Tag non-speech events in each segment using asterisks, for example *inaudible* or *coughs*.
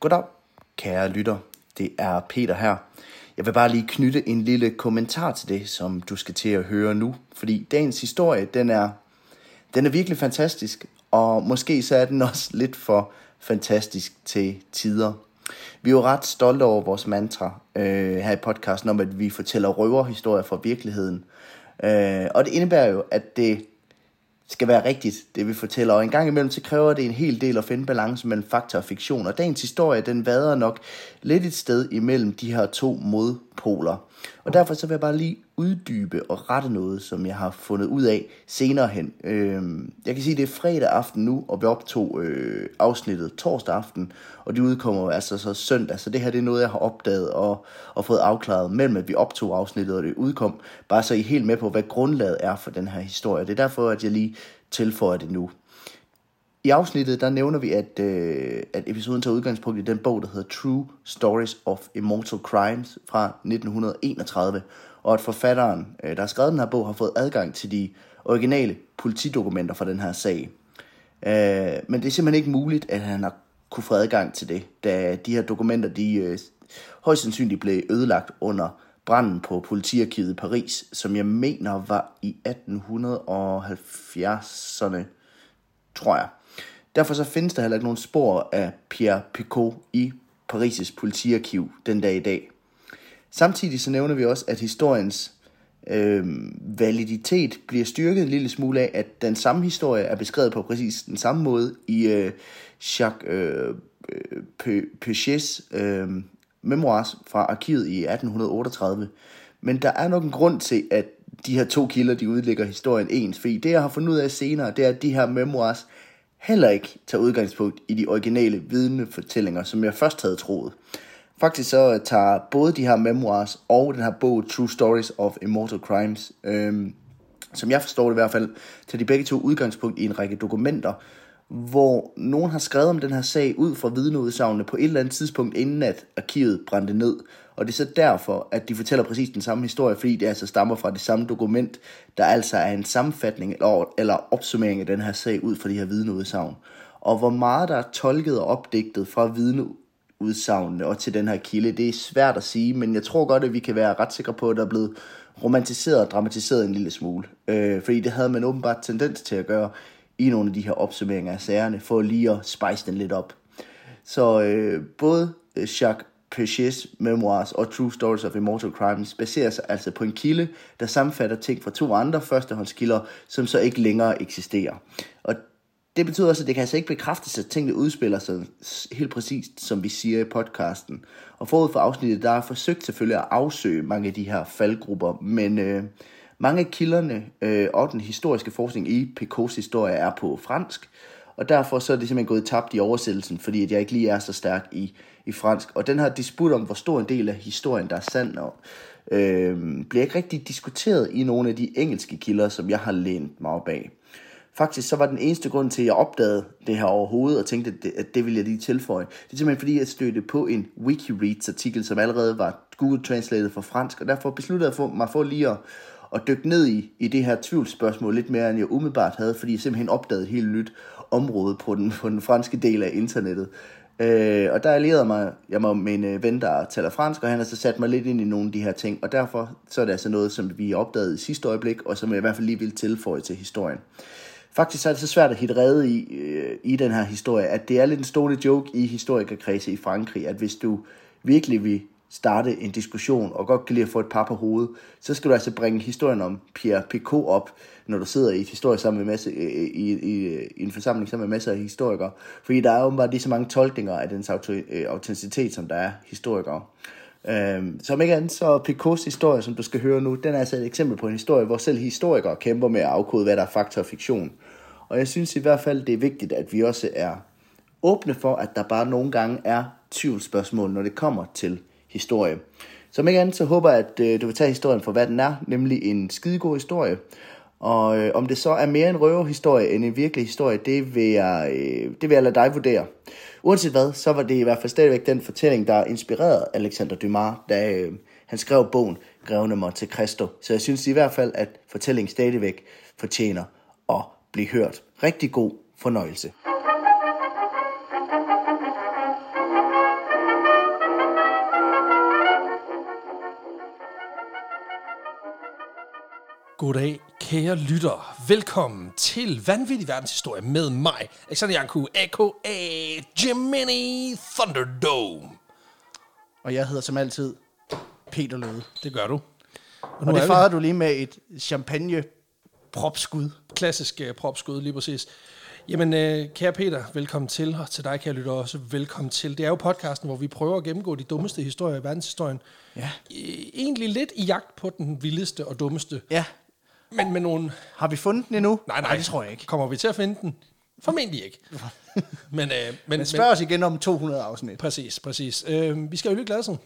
Goddag, kære lytter. Det er Peter her. Jeg vil bare lige knytte en lille kommentar til det, som du skal til at høre nu. Fordi dagens historie, den er, den er virkelig fantastisk. Og måske så er den *laughs* også lidt for fantastisk til tider. Vi er jo ret stolte over vores mantra øh, her i podcasten om, at vi fortæller røverhistorier fra virkeligheden. Øh, og det indebærer jo, at det skal være rigtigt, det vi fortæller. Og en gang imellem, så kræver det en hel del at finde balance mellem fakta og fiktion. Og dagens historie, den vader nok lidt et sted imellem de her to modpoler. Og derfor så vil jeg bare lige uddybe og rette noget, som jeg har fundet ud af senere hen. Øhm, jeg kan sige, at det er fredag aften nu, og vi optog øh, afsnittet torsdag aften, og de udkommer jo altså så søndag. Så det her det er noget, jeg har opdaget og, og fået afklaret mellem, at vi optog afsnittet, og det udkom. Bare så I er helt med på, hvad grundlaget er for den her historie. Det er derfor, at jeg lige tilføjer det nu. I afsnittet, der nævner vi, at, øh, at episoden tager udgangspunkt i den bog, der hedder True Stories of Immortal Crimes fra 1931, og at forfatteren, øh, der har skrevet den her bog, har fået adgang til de originale politidokumenter fra den her sag. Øh, men det er simpelthen ikke muligt, at han har kunne få adgang til det, da de her dokumenter, de øh, højst sandsynligt blev ødelagt under branden på politiarkivet i Paris, som jeg mener var i 1870'erne, tror jeg. Derfor så findes der heller ikke nogen spor af Pierre Picot i Paris' politiarkiv den dag i dag. Samtidig så nævner vi også, at historiens øh, validitet bliver styrket en lille smule af, at den samme historie er beskrevet på præcis den samme måde i øh, Jacques øh, Pe- Pechets øh, memoirs fra arkivet i 1838. Men der er nok en grund til, at de her to kilder, de udlægger historien ens, fordi det, jeg har fundet ud af senere, det er, at de her memoirs heller ikke tager udgangspunkt i de originale vidnefortællinger, som jeg først havde troet. Faktisk så tager både de her memoirs og den her bog True Stories of Immortal Crimes, øhm, som jeg forstår det i hvert fald, tager de begge to udgangspunkt i en række dokumenter, hvor nogen har skrevet om den her sag ud fra vidneudsagnene på et eller andet tidspunkt, inden at arkivet brændte ned. Og det er så derfor, at de fortæller præcis den samme historie, fordi det altså stammer fra det samme dokument, der altså er en sammenfatning eller, eller opsummering af den her sag ud fra de her vidneudsagn. Og hvor meget der er tolket og opdigtet fra vidneudsagnene og til den her kilde, det er svært at sige, men jeg tror godt, at vi kan være ret sikre på, at der er blevet romantiseret og dramatiseret en lille smule. Øh, fordi det havde man åbenbart tendens til at gøre i nogle af de her opsummeringer af sagerne, for lige at spice den lidt op. Så øh, både Jacques Pechets memoirs og True Stories of Immortal Crimes baserer sig altså på en kilde, der sammenfatter ting fra to andre førstehåndskilder, som så ikke længere eksisterer. Og det betyder også, at det kan altså ikke bekræftes, at tingene udspiller sig helt præcist, som vi siger i podcasten. Og forud for afsnittet, der er forsøgt selvfølgelig at afsøge mange af de her faldgrupper, men øh, mange af kilderne øh, og den historiske forskning i Picots historie er på fransk, og derfor så er det simpelthen gået tabt i oversættelsen, fordi at jeg ikke lige er så stærk i, i fransk. Og den her disput om, hvor stor en del af historien, der er sand, og, øh, bliver ikke rigtig diskuteret i nogle af de engelske kilder, som jeg har lænet mig op af. Faktisk så var den eneste grund til, at jeg opdagede det her overhovedet og tænkte, at det, at det ville jeg lige tilføje. Det er simpelthen fordi, jeg stødte på en Wikireads artikel, som allerede var Google Translated fra fransk, og derfor besluttede jeg mig for lige at, at dykke ned i, i det her tvivlsspørgsmål lidt mere, end jeg umiddelbart havde, fordi jeg simpelthen opdagede et helt nyt område på den, på den franske del af internettet. Øh, og der allierede mig, jeg mig med en øh, ven, der taler fransk, og han har så sat mig lidt ind i nogle af de her ting, og derfor så er det altså noget, som vi opdagede i sidste øjeblik, og som jeg i hvert fald lige vil tilføje til historien. Faktisk så er det så svært at hitte rede i, øh, i den her historie, at det er lidt en stående joke i historikerkredse i Frankrig, at hvis du virkelig vil starte en diskussion og godt kan lide at få et par på hovedet, så skal du altså bringe historien om Pierre Picot op, når du sidder i et historie sammen med masse, i, i, i, en forsamling sammen med masser af historikere. Fordi der er åbenbart lige så mange tolkninger af dens øh, autenticitet, som der er historikere. Øhm, som ikke andet, så Picots historie, som du skal høre nu, den er altså et eksempel på en historie, hvor selv historikere kæmper med at afkode, hvad der er fakta og fiktion. Og jeg synes i hvert fald, det er vigtigt, at vi også er åbne for, at der bare nogle gange er tvivlsspørgsmål, når det kommer til historie. Som ikke andet, så håber jeg, at øh, du vil tage historien for, hvad den er, nemlig en skidegod historie. Og øh, om det så er mere en røverhistorie end en virkelig historie, det vil, jeg, øh, det vil jeg lade dig vurdere. Uanset hvad, så var det i hvert fald stadigvæk den fortælling, der inspirerede Alexander Dumas, da øh, han skrev bogen Grevene Monte Cristo. Så jeg synes i hvert fald, at fortællingen stadigvæk fortjener at blive hørt. Rigtig god fornøjelse. Goddag, kære lytter. Velkommen til Vanvittig Verdenshistorie med mig, Alexander Janku, a.k.a. Jiminy Thunderdome. Og jeg hedder som altid Peter Løde. Det gør du. Og Og nu og det er farede du lige med et champagne propskud. vi klassisk uh, propskud, lige præcis. Jamen, øh, kære Peter, velkommen til, og til dig, kære lytter, også velkommen til. Det er jo podcasten, hvor vi prøver at gennemgå de dummeste historier i verdenshistorien. Ja. Øh, egentlig lidt i jagt på den vildeste og dummeste, Ja. men med nogle Har vi fundet den endnu? Nej, nej, nej det tror jeg ikke. Kommer vi til at finde den? Formentlig *laughs* ikke. men, øh, men, men, Men spørg os igen om 200 afsnit. præcis, præcis. Øh, vi skal øl i glassen,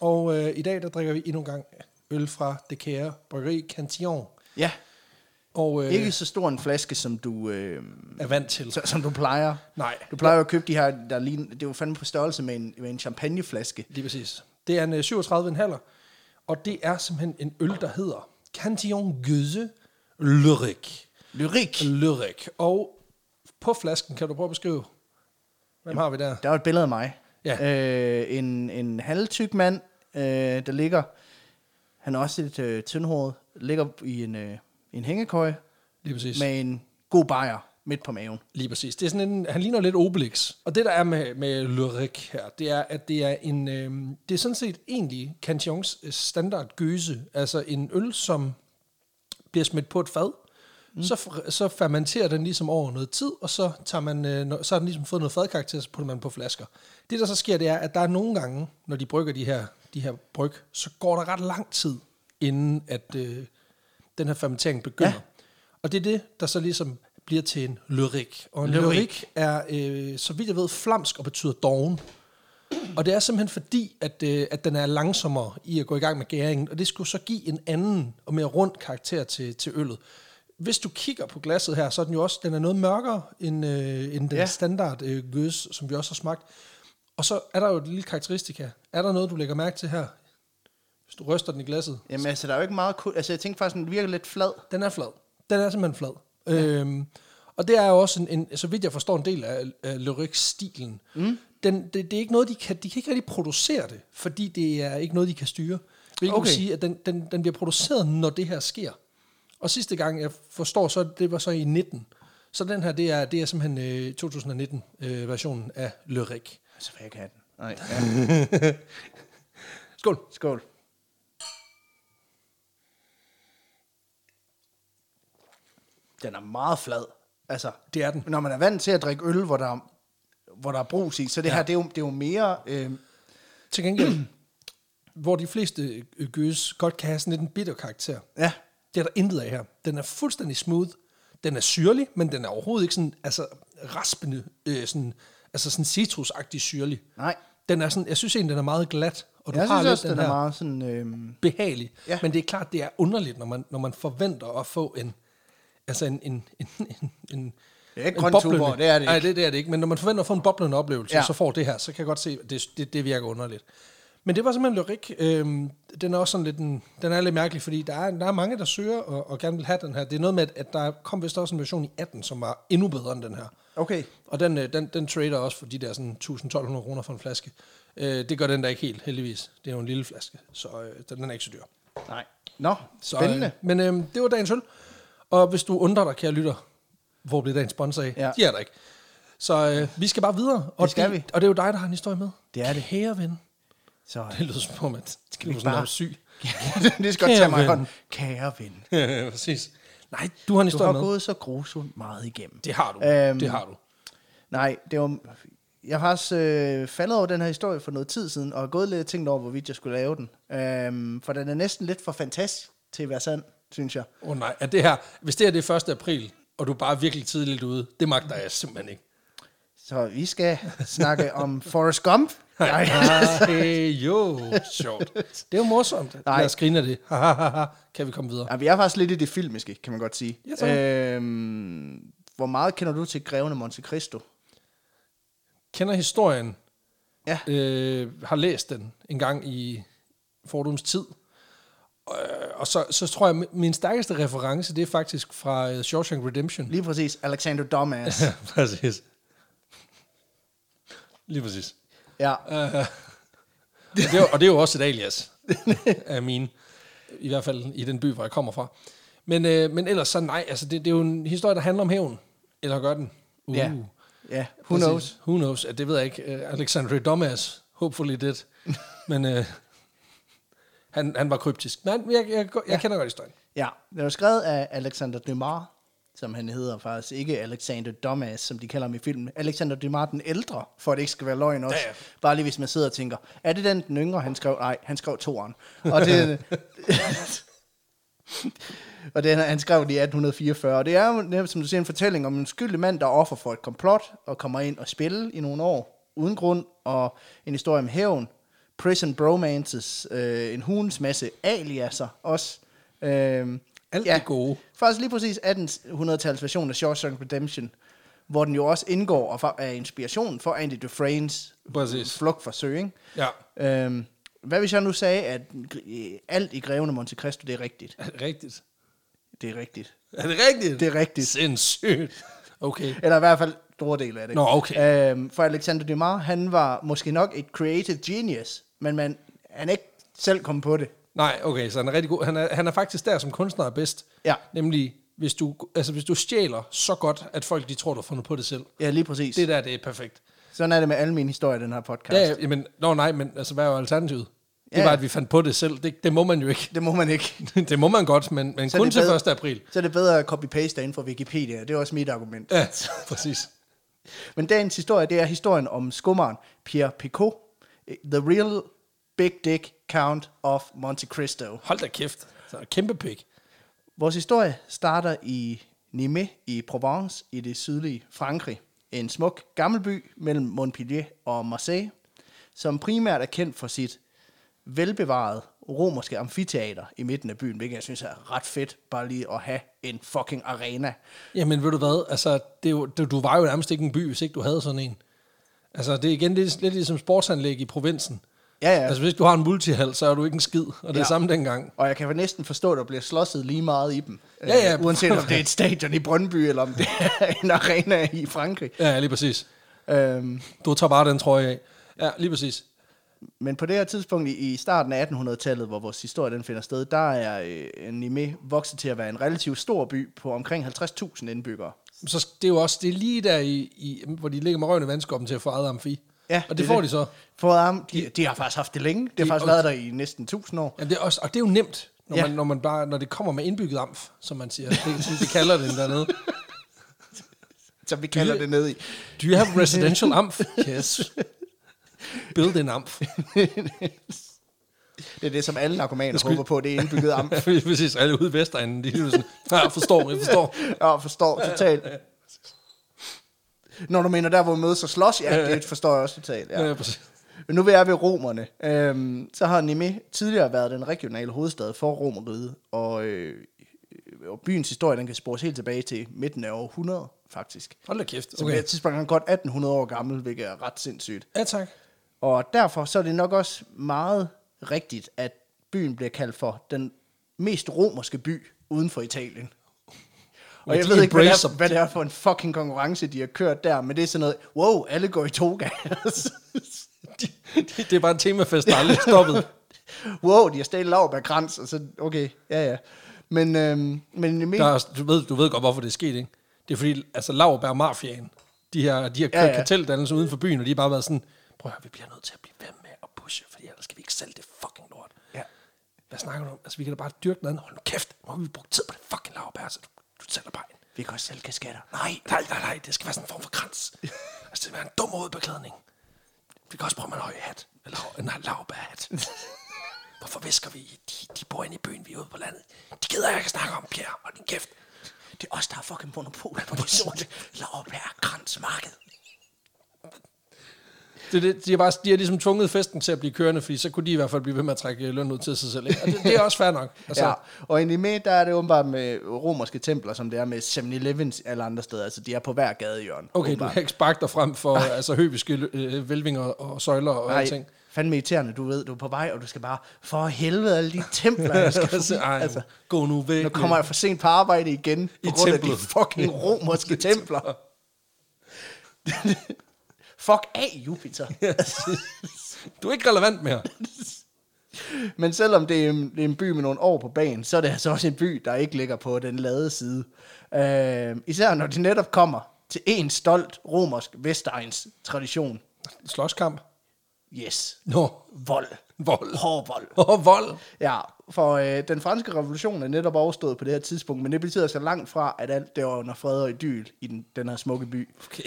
og øh, i dag der drikker vi endnu en gang øl fra det kære bryggeri Cantillon. Ja. Og øh, Ikke ikke. så stor en flaske, som du, øh, er vant til. så- som du plejer. Nej, Du plejer jo at købe de her, der ligner, det er jo fandme på størrelse med en, med en champagneflaske. lige præcis. Det er en øh, 37,5, er, og det er simpelthen en øl, der hedder Cantillon Gøse Lyrik. Lyrik. Lyrik. Og på flasken kan du prøve at beskrive, hvem har vi der? Der er jo et billede af mig. Ja. Øh, en, en halvtyk mand, øh, der ligger, han er også lidt øh, tyndhåret, ligger i en, øh, en hængekøje Lige præcis. med en god bajer midt på maven. Lige præcis. Det er sådan en, han ligner lidt Obelix. Og det, der er med, med Lyrik her, det er, at det er en... Øh, det er sådan set egentlig Cantillons øh, standard gøse. Altså en øl, som bliver smidt på et fad. Mm. Så, fer- så fermenterer den ligesom over noget tid, og så, tager man, øh, når- så har den ligesom fået noget fadkarakter, så putter man den på flasker. Det, der så sker, det er, at der er nogle gange, når de brygger de her, de her bryg, så går der ret lang tid, inden at øh, den her fermentering begynder. Ja. Og det er det, der så ligesom bliver til en lyrik. Og en lyrik, Lyrik. lyrik er, øh, så vidt jeg ved, flamsk og betyder doven. Og det er simpelthen fordi, at, øh, at den er langsommere i at gå i gang med gæringen, og det skulle så give en anden og mere rund karakter til, til øllet. Hvis du kigger på glasset her, så er den jo også den er noget mørkere end, øh, end den Ja. ja. standard øh, gøs, som vi også har smagt. Og så er der jo et lille karakteristika. Er der noget, du lægger mærke til her? Hvis du ryster den i glasset, Jamen altså, der er jo ikke meget kul. Altså, jeg tænkte faktisk, den virker lidt flad. den er flad. Den er simpelthen flad. Ja. Øhm, og det er jo også, en, en, så vidt jeg forstår, en del af, af lyrik-stilen. Mm. Den, det, det er ikke noget, de kan, de kan ikke rigtig producere det, fordi det er ikke noget, de kan styre. Hvilket okay. Okay. vil sige, at den, den, den bliver produceret, når det her sker. Og sidste gang, jeg forstår, så det var så i 19. Så den her, det er, det er simpelthen øh, 2019-versionen af lyrik. Så vil Altså, jeg ikke have den. Nej, ja. *laughs* Skål! skål. Den er meget flad. Altså, Det er den. når man er vant til at drikke øl, hvor der, hvor der er brus i, så det ja. her, det er jo, det er jo mere... Øh, Til gengæld, hvor de fleste øh, gøs godt kan have sådan lidt en bitter karakter, ja, Det er der intet af her. Den er fuldstændig smooth. Den er syrlig, men den er overhovedet ikke sådan, altså raspende, øh, sådan, altså sådan citrusagtig syrlig. nej. Den er sådan, jeg synes egentlig, den er meget glat, og du Jeg har synes lidt også, den, her er meget sådan... Øh, behagelig. Ja. Ja. Men det er klart, det er underligt, når man, når man forventer at få en, altså en, en, en, en, en Det er ikke en grøn boblende- tuborg, det er det ikke. Nej, det, det er det ikke. Men når man forventer at få en boblende oplevelse, Ja. ja. så får det her, så kan jeg godt se, at det, det, det virker underligt. Men det var simpelthen lyrik. Øhm, den er også sådan lidt en, den er lidt mærkelig, fordi der er, der er mange, der søger og, og gerne vil have den her. Det er noget med, at- at der kom vist også en version i 18, som var endnu bedre end den her. okay. Og den, øh, den, den trader også for de der sådan 1.000-1.200 kroner for en flaske. Øh, det gør den der ikke helt, heldigvis. Det er jo en lille flaske, så øh, den den er ikke så dyr. Nej. Nå, Så, spændende. Øh, men øh, det var dagens øl. Og hvis du undrer dig, kære lytter, hvor blev dagens sponsor af? Ja. Ja. De er der ikke. Så øh, vi skal bare videre. Og Det skal det, vi. Og det er jo dig, der har en historie med. Det er det. Kære ven. *laughs* Så *laughs* øh, Det lyder som om, at skal vi vi sådan bare- noget syg. det skal godt tage Kære mig i ven. hånden. Kære ven, *laughs* Præcis. Nej, du har en du historie har med. gået så grusomt meget igennem. Det har du. Øhm, Øhm, det har du. Nej, det var... Jeg har faktisk øh, faldet over den her historie for noget tid siden, og har gået lidt og tænkt over, hvorvidt jeg skulle lave den. Øhm, for den er næsten lidt for fantastisk til at være sand, synes jeg. Åh oh, nej, er det her, hvis det her det er 1. april, og du er bare virkelig tidligt ude, det magter jeg simpelthen ikke. Så vi skal snakke om Forrest *laughs* Gump. Nej. Ah, jo, sjovt. Det er jo morsomt. Nej. Lad os grine af det. kan vi komme videre? Ja, vi er faktisk lidt i det filmiske, kan man godt sige. Ja, tak. øhm, hvor meget kender du til Greven af Monte Cristo? kender historien, Ja. øh, har læst den en gang i fordoms tid. Øh, og så, så tror jeg, min- min stærkeste reference, det er faktisk fra øh, Shawshank Redemption. Lige præcis, Alexander *laughs* Dumbass. præcis. Lige præcis. ja. Øh, Og *laughs* det, er, jo- og det er jo også et alias af mine, i hvert fald i den by, hvor jeg kommer fra. Men, øh, men ellers så nej, altså det, det er jo en historie, der handler om hævn. Eller gør den? Uh. Ja. Ja, who Præcis. knows? Who knows? Ja, det ved jeg ikke. Uh, Alexandre Dumas, hopefully dead. *laughs* men uh, han, han var kryptisk. Men han- jeg, jeg, jeg, jeg kender godt historien. Ja, den var skrevet af Alexander Dumas, som han hedder faktisk ikke Alexander Dumas, som de kalder ham i filmen. Alexander Dumas den ældre, for at det ikke skal være løgn også. Ja, ja. Bare lige hvis man sidder og tænker, er det den, den yngre, han skrev? Nej, han skrev toeren. Og det... *laughs* og den, han skrev det i 1844. Og det er jo, netop, som du siger, en fortælling om en skyldig mand, der er offer for et komplot, og kommer ind og spille i nogle år, uden grund, og en historie om hævn, prison bromances, øh, en hunds masse aliaser også. Øh, Alt det gode. Faktisk lige præcis 1800-tallets version af Shawshank Redemption, hvor den jo også indgår og fa- er inspiration for Andy Dufresnes Præcis. flugt fra sø, ikke? Ja, Øhm, hvad hvis jeg nu sagde, at øh, alt i Greven og Monte Cristo, det er rigtigt? er det rigtigt? Det er rigtigt. Er det rigtigt? Det er rigtigt. Sindssygt. Okay. Eller i hvert fald store dele af det. Nå, okay. Øhm, for Alexander Dumas, han var måske nok et creative genius, men man, han er ikke selv kom på det. Nej, okay, så han er rigtig god. Han er, han er faktisk der, som kunstner er bedst. Ja. Nemlig, hvis du, altså, hvis du stjæler så godt, at folk de tror, du har fundet på det selv. Ja, lige præcis. Det Det. der, det er perfekt. Sådan er det med alle mine historier i den her podcast. Ja, jamen, nå nej, men altså, hvad er jo alternativet? Det Ja, ja. ja. var, at vi fandt på det selv. Det, det må man jo ikke. *laughs* Det må man ikke. det må man godt, men, men Så kun det til er bedre- 1. april. Så er det bedre at copy-paste ind fra Wikipedia. Det er også mit argument. *laughs* Ja, præcis. Men dagens historie, det er historien om skummeren Pierre Picot. eh, The Real Big Dick Count of Monte Cristo. Hold da kæft. Så er det kæmpe pik. Vores historie starter i Nîmes i Provence i det sydlige Frankrig. En smuk gammel by mellem Montpellier og Marseille, som primært er kendt for sit velbevarede romerske amfiteater i midten af byen, hvilket jeg synes er ret fedt, bare lige at have en fucking arena. Jamen, ved du hvad? Altså, det er jo, du, du var jo nærmest ikke en by, hvis ikke du havde sådan en. Altså, det er igen lidt, lidt ligesom sportsanlæg i provinsen. Ja, ja. Altså, hvis ikke du har en multihal, så er du ikke en skid. Og det er Ja. ja. samme dengang. Og jeg kan vel næsten forstå, at der bliver slåsset lige meget i dem. Ja, ja. Øh, Uanset *laughs* om det er et stadion i Brøndby, eller om det er en arena i Frankrig. Ja, lige præcis. Øhm, Du tager bare den trøje af. Ja, lige præcis. men på det her tidspunkt i i starten af 1800-tallet, hvor vores historie den finder sted, der er øh, Nîmes vokset til at være en relativt stor by på omkring 50.000 indbyggere. Så sk- det er jo også det er lige der, i, i, hvor de ligger med røven i vandskoppen til at få eget amfi. Ja, og det, det det er får det. det. de så. For um, de, de har faktisk haft det længe. Det har De- faktisk været der i næsten 1000 år. Jamen, det er også, og det er jo nemt, når, Ja. ja. man, når, man bare, når det kommer med indbygget amf, som man siger. Det, det, det kalder det dernede. Som vi kalder Dyre- det ned i. Do *laughs* you have residential amf? Yes. Build an amf. Det er det, som alle narkomaner skulle- håber på, det er indbygget *laughs* amp. Præcis, alle ude i Vestegnen, de er jo sådan, ja, jeg forstår, jeg forstår. Ja, forstår *laughs* totalt. Når du mener der, hvor vi mødes og slås, ja, det forstår jeg også totalt. Ja. Ja. Ja, præcis. Men nu vil jeg ved romerne. Øhm, så har Nîmes tidligere været den regionale hovedstad for romeriet, og, øh, og byens historie, den kan spores helt tilbage til midten af århundredet, faktisk. Hold da kæft. Så okay. på Okay. det tidspunkt er han godt 1800 år gammel, hvilket er ret sindssygt. Ja, tak. Og derfor så er det nok også meget rigtigt, at byen bliver kaldt for den mest romerske by uden for Italien. Og Men jeg de ved ikke, hvad det, er, embracer- hvad det er for en fucking konkurrence, de har kørt der, men det er sådan noget, wow, alle går i toga. *laughs* De, de, det er bare en temafest, der aldrig er stoppet. wow, de har stadig lav med krans, og så, okay, ja ja. Men, øhm, men Neme, Der er, også- du, ved, du ved godt, hvorfor det er sket, ikke? Det er fordi, altså, Lauerberg Mafiaen, de her, de her Ja, ja, ja. ja. karteldannelser uden for byen, og de har bare været sådan, prøv at høre, vi bliver nødt til at blive ved med at pushe, fordi ellers skal vi ikke sælge det fucking lort. Ja. Hvad snakker du om? Altså, vi kan da bare dyrke noget andet. Hold nu kæft, nu har vi brugt tid på det fucking Lauerberg, så du, du sælger bare en. vi kan også sælge kasketter. Nej, nej, nej, nej, det skal være sådan en form for krans. altså, det skal være en dum hovedbeklædning. Vi kan også prøve med en høj hat. Eller høj- nej, lavbærhat. Hvorfor visker vi? De, de bor inde i byen, vi er ude på landet. De gider jeg ikke snakke om, Pierre. Hold din kæft. Det er os, der har fucking monopol på det sorte lavbærkransmarked. Det, det, de, har bare, de har ligesom tvunget festen til at blive kørende, fordi så kunne de i hvert fald blive ved med at trække øh, løn ud til sig selv. Ikke? Og det, det er også fair nok. Altså, Ja, og i Nime, der er det åbenbart med romerske templer, som det er med 7-Elevens alle andre steder. Altså, de er på hver gadehjørne. Okay, du åbenbart. kan ikke sparke dig frem for altså, høviske øh, vælvinger og søjler og Nej, alting. fandme irriterende, du ved, du er på vej, og du skal bare, for helvede, alle de templer, *laughs* jeg skal Altså, forbi. ej, altså, gå nu væk. nu kommer jeg for sent på arbejde igen, på I grund af de templet. fucking *laughs* romerske templer. Fuck af, Jupiter. Du er ikke relevant mere. Men selvom det er, en, det er en by med nogle år på banen, så er det altså også en by, der ikke ligger på den lade side. Øh, især når de netop kommer til en stolt romersk vestegns tradition. Slåskamp. Yes. Nå, Vold. vold. Hård vold. Og vold. Ja, for øh, den franske revolution er netop overstået på det her tidspunkt, men det betyder så langt fra, at alt det var under fred og idyl i den, den her smukke by. Okay.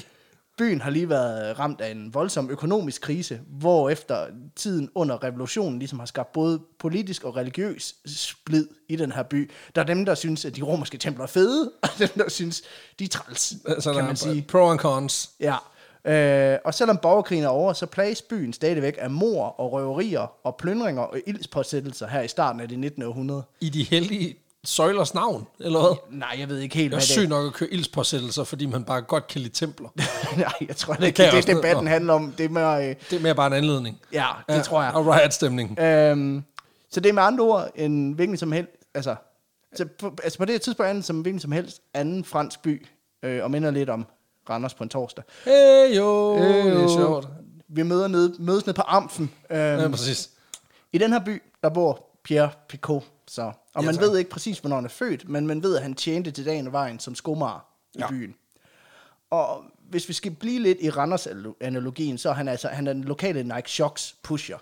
Byen har lige været øh, ramt af en voldsom økonomisk krise, hvor efter tiden under revolutionen ligesom har skabt både politisk og religiøs splid i den her by. Der er dem, der synes, at de romerske templer er fede, *laughs* og dem, der synes, de er træls, Altså, kan der man er sige. pro and cons. Ja. Øh, og selvom borgerkrigen er over, så plages byen stadigvæk af mor og røverier og plyndringer og ildspåsættelser her i starten af det 19. århundrede. I de hellige søjlers navn, eller hvad? Nej, jeg ved ikke helt, Jeg hvad er det syg nok at køre ildspåsættelser, fordi man bare godt kan lide templer. *laughs* Nej, jeg tror ikke, kan det, jeg det også- debatten Nå. handler om. Det er mere, øh, Det er mere bare en anledning. ja, det ja, tror jeg. Og riot-stemningen. Øhm, så det er med andre ord en hvilken som helst, altså, så på, altså på det her tidspunkt er den som hvilken som helst anden fransk by, øh, og minder lidt om Randers på en torsdag. Øh, Hey jo, Øh, det er sjovt. Vi møder nede, mødes nede på Amfen. Øhm, Ja, præcis. I den her by, der bor Pierre Picot, så, og Ja, man tak. ved ikke præcis, hvornår han er født, men man ved, at han tjente til dagen og vejen som skomager i Ja. byen. Og hvis vi skal blive lidt i Randers-analogien, så er han altså han er den lokale Nike Shocks pusher.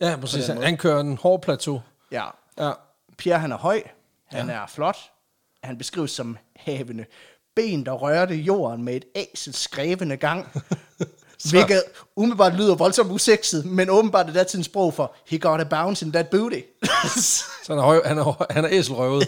Ja, præcis. Han kører en hård plateau. Ja, Ja. Pierre han er høj, han ja. er flot, han beskrives som havende ben, der rørte jorden med et æsels skrævende *laughs* gang, hvilket umiddelbart lyder voldsomt usexet, men åbenbart er datidens sprog for, he got a bounce in that booty. *laughs* Så han er, høj, han er, høj- han er *laughs* æselrøvet.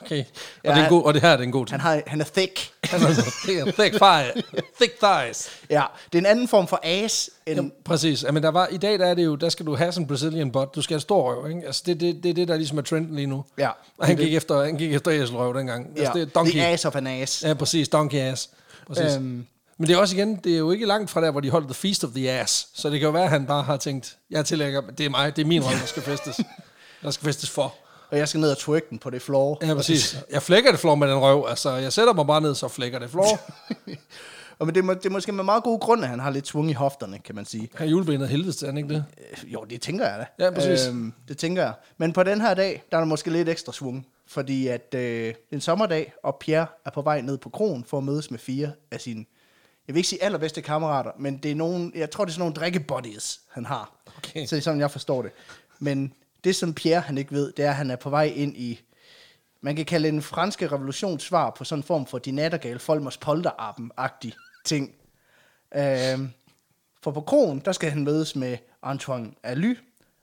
Okay. Og, Ja, ja, det er en han- god, og det her er det en god han, ting. har, han er thick. Han er så thick, thick, *laughs* thigh, thick thighs. Ja, det er en anden form for ass, end, Jamen, præcis. Men der var, i dag der er det jo, der skal du have sådan en Brazilian butt. Du skal have stor røv, ikke? Altså, det, det, det er det, der ligesom er trenden lige nu. Ja. Og han gik efter, han gik efter æselrøv dengang. Altså, ja, det er donkey. the ass of an ass. Ja, præcis. Donkey ass. Præcis. Øhm. Øhm. Men det er også igen, det er jo ikke langt fra der, hvor de holdt The Feast of the Ass. Så det kan jo være, at han bare har tænkt, jeg tillægger, det er mig, det er min rolle, der skal *laughs* festes. der skal festes for. Og jeg skal ned og twerk den på det floor. Ja, præcis. Jeg flækker det flår med den røv. Altså, jeg sætter mig bare ned, så flækker det flår. *laughs* Og men det, må, det er måske med meget god grund, at han har lidt svung i hofterne, kan man sige. Han er julebenet af helvede, til, er han ikke det? Øh, Jo, det tænker jeg da. Ja, præcis. Øhm, det tænker jeg. Men på den her dag, der er der måske lidt ekstra svung, fordi at øh, det er en sommerdag, og Pierre er på vej ned på kronen for at mødes med fire af sine, jeg vil ikke sige allerbedste kammerater, men det er nogen, jeg tror, det er sådan nogle drikkebuddies, han har. Okay. Så det er sådan, jeg forstår det. Men det, som Pierre han ikke ved, det er, at han er på vej ind i, man kan kalde det en franske revolutionssvar på sådan en form for de nattergale Folmers polterappen-agtig ting. Øhm, for på krogen, der skal han mødes med Antoine Aly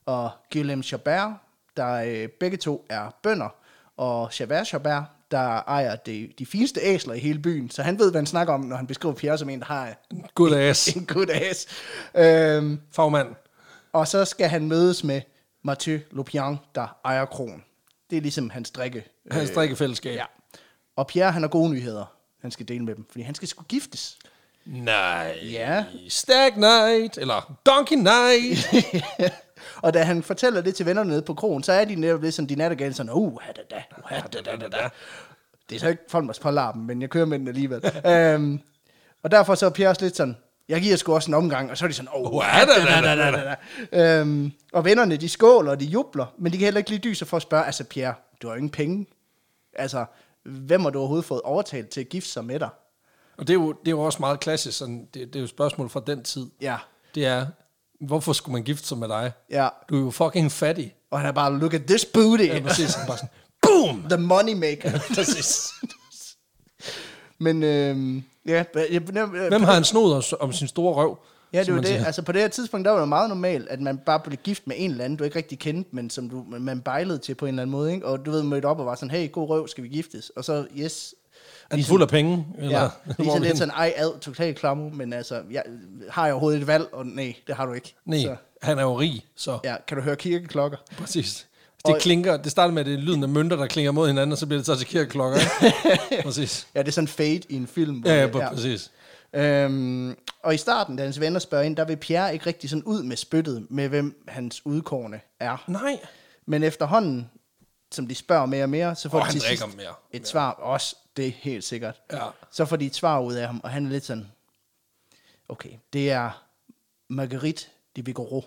og Guillaume Chabert, der øh, begge to er bønder, og Chabert Chabert, der ejer de, de fineste æsler i hele byen, så han ved, hvad han snakker om, når han beskriver Pierre som en, der har *laughs* Good ass. en god ass. Øhm, Fagmand. og så skal han mødes med Mathieu Lopian, der ejer kronen. Det er ligesom hans drikke. Hans drikkefællesskab. Ja. Og Pierre, han har gode nyheder. Han skal dele med dem, fordi han skal sgu giftes. Nej. Ja. Stag night, eller donkey night. *laughs* og da han fortæller det til vennerne nede på krogen, så er de netop lidt sådan, de nattergale sådan, uh, da, da, uh, da, da, da, da. Det er så ikke Folmers på larmen, men jeg kører med den *laughs* alligevel. øhm, og derfor så er Pierre også lidt sådan, jeg giver sgu også en omgang, og så er de sådan, oh, uh, da, da, da, da, da, da. Øhm, og vennerne, de skåler, og de jubler, men de kan heller ikke lige dyse for at spørge, altså Pierre, du har jo ingen penge. Altså, hvem har du overhovedet fået overtalt til at gifte sig med dig? *laughs* Og det er jo, det er jo også meget klassisk. Sådan, det, det er jo et spørgsmål fra den tid. Ja, Det er, hvorfor skulle man gifte sig med dig? ja. Du er jo fucking fattig. Og han er bare, look at this booty, Ja, præcis. Han bare sådan, boom! the money maker. Præcis. *laughs* Men øhm, ja, jeg, jeg, jeg, Hvem har en snod om, om sin store røv? ja, det som var man det. siger? Altså på det her tidspunkt, der var det meget normalt, at man bare blev gift med en eller anden, du ikke rigtig kendte, men som du, man bejlede til på en eller anden måde, ikke? Og du ved, mødte op og var sådan, hey, god røv, skal vi giftes? Og så, yes. Er den fuld af penge? Eller, Ja, *laughs* hvor lige så er vi lidt henne? sådan, ej, ad, totalt klamme, men altså, jeg, har jeg overhovedet et valg? Og nej, det har du ikke. Nej, Så, han er jo rig, så ja. ja, kan du høre kirkeklokker? præcis. Det, Og- klinker, det starter med, at det er lyden af mønter, der klinger mod hinanden, og så bliver det så til kirkeklokker. *laughs* ikke? præcis. Ja, det er sådan fade i en film. hvor Ja, ja, det- ja, præcis. Øhm, og i starten, da hans venner spørger ind, der vil Pierre ikke rigtig sådan ud med spyttet med, hvem hans udkårne er. Nej. Men efterhånden, som de spørger mere og mere, så får Og de han til sidst drikker mere. et svar. Også, det er helt sikkert. Ja. Så får de et svar ud af ham, og han er lidt sådan, okay, det er Marguerite de Vigoro.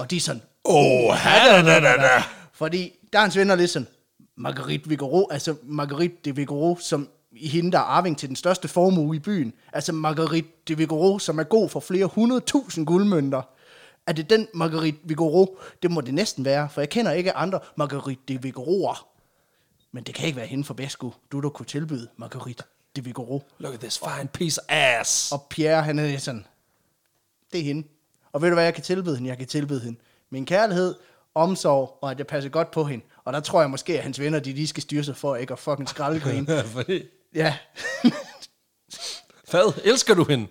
Og de er sådan, Oh, da, da, da, da. Fordi der er hans venner lidt sådan, Marguerite Vigoro, altså Marguerite de Vigoro, som i hende, der er arving til den største formue i byen. Altså Marguerite de Vigoro, som er god for flere hundredtusind guldmønter. Er det den Marguerite Vigoro? Det må det næsten være, for jeg kender ikke andre Marguerite de Vigoroer. Men det kan ikke være hende for Besco, du der kunne tilbyde Marguerite de Vigoro. Look at this fine piece of ass. Og Pierre, han er sådan, det er hende. Og ved du hvad, jeg kan tilbyde hende? Jeg kan tilbyde hende min kærlighed, omsorg, og at jeg passer godt på hende. Og der tror jeg måske, at hans venner, de lige skal styre sig for ikke at fucking *laughs* skraldegrine. *laughs* Fordi, ja. *laughs* hvad? Elsker du *laughs* hende?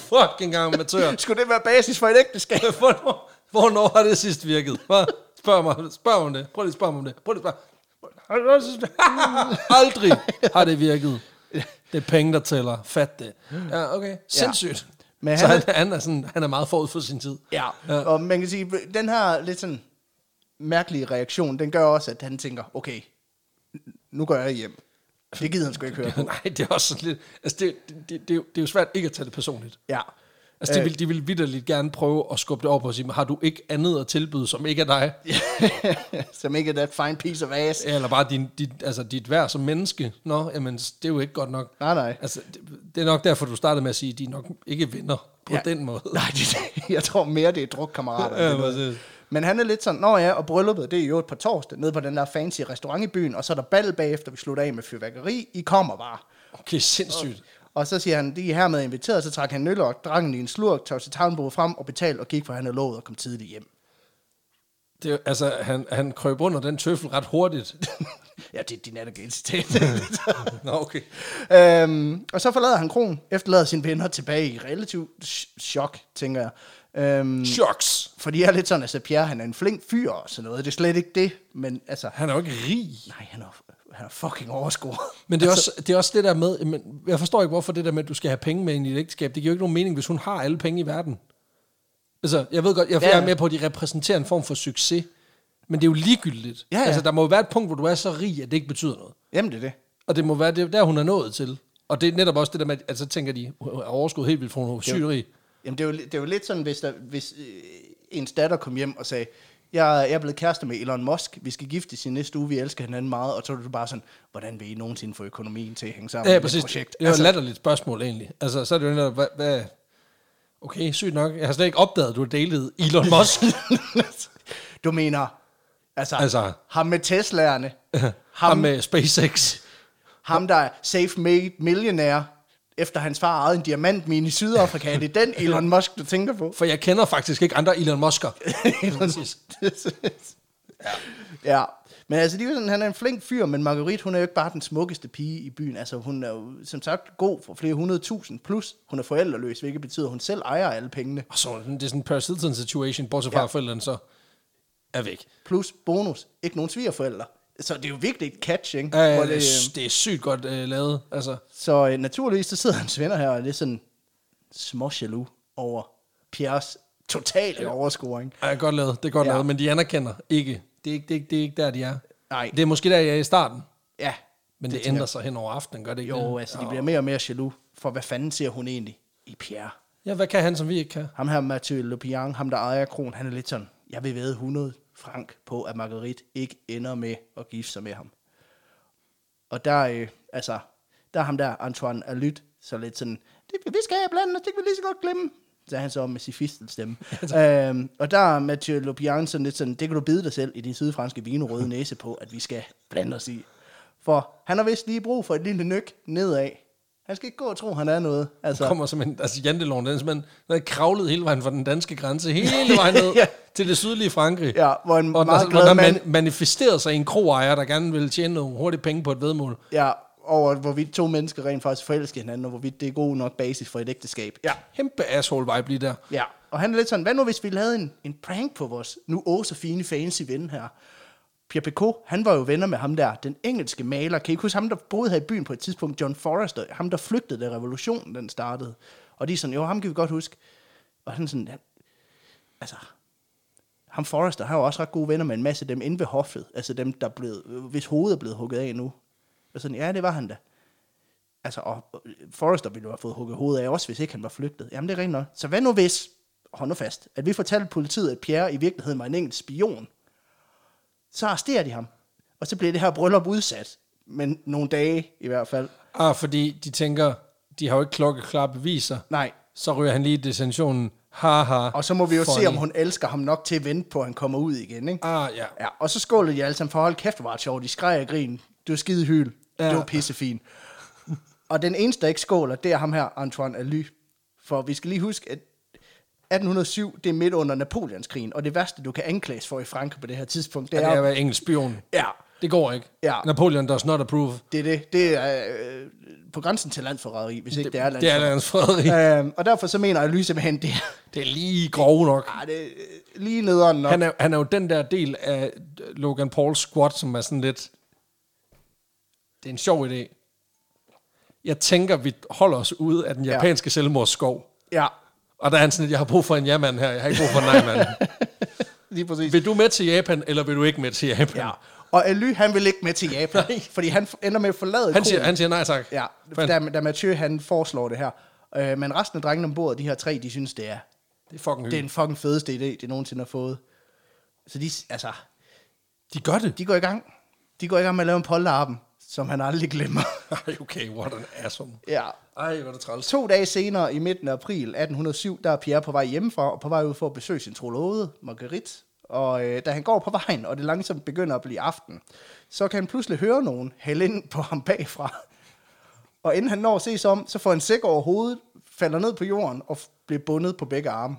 Fucking amatør. *laughs* Skulle det være basis for et ægteskab? Hvornår, hvornår har det sidst virket? Hva? Spørg mig, spørg mig om det. Prøv lige at spørge mig om det. Prøv lige at spørge. *laughs* Aldrig har det virket. Det er penge, der tæller. Fat det. Ja, okay. Sindssygt. Men Men så han- han, han, er sådan, han er meget forud for sin tid. Ja. Og man kan sige, den her lidt sådan mærkelige reaktion, den gør også, at han tænker, okay, nu går jeg hjem. Det gider han sgu *laughs* ikke høre på. *laughs* Nej, det er også sådan lidt... Altså, det, det, det, det, er jo- det er jo svært ikke at tage det personligt. Ja. *laughs* Altså, Øh. de vil, de vil vidderligt gerne prøve at skubbe det op og sige, "Men har du ikke andet at tilbyde, som ikke er dig? Som ikke er that fine piece of ass. Eller bare din, din, altså, dit værd som menneske? Nå, jamen, det er jo ikke godt nok. Nej, nej. Altså, det, det er nok derfor, du startede med at sige, at de er nok ikke venner på Ja. ja. den måde. Nej, det, jeg tror mere, det er drukkammerater. end Ja, det er noget. præcis. Men han er lidt sådan, nå ja, og brylluppet, det er jo et par torsdag, nede på den der fancy restaurant i byen, og så er der bal bagefter, vi slutter af med fyrværkeri, I kommer bare. Okay, sindssygt. Og så siger han, de er hermed inviteret, så trak han en øl og drangen i en slurk, tog sit tavnbord frem og betalte og gik, for han havde lovet at komme tidligt hjem. *laughs* Det, er jo- altså, han, han krøb under den tøffel ret hurtigt. *laughs* Ja, det er din citat. Nå, okay. Mm. øhm, og så forlader han kronen, efterlader sine venner tilbage i relativt ch- chok, tænker jeg. Øhm, Shucks! fordi jeg er lidt sådan, altså Pierre, han er en flink fyr og sådan noget, det er slet ikke det, men altså, Han er jo ikke rig. Nej, han er, han er fucking Altså, overskåret. *laughs* Men det er, også, det er også det der med, men jeg forstår ikke, hvorfor det der med, at du skal have penge med ind i et ægteskab, det giver jo ikke nogen mening, hvis hun har alle penge i verden. Altså, jeg ved godt, jeg, Ja. ja. jeg er med på, at de repræsenterer en form for succes, men det er jo ligegyldigt. Ja, ja. Altså, der må jo være et punkt, hvor du er så rig, at det ikke betyder noget. Jamen, det er det. Og det må være det, der, hun er nået til. Og det er netop også det der med, at så tænker de, hun er overskud helt vildt, for hun er sygt rig. Jamen, det er jo, det er jo lidt sådan, hvis, der, hvis øh, ens datter kom hjem og sagde, jeg, jeg er blevet kærester med Elon Musk, vi skal giftes i næste uge, vi elsker hinanden meget, og så er du bare sådan, hvordan vil I nogensinde få økonomien til at hænge sammen Ja, i ja det præcis. projekt? Det var altså, et latterligt spørgsmål, egentlig. Altså, så er det jo netop, hvad, hvad... Okay, sygt nok. Jeg har slet ikke opdaget, at du har delet *laughs* Elon Musk. du mener, altså, altså Altså- ham med Tesla'erne, *laughs* ham ham, med SpaceX. ham der er safe made millionær, efter hans far ejede en diamantmine i Sydafrika, er det den Elon Musk, du tænker på? For jeg kender faktisk ikke andre Elon Musker. *laughs* ja. Men altså, de er jo sådan, han er en flink fyr, men Marguerite, hun er jo ikke bare den smukkeste pige i byen. Altså, hun er jo, som sagt, god for flere hundrede tusind, plus hun er forældreløs, hvilket betyder, at hun selv ejer alle pengene. Og så er det sådan en parasitan situation, bortset fra Ja. ja. forældrene så er væk. Plus bonus, ikke nogen svigerforældre. Så det er jo virkelig et catch, ikke? Ja, Hvor det, det, øhm, er- Øh, det er sygt godt øh, lavet. Altså, så øh, naturligvis, så sidder hans venner her og er lidt sådan små jaloux over Pierres totale overscoring. er godt lavet, det er godt Ja. ja. lavet, men de anerkender ikke. Det er ikke, det er ikke, det er ikke der, de er. Nej. Det er måske der, jeg er i starten, Ja, men det, det ændrer sig hen over aftenen, gør det ikke jo, det? altså, de bliver mere og mere jaloux, for hvad fanden ser hun egentlig i Pierre? Ja, hvad kan han, som vi ikke kan? Ham her, Mathieu Le Pian, ham der ejer kron, han er lidt sådan, jeg vil væde 100 frank på, at Marguerite ikke ender med at gifte sig med ham. Og der, øh, altså, der er ham der, Antoine Alyt, så lidt sådan, det, vi skal have blandet, det kan vi lige så godt glemme. Så er han så med sin fistelstemme. øhm, og der er Mathieu Le Pian sådan lidt sådan, det kan du bide dig selv i din sydfranske vinerøde næse på, at vi skal blande os i. For han har vist lige brug for et lille nyk nedad. Han skal ikke gå og tro, han er noget. Altså, Så. Kommer som en, altså janteloven, den er simpelthen den er kravlet hele vejen fra den danske grænse, hele vejen ned *laughs* Ja. ja. til det sydlige Frankrig. Ja, hvor en og altså, meget der, glad der mand- man, manifesterer sig en kroejer, der gerne vil tjene nogle hurtige penge på et vedmål. Ja, over hvorvidt to mennesker rent faktisk forelsker hinanden, og hvorvidt det er god nok basis for et ægteskab. Ja. Kæmpe asshole vibe lige der. ja. Og han er lidt sådan, hvad nu hvis vi lavede en, en prank på vores nu åh så fine fancy ven her? Pierre Picot, han var jo venner med ham der, den engelske maler. Kan I ikke huske ham, der boede her i byen på et tidspunkt? John Forrester, ham der flygtede, da revolutionen den startede. Og de er sådan, jo, ham kan vi godt huske. Og han er sådan, ja, altså, ham Forrester har jo også ret gode venner med en masse af dem inde ved hoffet. Altså dem, der blev, hvis hovedet er blevet hugget af nu. Og sådan, ja, det var han da. øh, Altså, og og Forrester ville jo have fået hugget hovedet af også, hvis ikke han var flygtet. Jamen, det er rent nok. Så hvad nu hvis? hold nu fast, at vi fortalte politiet, at Pierre i virkeligheden var en enkelt spion, så arresterer de ham. Og så bliver det her bryllup udsat, men nogle dage i hvert fald. Ah, fordi de tænker, de har jo ikke klokkeklare beviser. Nej, Så ryger han lige i detentionen. Haha. og så må vi jo funny. se, om hun elsker ham nok til at vente på, at han kommer ud igen. Ikke? Ah, ja. Ja, og så skålede de alle sammen for, hold kæft, hvor var det sjovt. De skreg og grin. Du var skide hyl. Ja. Ja. Det var pissefint. og den eneste, der ikke skåler, det er ham her, Antoine Aly. For vi skal lige huske, at 1807, det er midt under Napoleonskrigen, og det værste, du kan anklages for i Frankrig på det her tidspunkt, det Det er at er... være engelsk spion. Ja, Det går ikke. Ja. Napoleon does not approve. det er det. Det er øh, på grænsen til landforræderi, hvis ikke det, det er Det er landforræderi. Lands Frederik. Det øhm, og derfor så mener Aly simpelthen, det er, *laughs* Det er lige grov nok. ah, det er lige nederen nok. Han er, han er jo den der del af Logan Pauls squad, som er sådan lidt... Det er en sjov idé. Jeg tænker, vi holder os ude af den japanske ja. selvmordsskov. Ja, Og der er han sådan, at jeg har brug for en ja-mand her, jeg har ikke brug for en *laughs* nej-mand. lige præcis. vil du med til Japan, eller vil du ikke med til Japan? Ja. Og Aly, han vil ikke med til Japan, fordi han ender med at forlade Han, siger, kroen. han siger nej tak. Ja, Fan, da, da Mathieu han foreslår det her. Øh, men resten af drengene ombord, de her tre, de synes, det er, det er fucking det er hyggeligt. den fucking fedeste idé, de nogensinde har fået. Så de, altså, De gør det. de går i gang. De går i gang med at lave en polterappen, som han aldrig *laughs* glemmer. Ej, okay, what an asshole. ja. Ej, hvor er det træls. To dage senere, i midten af april 1807, der er Pierre på vej hjemmefra og på vej ud for at besøge sin trolode, Marguerite. Og øh, da han går på vejen, og det langsomt begynder at blive aften, så kan han pludselig høre nogen hælde ind på ham bagfra. Og inden han når at se sig om, så får han sæk over hovedet, falder ned på jorden og f- bliver bundet på begge arme.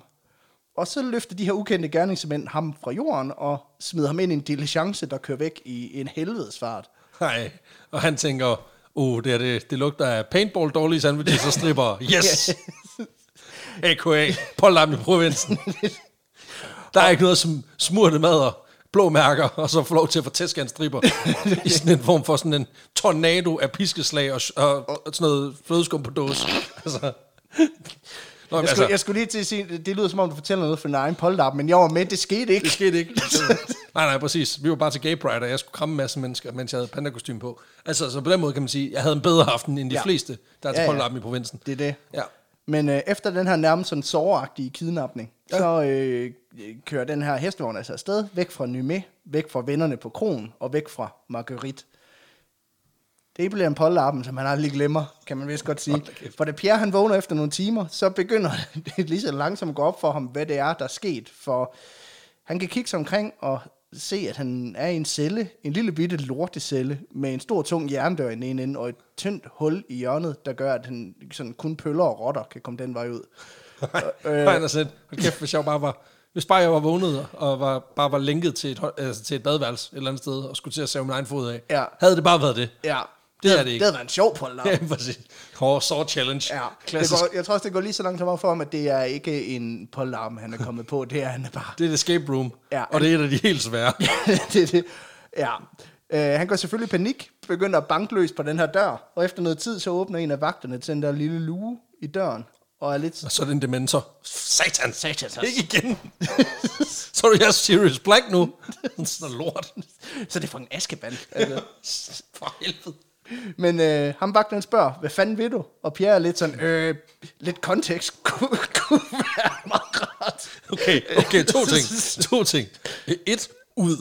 Og så løfter de her ukendte gerningsmænd ham fra jorden og smider ham ind i en diligence, der kører væk i en helvedesfart. Nej, og han tænker, oh, det, er det, det lugter af paintball, dårlige sandwiches og *laughs* stripper. Yes! A.K.A. Pollam i provinsen. Der er ikke noget som smurte mader, blå mærker, og så får lov til at få tæsk af en stripper. I sådan en form for sådan en tornado af piskeslag og, og, og sådan noget flødeskum på dåse. Altså, Nå, men Jeg skulle, altså, jeg skulle lige til at sige, det lyder som om du fortæller noget for din egen polterap, men jeg var med, det skete ikke. det skete ikke. *laughs* nej, nej, præcis. Vi var bare til Gay Pride, og jeg skulle kramme en masse mennesker, mens jeg havde pandakostyme på. Altså, så på den måde kan man sige, at jeg havde en bedre aften end de Ja. ja. fleste, der er til Ja, ja. ja, ja. i provinsen. Det er det. Ja. Men øh, efter den her nærmest sådan såragtige kidnapning, ja. Ja. så øh, kører den her hestevogn altså afsted, væk fra Nymé, væk fra vennerne på kronen og væk fra Marguerite. Det bliver en polterappen, som han aldrig glemmer, kan man vist godt sige. For da Pierre han vågner efter nogle timer, så begynder *laughs* det lige så langsomt at gå op for ham, hvad det er, der er sket. For han kan kigge sig omkring og se, at han er i en celle, en lille bitte lortecelle, med en stor tung jerndør i den ene ende, og et tyndt hul i hjørnet, der gør, at han sådan kun pøller og rotter kan komme den vej ud. *laughs* Øh. Han er sådan, hold kæft, hvis jeg bare var... Hvis bare jeg var vågnet og var, bare var lænket til et, hol- altså til et badeværelse et eller andet sted, og skulle til at save min egen fod af, Ja. havde det bare været det. Ja, Det er det Det ikke. havde været en sjov polterap. Ja, *laughs* præcis. Hård sår challenge. Ja, det Klassisk. Det, går, jeg tror også, det går lige så langt som op for ham, at det er ikke en polterarm, han er kommet på. Det er han er bare det er et escape room, Ja. ja. og det er et af de helt svære. *laughs* det, er det. Ja. Øh, han går selvfølgelig i panik, begynder at banke løs på den her dør, og efter noget tid, så åbner en af vagterne til den der lille luge i døren, og er lidt... Og så er det en dementor. Satan, Satans. Ikke igen. *laughs* så er du jeg Sirius Black nu. Sådan noget lort. Så det er for en askeband. Altså. *laughs* For helvede. Men øh, ham vagten spørger, hvad fanden vil du? Og Pierre er lidt sådan, øh, lidt kontekst *laughs* kunne, kunne være meget rart. Okay, okay, to *laughs* ting. To ting. Et, ud.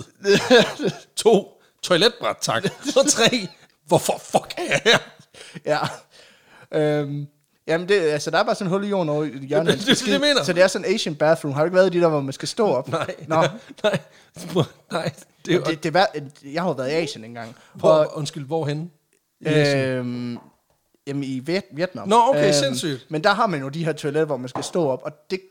To, toiletbræt, tak. Og tre, hvorfor fuck er jeg her? Ja. Øhm, jamen, det, altså, der er bare sådan en hul i jorden over i hjørnet. *laughs* Det- det- det- det mener. Så det er sådan en Asian bathroom. Har du ikke været i de der, hvor man skal stå op? Nej, Nå, *laughs* nej, nej. Det, er- det, det, det er, vær- jeg har jo været i Asien engang. hvor, undskyld, hvorhen? Øhm, jamen i Viet- Vietnam. Øhm, Nå, okay, sindssygt. Men der har man jo de her toiletter, hvor man skal stå op, og det...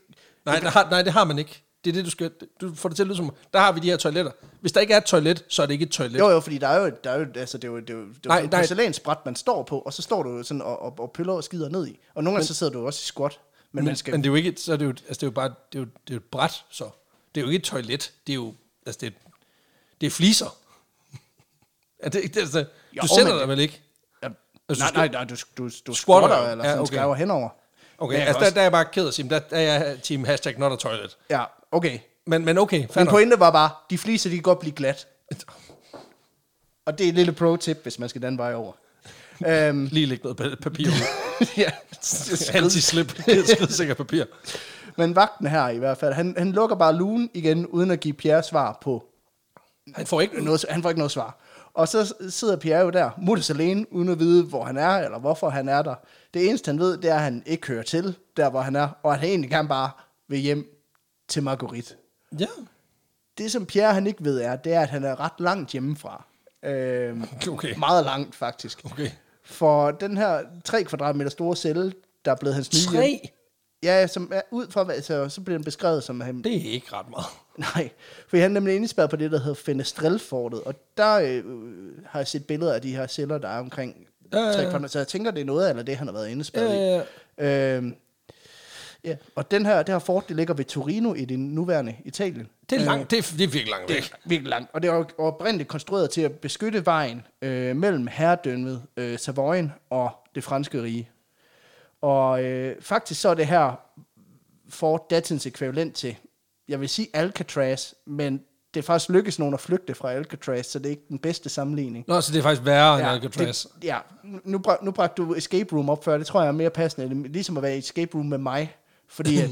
Nej, det har, nej, det har man ikke. Det er det, du skal... Du får det til at lyde som... Der har vi de her toiletter. Hvis der ikke er et toilet, så er det ikke et toilet. Jo, jo, fordi der er jo, der er jo altså, det er jo, det er jo, det er jo Nej, sådan et nej. porcelænsbræt, man står på, og så står du jo sådan og, og, og piller og skider ned i. Og nogle gange så sidder du jo også i squat, men, Men, man skal... men det er jo ikke, et- så er det jo, altså det er jo bare, det er jo, det er jo et bræt, så. Det er jo ikke et toilet, det er jo, altså det er, det er fliser. Er det ikke, altså, Jo, du sætter men- dig vel ikke? ja, altså, nej, du- nej, nej, du, du, du Squatter, squatter, eller ja, sådan okay. skræver henover. Okay, Men jeg kan altså der, også- der, er jeg bare ked af at sige, men der, der er jeg team hashtag not a toilet. Ja, okay. Men, men okay, Min fair *laughs* nok. pointe var bare, de fliser, de kan godt blive glat. Og det er et lille pro-tip, hvis man skal den vej *laughs* over. øhm, Lige lægge noget pa- papir ud. *laughs* ja. Anti-slip, skridsikker papir. Men vagten her i hvert fald, han, han lukker bare lugen igen, uden at give Pierre svar på Han får ikke noget, han får ikke noget svar. Og så sidder Pierre jo der, mutters alene, uden at vide, hvor han er, eller hvorfor han er der. Det eneste, han ved, det er, at han ikke hører til, der hvor han er, og at han egentlig gerne bare vil hjem til Marguerite. Ja. Det, som Pierre han ikke ved, er, det er, at han er ret langt hjemmefra. Øhm, *laughs* Okay. Meget langt, faktisk. Okay. For den her 3 kvadratmeter store celle, der er blevet hans nye hjem- Tre? Ja, som er ud fra, hvad- så, så bliver den beskrevet som... at Han, Det er ikke ret meget. *laughs* Nej, for han er nemlig indespærret på det, der hedder Fenestrelfortet, og der øh, har jeg set billeder af de her celler, der er omkring Ja, ja, øh, ja. 3 kvadratmeter, så jeg tænker, det er noget af det, han har været indespærret Ja, i. Øh, ja. Og den her, det her fort, det ligger ved Torino i det nuværende Italien. Øh, Det er langt. Det er, det er virkelig langt væk. Virkelig langt. Og det er oprindeligt konstrueret til at beskytte vejen øh, mellem herredømmet øh, Savoyen og det franske rige. Og øh, faktisk så er det her for datidens ekvivalent til, jeg vil sige Alcatraz, men det er faktisk lykkedes nogen at flygte fra Alcatraz, så det er ikke den bedste sammenligning. Nå, så det er faktisk værre end Ja, Alcatraz. Det, ja, nu, bra- nu bragte du Escape Room op før, det tror jeg er mere passende, end ligesom at være i Escape Room med mig, fordi *laughs* at,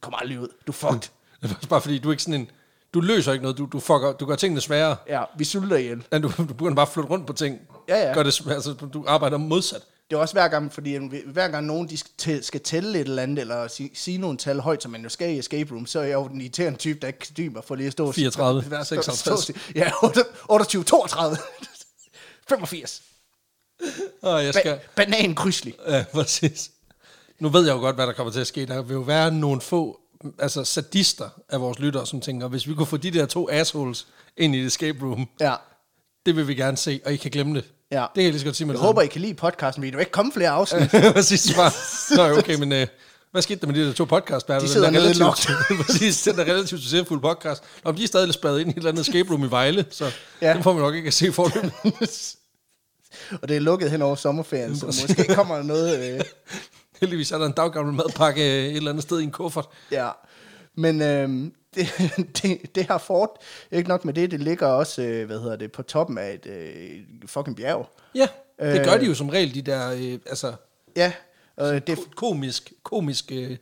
kom aldrig ud, du er fucked. Det er bare fordi, du er ikke sådan en... Du løser ikke noget. Du, du, fucker, du gør tingene sværere. Ja, vi sulter ihjel. Ja, Du, du begynder bare at flytte rundt på ting. Ja, ja. Gør det, svæ- altså, du arbejder modsat. Det er også hver gang, fordi hver gang nogen de skal, tæ- skal tælle et eller andet, eller sige, sige nogle tal højt, som man jo skal i escape room, så er jeg jo den irriterende type, der ikke kan dybe mig for lige at stå... 34, stå- stå- 56. stå- ja, 28, *laughs* 32, 85. Og jeg skal... Ba- banan krydslig. Ja, præcis. Nu ved jeg jo godt, hvad der kommer til at ske. Der vil jo være nogle få altså sadister af vores lyttere, som tænker, hvis vi kunne få de der to assholes ind i et escape room, Ja. det vil vi gerne se, og I kan glemme det. Ja. Det kan jeg lige så godt sige med Jeg det håber, I kan lide podcasten, men der vil ikke komme flere afsnit. samme. *laughs* Præcis, bare. Nå, ja, okay, men øh, hvad skete der med de der to podcast De sidder den der nede i relativt, *laughs* Præcis, den der relativt succesfulde podcast. Nå, men de er stadig lidt spadet ind i et eller andet escape room i Vejle, så ja. Ja. den får man nok ikke at se for dem. *laughs* Og det er lukket hen over sommerferien, så Præcis. måske kommer der noget... Øh, Heldigvis er der en daggammel madpakke øh, et eller andet sted i en kuffert. Ja, men øh, *laughs* det, det, det her fort, ikke nok med det, det ligger også, øh, hvad hedder det, på toppen af et øh, fucking bjerg. Ja, det Øh. gør de jo som regel, de der, øh, altså, Ja, øh, det er ko- komisk, komisk øh,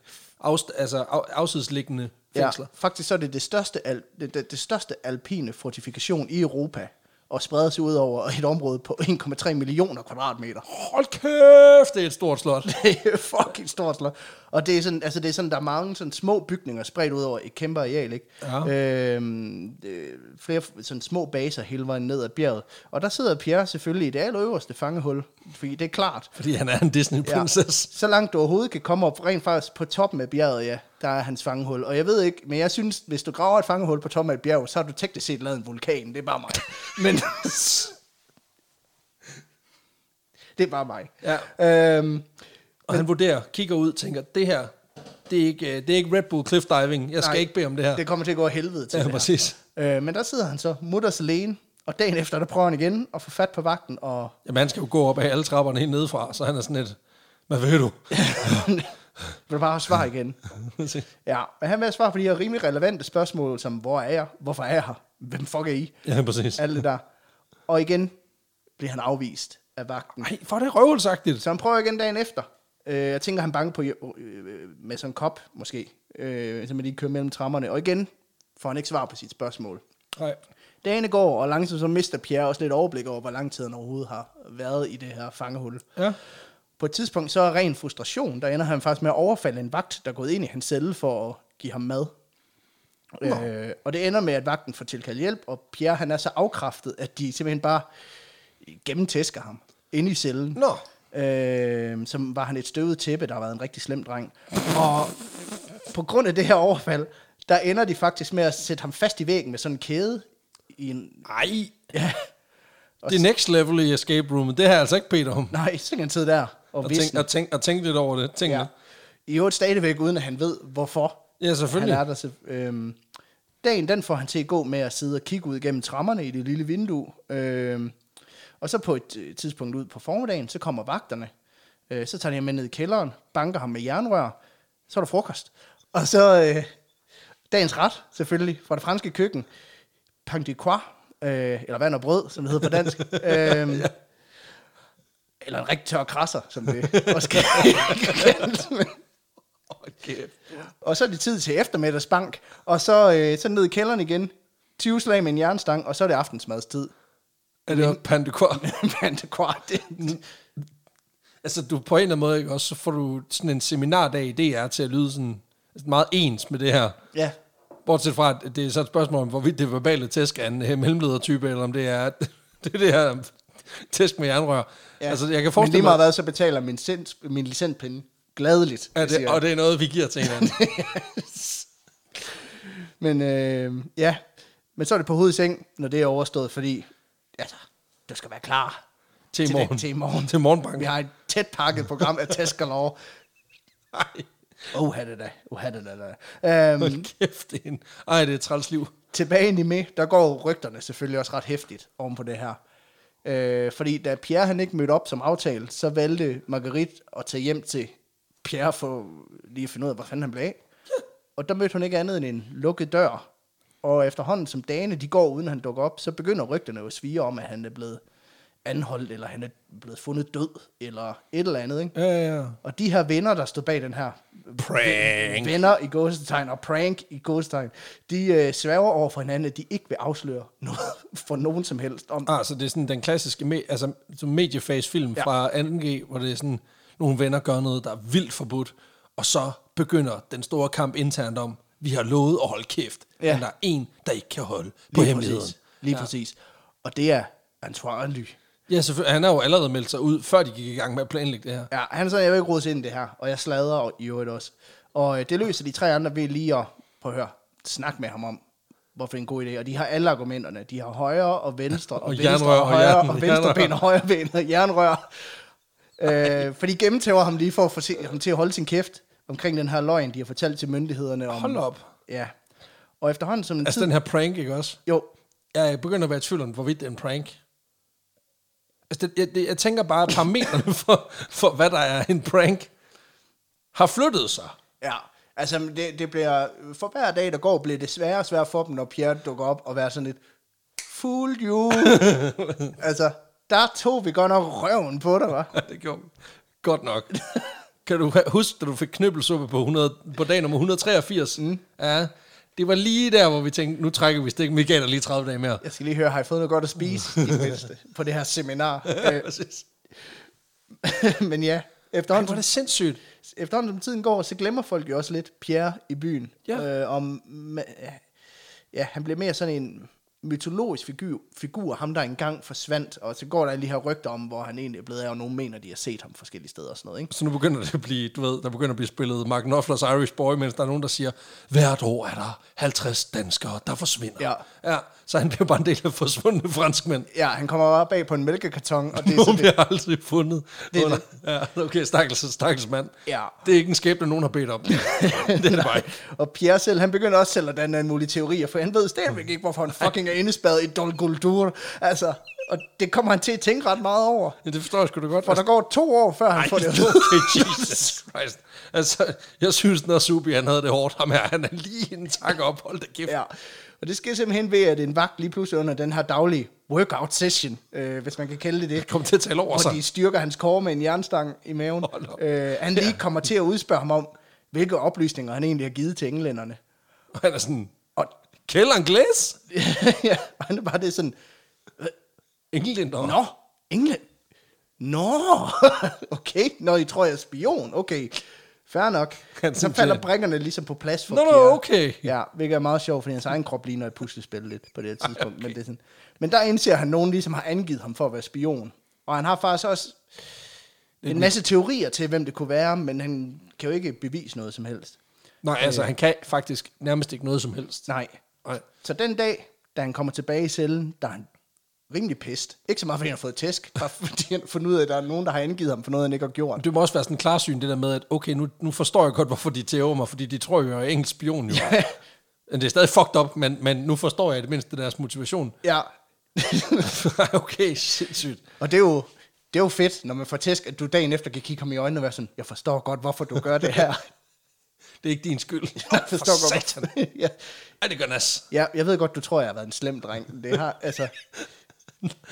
afst- altså, af, afsidesliggende ja, fængsler. Ja. faktisk så er det det største, al, det, det, det største alpine fortifikation i Europa, og spreder sig ud over et område på *laughs* 1,3 millioner kvadratmeter. Hold kæft, det er et stort slot. Det er fucking stort slot. Og det er sådan, altså det er sådan, der er mange sådan små bygninger spredt ud over et kæmpe areal, ikke? Ja. Øhm, øh, flere f- sådan små baser hele vejen ned ad bjerget. Og der sidder Pierre selvfølgelig i det allerøverste fangehul, fordi det er klart. Fordi han er en Disney princess. Så langt du overhovedet kan komme op, rent faktisk på toppen af bjerget, ja, der er hans fangehul. Og jeg ved ikke, men jeg synes, hvis du graver et fangehul på toppen af et bjerg, så har du teknisk set lavet en vulkan. Det er *laughs* bare mig. Men... *laughs* det er bare mig. Ja. Øhm, Og han vurderer, kigger ud, tænker, det her, det er ikke, øh, det er ikke Red Bull Cliff Diving. Jeg skal Nej, Nej, ikke bede om det her. Det Det kommer til at gå af helvede til. Ja, det her. præcis. Øh, men der sidder han så mutters alene, og dagen efter, der prøver han igen at få fat på vagten, og Jamen, han skal jo gå op af alle trapperne helt nedefra, så han er sådan lidt, hvad ved du? *laughs* vil bare have svar igen. Ja, men han vil have svar på de her rimelig relevante spørgsmål, som, hvor er jeg? Hvorfor er jeg her? Hvem fuck er I? ja, præcis. Alt det der. Og igen bliver han afvist af vagten. Nej, for det er røvelsagtigt. Så han prøver igen dagen efter. Øh, jeg tænker, han banker på øh, med sådan en kop, måske. Øh, så man lige kører mellem trammerne. Og igen får han ikke svar på sit spørgsmål. Nej. Dagene går, og langsomt så mister Pierre også lidt overblik over, hvor lang tid han overhovedet har været i det her fangehul. Ja. På et tidspunkt så er ren frustration, der ender han faktisk med at overfalde en vagt, der er gået ind i hans celle for at give ham mad. Øh, og det ender med, at vagten får tilkaldt hjælp, og Pierre han er så afkræftet, at de simpelthen bare gennemtæsker ham inde i cellen. Nå. Øh, som var han et støvet tæppe, der har været en rigtig slem dreng. Og på grund af det her overfald, der ender de faktisk med at sætte ham fast i væggen med sådan en kæde i en Nej. Ja. *laughs* Det er next level i escape room. Det har jeg altså ikke bedt om. Nej, så kan han sidde der og Og tænk, visne. og, tænk, og tænk lidt over det. Tænk Ja. ja. I øvrigt stadigvæk, uden at han ved, hvorfor ja, selvfølgelig. han er der. Så, øhm, dagen, den får han til at gå med at sidde og kigge ud gennem trammerne i det lille vindue. Øhm, og så på et øh, tidspunkt ud på formiddagen, så kommer vagterne. Øh, så tager de ham med ned i kælderen, banker ham med jernrør. Så er der frokost. Og så øh, dagens ret, selvfølgelig, fra det franske køkken. Pain de croix, øh, eller vand og brød, som det hedder på dansk. øhm, Eller en rigtig tør krasser, som det også kan kaldes. men- Okay. Og så er det tid til eftermiddagsbank, og så, øh, så ned i kælderen igen. 20 slag med en jernstang, og så er det *laughs* aftensmadstid. Er det også pandekvar? Pandekvar, det, *laughs* Altså, du på en eller anden måde, ikke? også så får du sådan en seminardag i DR til at lyde sådan sådan meget ens med det her. ja. Bortset fra, at det er så et spørgsmål om, hvorvidt det verbale tæsk er en øh, mellemledertype, eller om det er *laughs* det, er det her tæsk med jernrør. Ja. Altså, jeg kan Men lige forestille meget mig, hvad, så betaler min, sens, min licenspinde gladeligt. at det, siger og det er noget, vi giver til *laughs* hinanden. Men øh, ja, men så er det på hovedet i seng, når det er overstået, fordi altså, du skal være klar til i det- morgen. Til i morgen. Til morgenbanken. Vi har et tæt pakket program *laughs* af tæsk og lov. Nej, Oh, det da. Oh, det da. da. Øhm, hold kæft. Det er en, ej, det er et træls liv. tilbage ind i med, der går rygterne selvfølgelig også ret hæftigt oven på det her. Øh, fordi da Pierre han ikke mødte op som aftalt, så valgte Marguerite at tage hjem til Pierre for lige at finde ud af, hvor fanden han blev af. Og der mødte hun ikke andet end en lukket dør. Og efterhånden, som dagene de går, uden han dukker op, så begynder rygterne jo at svige om, at han er blevet anholdt, eller han er blevet fundet død, eller et eller andet. Ikke? Ja, ja, ja. Og de her venner, der stod bag den her Prank. venner i gåsetegn og prank i gåsetegn, de øh, sværger over for hinanden, at de ikke vil afsløre noget for nogen som helst. Om, Ah, så det er sådan den klassiske me- altså, som mediefase-film Ja. ja. fra 2G, hvor det er sådan, nogle venner gør noget, der er vildt forbudt, og så begynder den store kamp internt om, vi har lovet at holde kæft, Ja. ja. men der er en, der ikke kan holde på lige hemmeligheden. præcis. Lige ja. præcis. Og det er Antoine Ly. Ja, selvfølgelig. Han har jo allerede meldt sig ud, før de gik i gang med at planlægge det her. Ja, han sagde, jeg vil ikke rådes ind i det her, og jeg sladrer og i øvrigt også. Og øh, det løser de tre andre ved lige at, prøv at høre, snakke med ham om, hvorfor det er en god idé. Og de har alle argumenterne. De har højre og venstre, og, *laughs* Og venstre jernrør og og højre, jern- og venstre ben jernrør. og højre ben og jernrør. Øh, for de gennemtæver ham lige for at få se, ham til at holde sin kæft omkring den her løgn, de har fortalt til myndighederne. Om, Hold op. Ja. Og efterhånden som en Altså tid... den her prank, ikke også? Jo, Jeg begynder at være i tvivl om, hvorvidt det er en prank. Altså, det, jeg, det, jeg tænker bare, at parametrene *laughs* for, for, hvad der er en prank, har flyttet sig. ja. Altså, men det, det bliver... For hver dag, der går, bliver det sværere og sværere for dem, når Pierre dukker op og være sådan lidt... Fool you! *laughs* altså, der tog vi godt nok røven på dig, hva'? Ja, det gjorde vi. Godt nok. Kan du huske, da du fik knøbelsuppe på, 100, på dag nummer 183? Mm. Ja, det var lige der, hvor vi tænkte, nu trækker vi stik Michael lige 30 dage mere. Jeg skal lige høre, har I fået noget godt at spise i det mindste, på det her seminar? *laughs* Ja, Øh, præcis. *laughs* men ja, Ej, efterhånden, hvor er det sindssygt. efterhånden som tiden går, så glemmer folk jo også lidt Pierre i byen. Ja. Øh, om, ma- ja, han bliver mere sådan en mytologisk figur, figur, ham der engang forsvandt, og så går der lige her rygter om, hvor han egentlig er blevet af, og nogen mener, de har set ham forskellige steder og sådan noget, ikke? Så nu begynder det at blive, du ved, der begynder at blive spillet Mark Knopflers Irish Boy, mens der er nogen, der siger, hvert år er der 50 danskere, der forsvinder. Ja. ja så han bliver bare en del af forsvundne franskmænd. Ja, han kommer bare bag på en mælkekarton, og det er Nogen sådan, bliver aldrig fundet. Det Det er er ja, okay, stakkels, stakkels mand. Ja. Det er ikke en skæbne, nogen har *laughs* bedt om. det er *laughs* det bare ikke. og Pierre selv, han begynder også selv at danne alle mulige teorier, for han ved stadigvæk ikke, hvorfor han fucking er indespærret i Dol Guldur. Altså, og det kommer han til at tænke ret meget over. Ja, det forstår jeg sgu da godt. Altså, For der går to år, før han Ej, får det. at vide. *laughs* okay, Jesus Christ. Altså, jeg synes, når Subi, han havde det hårdt, ham her, han er lige en tak op, hold da *laughs* kæft. Ja, og det sker simpelthen ved, at en vagt lige pludselig under den her daglige workout session, øh, hvis man kan kalde det det, Kom til at tale over hvor sig. de styrker hans kår med en jernstang i maven, Hold op. øh, han lige kommer til at udspørge ham om, hvilke oplysninger han egentlig har givet til englænderne. Og han er sådan, Og, *laughs* kælder en glas? ja, og han er bare det sådan, Englænder. Nå, England. Nå, *laughs* okay. Nå, I tror, jeg er spion. Okay, fair nok. *laughs* Han Så synes, falder ja. brækkerne ligesom på plads for Nå, nå, Pierre. okay. Ja, hvilket er meget sjovt, fordi hans egen krop ligner et puslespil lidt på det her tidspunkt. okay. men, det er sådan. men der indser han, at nogen ligesom har angivet ham for at være spion. Og han har faktisk også en masse teorier til, hvem det kunne være, men han kan jo ikke bevise noget som helst. Nej, øh, altså, han kan faktisk nærmest ikke noget som helst. Nej, Nej. så den dag, da han kommer tilbage i cellen, der er han rimelig pist. Ikke så meget, fordi han har fået tæsk, bare *laughs* fordi han har fundet ud af, at der er nogen, der har angivet ham for noget, han ikke har gjort. Det må også være sådan en klarsyn, det der med, at okay, nu, nu forstår jeg godt, hvorfor de tæver mig, fordi de tror jo, jeg er engelsk spion, jo. Men det er stadig fucked up, men, men nu forstår jeg i det mindste deres motivation. *laughs* Ja, okay, sindssygt. og det er jo, det er jo fedt, når man får tæsk, at du dagen efter kan kigge ham i øjnene og være sådan, jeg forstår godt, hvorfor du gør *laughs* det her. Det er ikke din skyld. *laughs* Jeg forstår For godt, satan. hvorfor- *laughs* ja. Ej, det gør nas. ja, jeg ved godt, du tror, jeg har været en slem dreng. Det har, altså,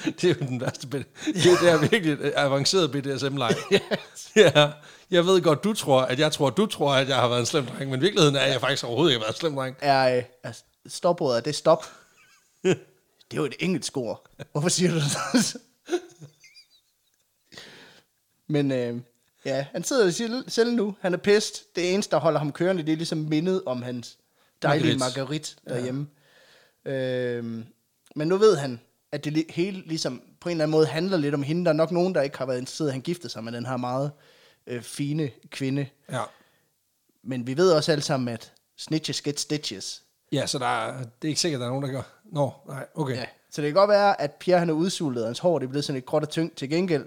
det er jo den værste bed. Det, det er virkelig et avanceret BDSM-leg. yes. ja. Jeg ved godt, du tror, at jeg tror, du tror, at jeg har været en slem dreng, men i virkeligheden er jeg faktisk overhovedet ikke været en slem dreng. Er, øh, er stopordet, er det stop? det er jo et engelsk ord. Hvorfor siger du det? *laughs* Men øh, ja, han sidder i sil- selv nu. Han er pist. Det eneste, der holder ham kørende, det er ligesom mindet om hans dejlige margarit, derhjemme. Ja. Øh, men nu ved han, at det li- hele ligesom på en eller anden måde handler lidt om hende. Der er nok nogen, der ikke har været interesseret, at han gifter sig med den her meget øh, fine kvinde. Ja. Men vi ved også alle sammen, at snitches get stitches. Ja, så der er, det er ikke sikkert, at der er nogen, der gør. Nå, nej, okay. Ja. Så det kan godt være, at Pierre han er udsultet, og hans hår det er blevet sådan et gråt og tyngt. Til gengæld,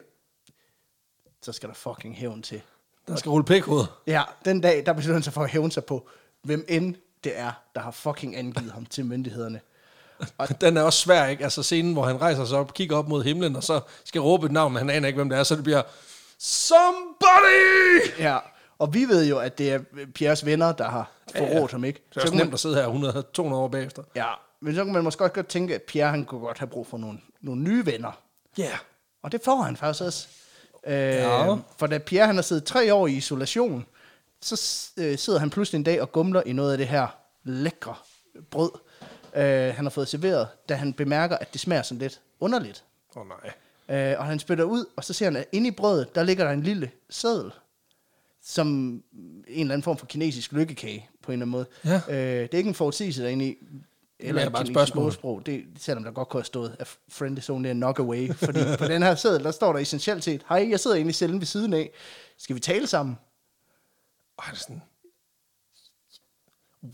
så skal der fucking hævn til. Der skal rulle pækhoved. Ja, den dag, der beslutter han sig for at hævne sig på, hvem end det er, der har fucking angivet ham til myndighederne. *laughs* Den er også svær, ikke? Altså scenen, hvor han rejser sig op, kigger op mod himlen, og så skal råbe et navn, men han aner ikke, hvem det er, så det bliver... Somebody! Ja, og vi ved jo, at det er Pierres venner, der har forrådt ja, ja. ham, ikke? Det er også kan nemt at sidde her 100, 200 år bagefter. man, ja, men så kan man måske også godt tænke, at Pierre han kunne godt have brug for nogle, nogle nye venner. Ja. Yeah. Og det får han faktisk også. Øh, Ja. ja. For da Pierre han har siddet tre år i isolation, så s- øh, sidder han pludselig en dag og gumler i noget af det her lækre brød, øh, han har fået serveret, da han bemærker, at det smager sådan lidt underligt. Åh oh, nej. Øh, og han spytter ud, og så ser han, at inde i brødet, der ligger der en lille seddel, som en eller anden form for kinesisk lykkekage, på en eller anden måde. Ja. Øh, det er ikke en forudsigelse derinde i, eller er et bare et kinesisk spørgsmål. ordsprog. Det, selvom der godt kunne have stået, at friend is only a knock away. Fordi på den her seddel, der står der essentielt set, hej, jeg sidder inde i cellen ved siden af. Skal vi tale sammen? Og han er sådan...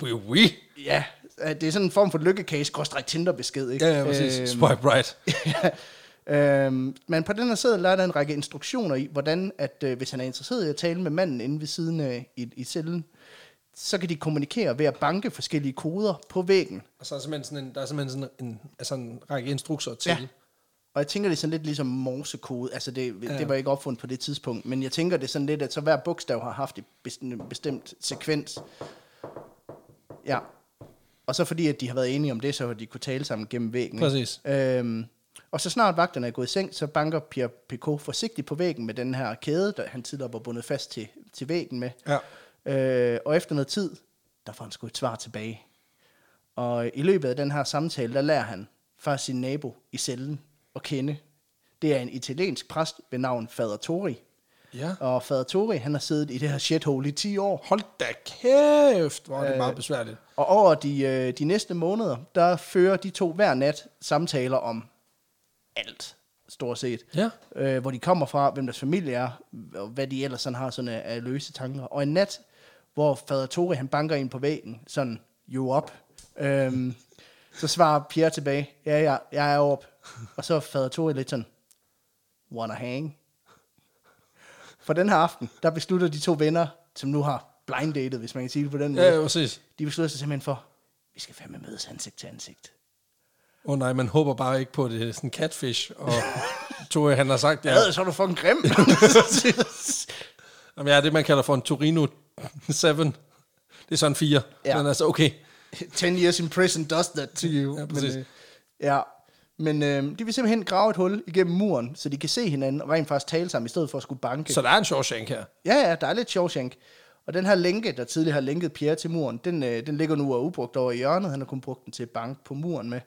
Oui, oui. Ja, det er sådan en form for lykkekage-tinder-besked, ikke? Ja, ja, præcis. Øhm, Øhm. Swipe right. Ja. *laughs* øhm, men på den her side er der en række instruktioner i, hvordan, at øh, hvis han er interesseret i at tale med manden inde ved siden af i, i cellen, så kan de kommunikere ved at banke forskellige koder på væggen. Og så er der simpelthen sådan en, der er simpelthen sådan en, altså en række instrukser til. Ja. Og jeg tænker, det er sådan lidt ligesom morsekode. Altså, det, ja. det var ikke opfundet på det tidspunkt. Men jeg tænker, det er sådan lidt, at så hver bogstav har haft et bestemt, bestemt sekvens. Ja. Og så fordi, at de har været enige om det, så har de kunne tale sammen gennem væggen. ikke? Præcis. Øhm, og så snart vagterne er gået i seng, så banker Pierre Picot forsigtigt på væggen med den her kæde, der han tidligere var bundet fast til, til væggen med. Ja. Øh, og efter noget tid, der får han sgu et svar tilbage. Og i løbet af den her samtale, der lærer han faktisk sin nabo i cellen at kende. Det er en italiensk præst ved navn Fader Tori. Ja. Og Fader Tori, han har siddet i det her shithole i 10 år. Hold da kæft, hvor er det meget besværligt. Og over de, øh, de næste måneder, der fører de to hver nat samtaler om alt, stort set. Ja. Øh, hvor de kommer fra, hvem deres familie er, og hvad de ellers sådan har sådan af, af løse tanker. Og en nat, hvor fader Tore, han banker ind på væggen, sådan, you up. Øhm, så svarer Pierre tilbage, ja, ja, jeg er op. Og så er fader Tore lidt sådan, wanna hang? For den her aften, der beslutter de to venner, som nu har blind dated, hvis man kan sige det på den måde. Ja, ja, præcis. De beslutter sig simpelthen for, vi skal fandme mødes ansigt til ansigt. Åh oh, nej, man håber bare ikke på, at det er sådan en catfish. *laughs* Og Tore, han har sagt, ja, Ja, så er du fucking *laughs* grim. jamen, jeg er det, man kalder for en Torino 7. Det er sådan en 4. Ja. Ja. Men altså, okay. 10 years in prison does that to you. Ja, præcis. Men, øh, ja. Men øh, de vil simpelthen grave et hul igennem muren, så de kan se hinanden og rent faktisk tale sammen, i stedet for at skulle banke. Så der er en Shawshank her. Ja, ja, der er lidt Shawshank. Og den her lænke, der tidligere har lænket Pierre til muren, den, øh, den ligger nu og er ubrugt over i hjørnet. Han har kun brugt den til at banke på muren med.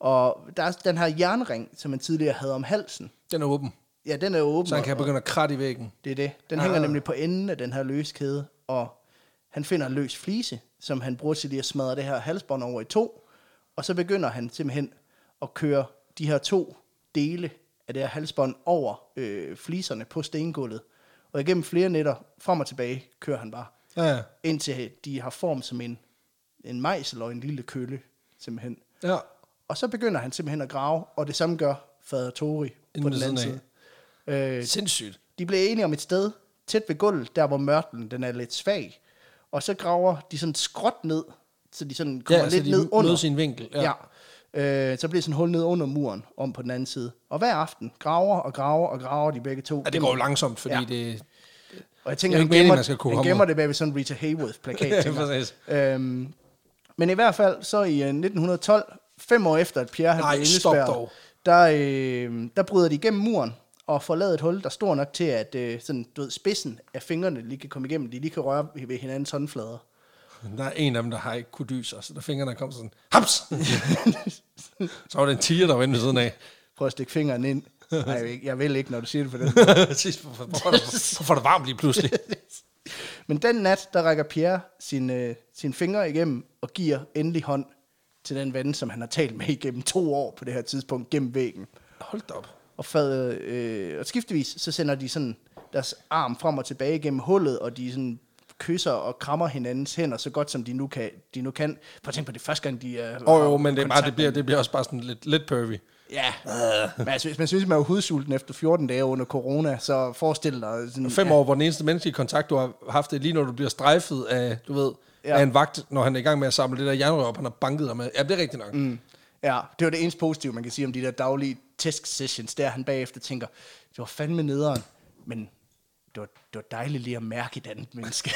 Og der er den her jernring, som man tidligere havde om halsen. Den er åben. Ja, den er åben. Så han kan og- begynde at kratte i væggen. Det er det. Den Ah. hænger nemlig på enden af den her løskæde, og han finder en løs flise, som han bruger til lige at smadre det her halsbånd over i to, og så begynder han simpelthen at køre de her to dele af det her halsbånd over øh, fliserne på stengulvet. Og igennem flere nætter, frem og tilbage, kører han bare, Ja, ja. indtil de har form som en, en mejsel og en lille kølle, simpelthen. ja. Og så begynder han simpelthen at grave, og det samme gør fader Tori på ved den anden siden side. Øh, Sindssygt. de blev enige om et sted tæt ved gulvet, der hvor mørtlen den er lidt svag. Og så graver de sådan skråt ned, så de sådan kommer så lidt de ned mødes under. i en vinkel, ja. ja. Øh, så bliver sådan et hul ned under muren, om på den anden side. Og hver aften graver og graver og graver de begge to. Ja, det går jo langsomt, fordi Ja. ja. det... Og jeg tænker, han Det er jo ikke meningen, gemmer, man skal kunne han komme gemmer ud. det bag ved sådan en Rita Hayworth-plakat. *laughs* Ja, tænker jeg. præcis. øhm, men i hvert fald, så i øh, 1912, fem år efter, at Pierre havde Nej, blevet stop indespærret, dog. der, øh, der bryder de igennem muren og får lavet et hul, der er stor nok til, at øh, sådan, du ved, spidsen af fingrene lige kan komme igennem. De lige kan røre ved hinandens *laughs* håndflader. *laughs* Der er en af dem, der har ikke kunne dyse, og så der fingrene kom sådan, haps! så var det en tiger, der var inde ved *laughs* siden af. Prøv at stikke fingeren ind. Nej, jeg vil ikke- jeg vil ikke, når du siger det på den Sidst, hvorfor, hvorfor, hvorfor er det varmt lige pludselig? Men den nat, der rækker Pierre sin, øh, sin fingre igennem og giver endelig hånd til den ven, som han har talt med igennem to år på det her tidspunkt gennem væggen. Hold da op. Og, fad, øh, og skiftevis, så sender de sådan deres arm frem og tilbage gennem hullet, og de sådan kysser og krammer hinandens hænder så godt, som de nu kan. De nu kan. Prøv at tænke på det er første gang, de er... Åh oh, jo, men det, er bare, det, bliver, det bliver også bare sådan lidt, lidt pervy. Ja, men altså, hvis man synes, man er hudsulten efter 14 dage under corona, så forestil dig... Sådan, Fem år, hvor den eneste menneskelige kontakt, du har haft, det er lige når du bliver strejfet af, du ved, Ja. ja. af en vagt, når han er i gang med at samle det der jernrør op, han har banket dig med. Ja, det er rigtigt nok. Mm. Ja, det var det eneste positive, man kan sige om de der daglige test sessions, der han bagefter tænker, det var fandme nederen, men det var, det var dejligt lige at mærke et andet *laughs* menneske.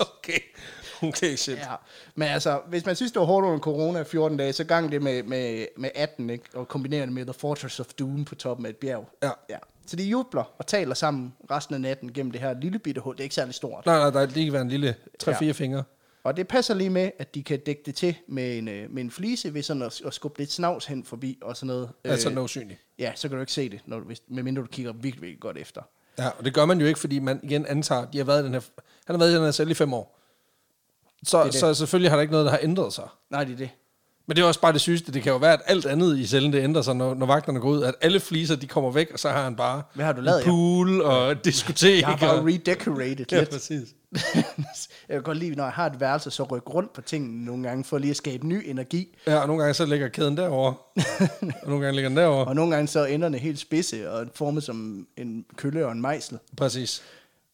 Okay. *laughs* Okay, shit. Ja. ja. Men altså, hvis man synes, det var hårdt under corona i 14 dage, så gang det med, med, med 18, ikke? og kombinere det med The Fortress of Doom på toppen af et bjerg. Ja. ja. Så de jubler og taler sammen resten af natten gennem det her lille bitte hul. Det er ikke særlig stort. Nej, nej, der er lige været en lille 3-4 Ja. ja. fingre. Og det passer lige med, at de kan dække det til med en, øh, med en flise ved sådan at, at skubbe lidt snavs hen forbi og sådan noget. Øh, Altså, den er usynlig. Ja, så kan du ikke se det, når du, hvis, medmindre du kigger virkelig, virkelig godt efter. Ja, og det gør man jo ikke, fordi man igen antager, at de har været i den her, han har været i den her celle i fem år. Så, det. det det. så selvfølgelig har der ikke noget, der har ændret sig. Nej, det er det. Men det er også bare det sygeste. Det kan jo være, at alt andet i cellen, det ændrer sig, når, når vagterne går ud. At alle fliser, de kommer væk, og så har han bare Hvad har du lavet, en ja? pool og et diskotek. Jeg har bare og- redecorated *laughs* Ja, lidt. præcis. *laughs* jeg kan godt lide, når jeg har et værelse, så rykke rundt på tingene nogle gange, for lige at skabe ny energi. Ja, og nogle gange så ligger *laughs* kæden derovre. og nogle gange ligger den derovre. Og nogle gange så er enderne helt spidse og formet som en kølle og en mejsel. Præcis.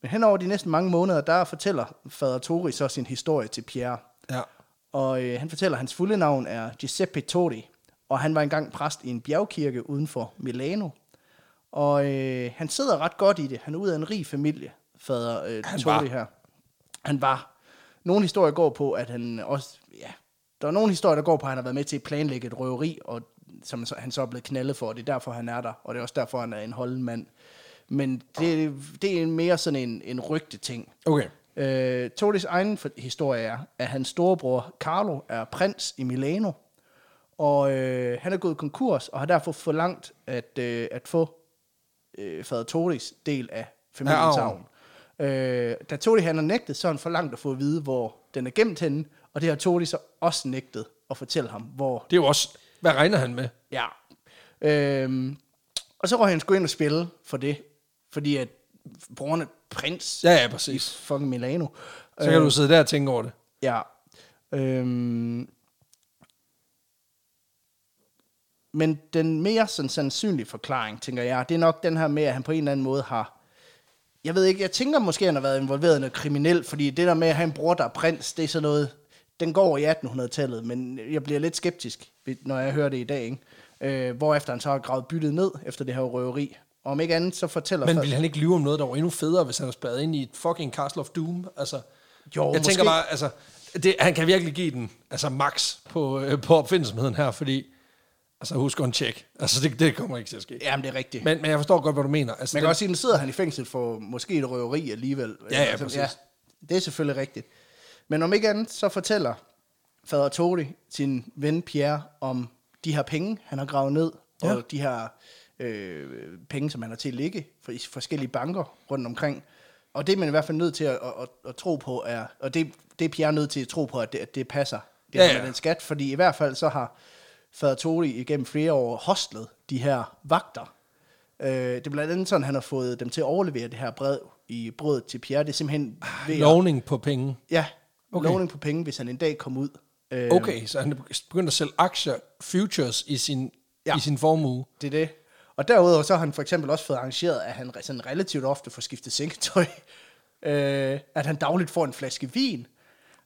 Men henover de næste mange måneder, der fortæller fader Tori så sin historie til Pierre. Ja. Og øh, han fortæller, at hans fulde navn er Giuseppe Tori, og han var engang præst i en bjergkirke uden for Milano. Og øh, han sidder ret godt i det. Han er ud af en rig familie, fader øh, Han Tori var. her. Han var. Nogle historier går på, at han også... Ja, der er nogle historier, der går på, at han har været med til at planlægge et røveri, og som så- han så er blevet knaldet for, og det er derfor, han er der, og det er også derfor, han er en holden mand. Men det, det er mere sådan en, en rygte ting. Okay. Øh, Tolis egen for- historie er, at hans storebror Carlo er prins i Milano, og øh, han er gået konkurs og har derfor forlangt at, øh, at få øh, fader Tolis del af familiens Af arv. Øh, da Toli han har nægtet, så har han forlangt at få at vide, hvor den er gemt henne, og det har Toli så også nægtet at fortælle ham, hvor Det er jo også... Hvad regner han med? Ja. Øhm, og så røg han sgu ind og spille for det, fordi at broren er prins Ja, ja, i præcis. fucking Milano. Så Øh. kan du sidde der og tænke over det. Ja. Øhm, men den mere sådan, sandsynlige forklaring, tænker jeg, det er nok den her med, at han på en eller anden måde har... Jeg ved ikke, jeg tænker måske, at han har været involveret i noget kriminelt, fordi det der med at have en bror, der er prins, det er sådan noget... Den går over i 1800-tallet, men jeg bliver lidt skeptisk, når jeg hører det i dag, ikke? Øh, hvorefter han så har gravet byttet ned efter det her røveri. Og om ikke andet, så fortæller Men folk- ville han ikke lyve om noget, der var endnu federe, hvis han var spadet ind i et fucking Castle of Doom? Altså, Jo, jeg måske. tænker bare, altså, det, han kan virkelig give den altså max på, øh, på opfindsomheden her, fordi, altså husk on check. Altså, det, det kommer ikke til at ske. Jamen, det er rigtigt. Men, men jeg forstår godt, hvad du mener. Altså, Man kan den- også sige, at nu sidder han i fængsel for måske et røveri alligevel. Altså, Ja, ja, præcis. det er selvfølgelig rigtigt. Men om ikke andet, så fortæller fader Tori sin ven Pierre om de her penge, han har gravet ned, ja. Ja. og de her øh, penge, som han har til at ligge for, i forskellige banker rundt omkring. Og det er man i hvert fald nødt til at, at, at, at tro på, er, og det, det er Pierre nødt til at tro på, at det, at det passer. Det Ja, ja, ja. ja. med den skat, fordi i hvert fald så har fader Tori igennem flere år hostlet de her vagter. Øh, det er blandt andet sådan, han har fået dem til at overlevere det her brev i brødet til Pierre. Det er simpelthen ved at- lovning på penge. ja, okay. Okay. lovning på penge, hvis han en dag kom ud. Øh, Okay, så han begyndte at sælge aktier, futures i sin, Ja. ja. i sin formue. Det er det. Og derudover så har han for eksempel også fået arrangeret, at han sådan relativt ofte får skiftet sengetøj. *laughs* Øh, at han dagligt får en flaske vin.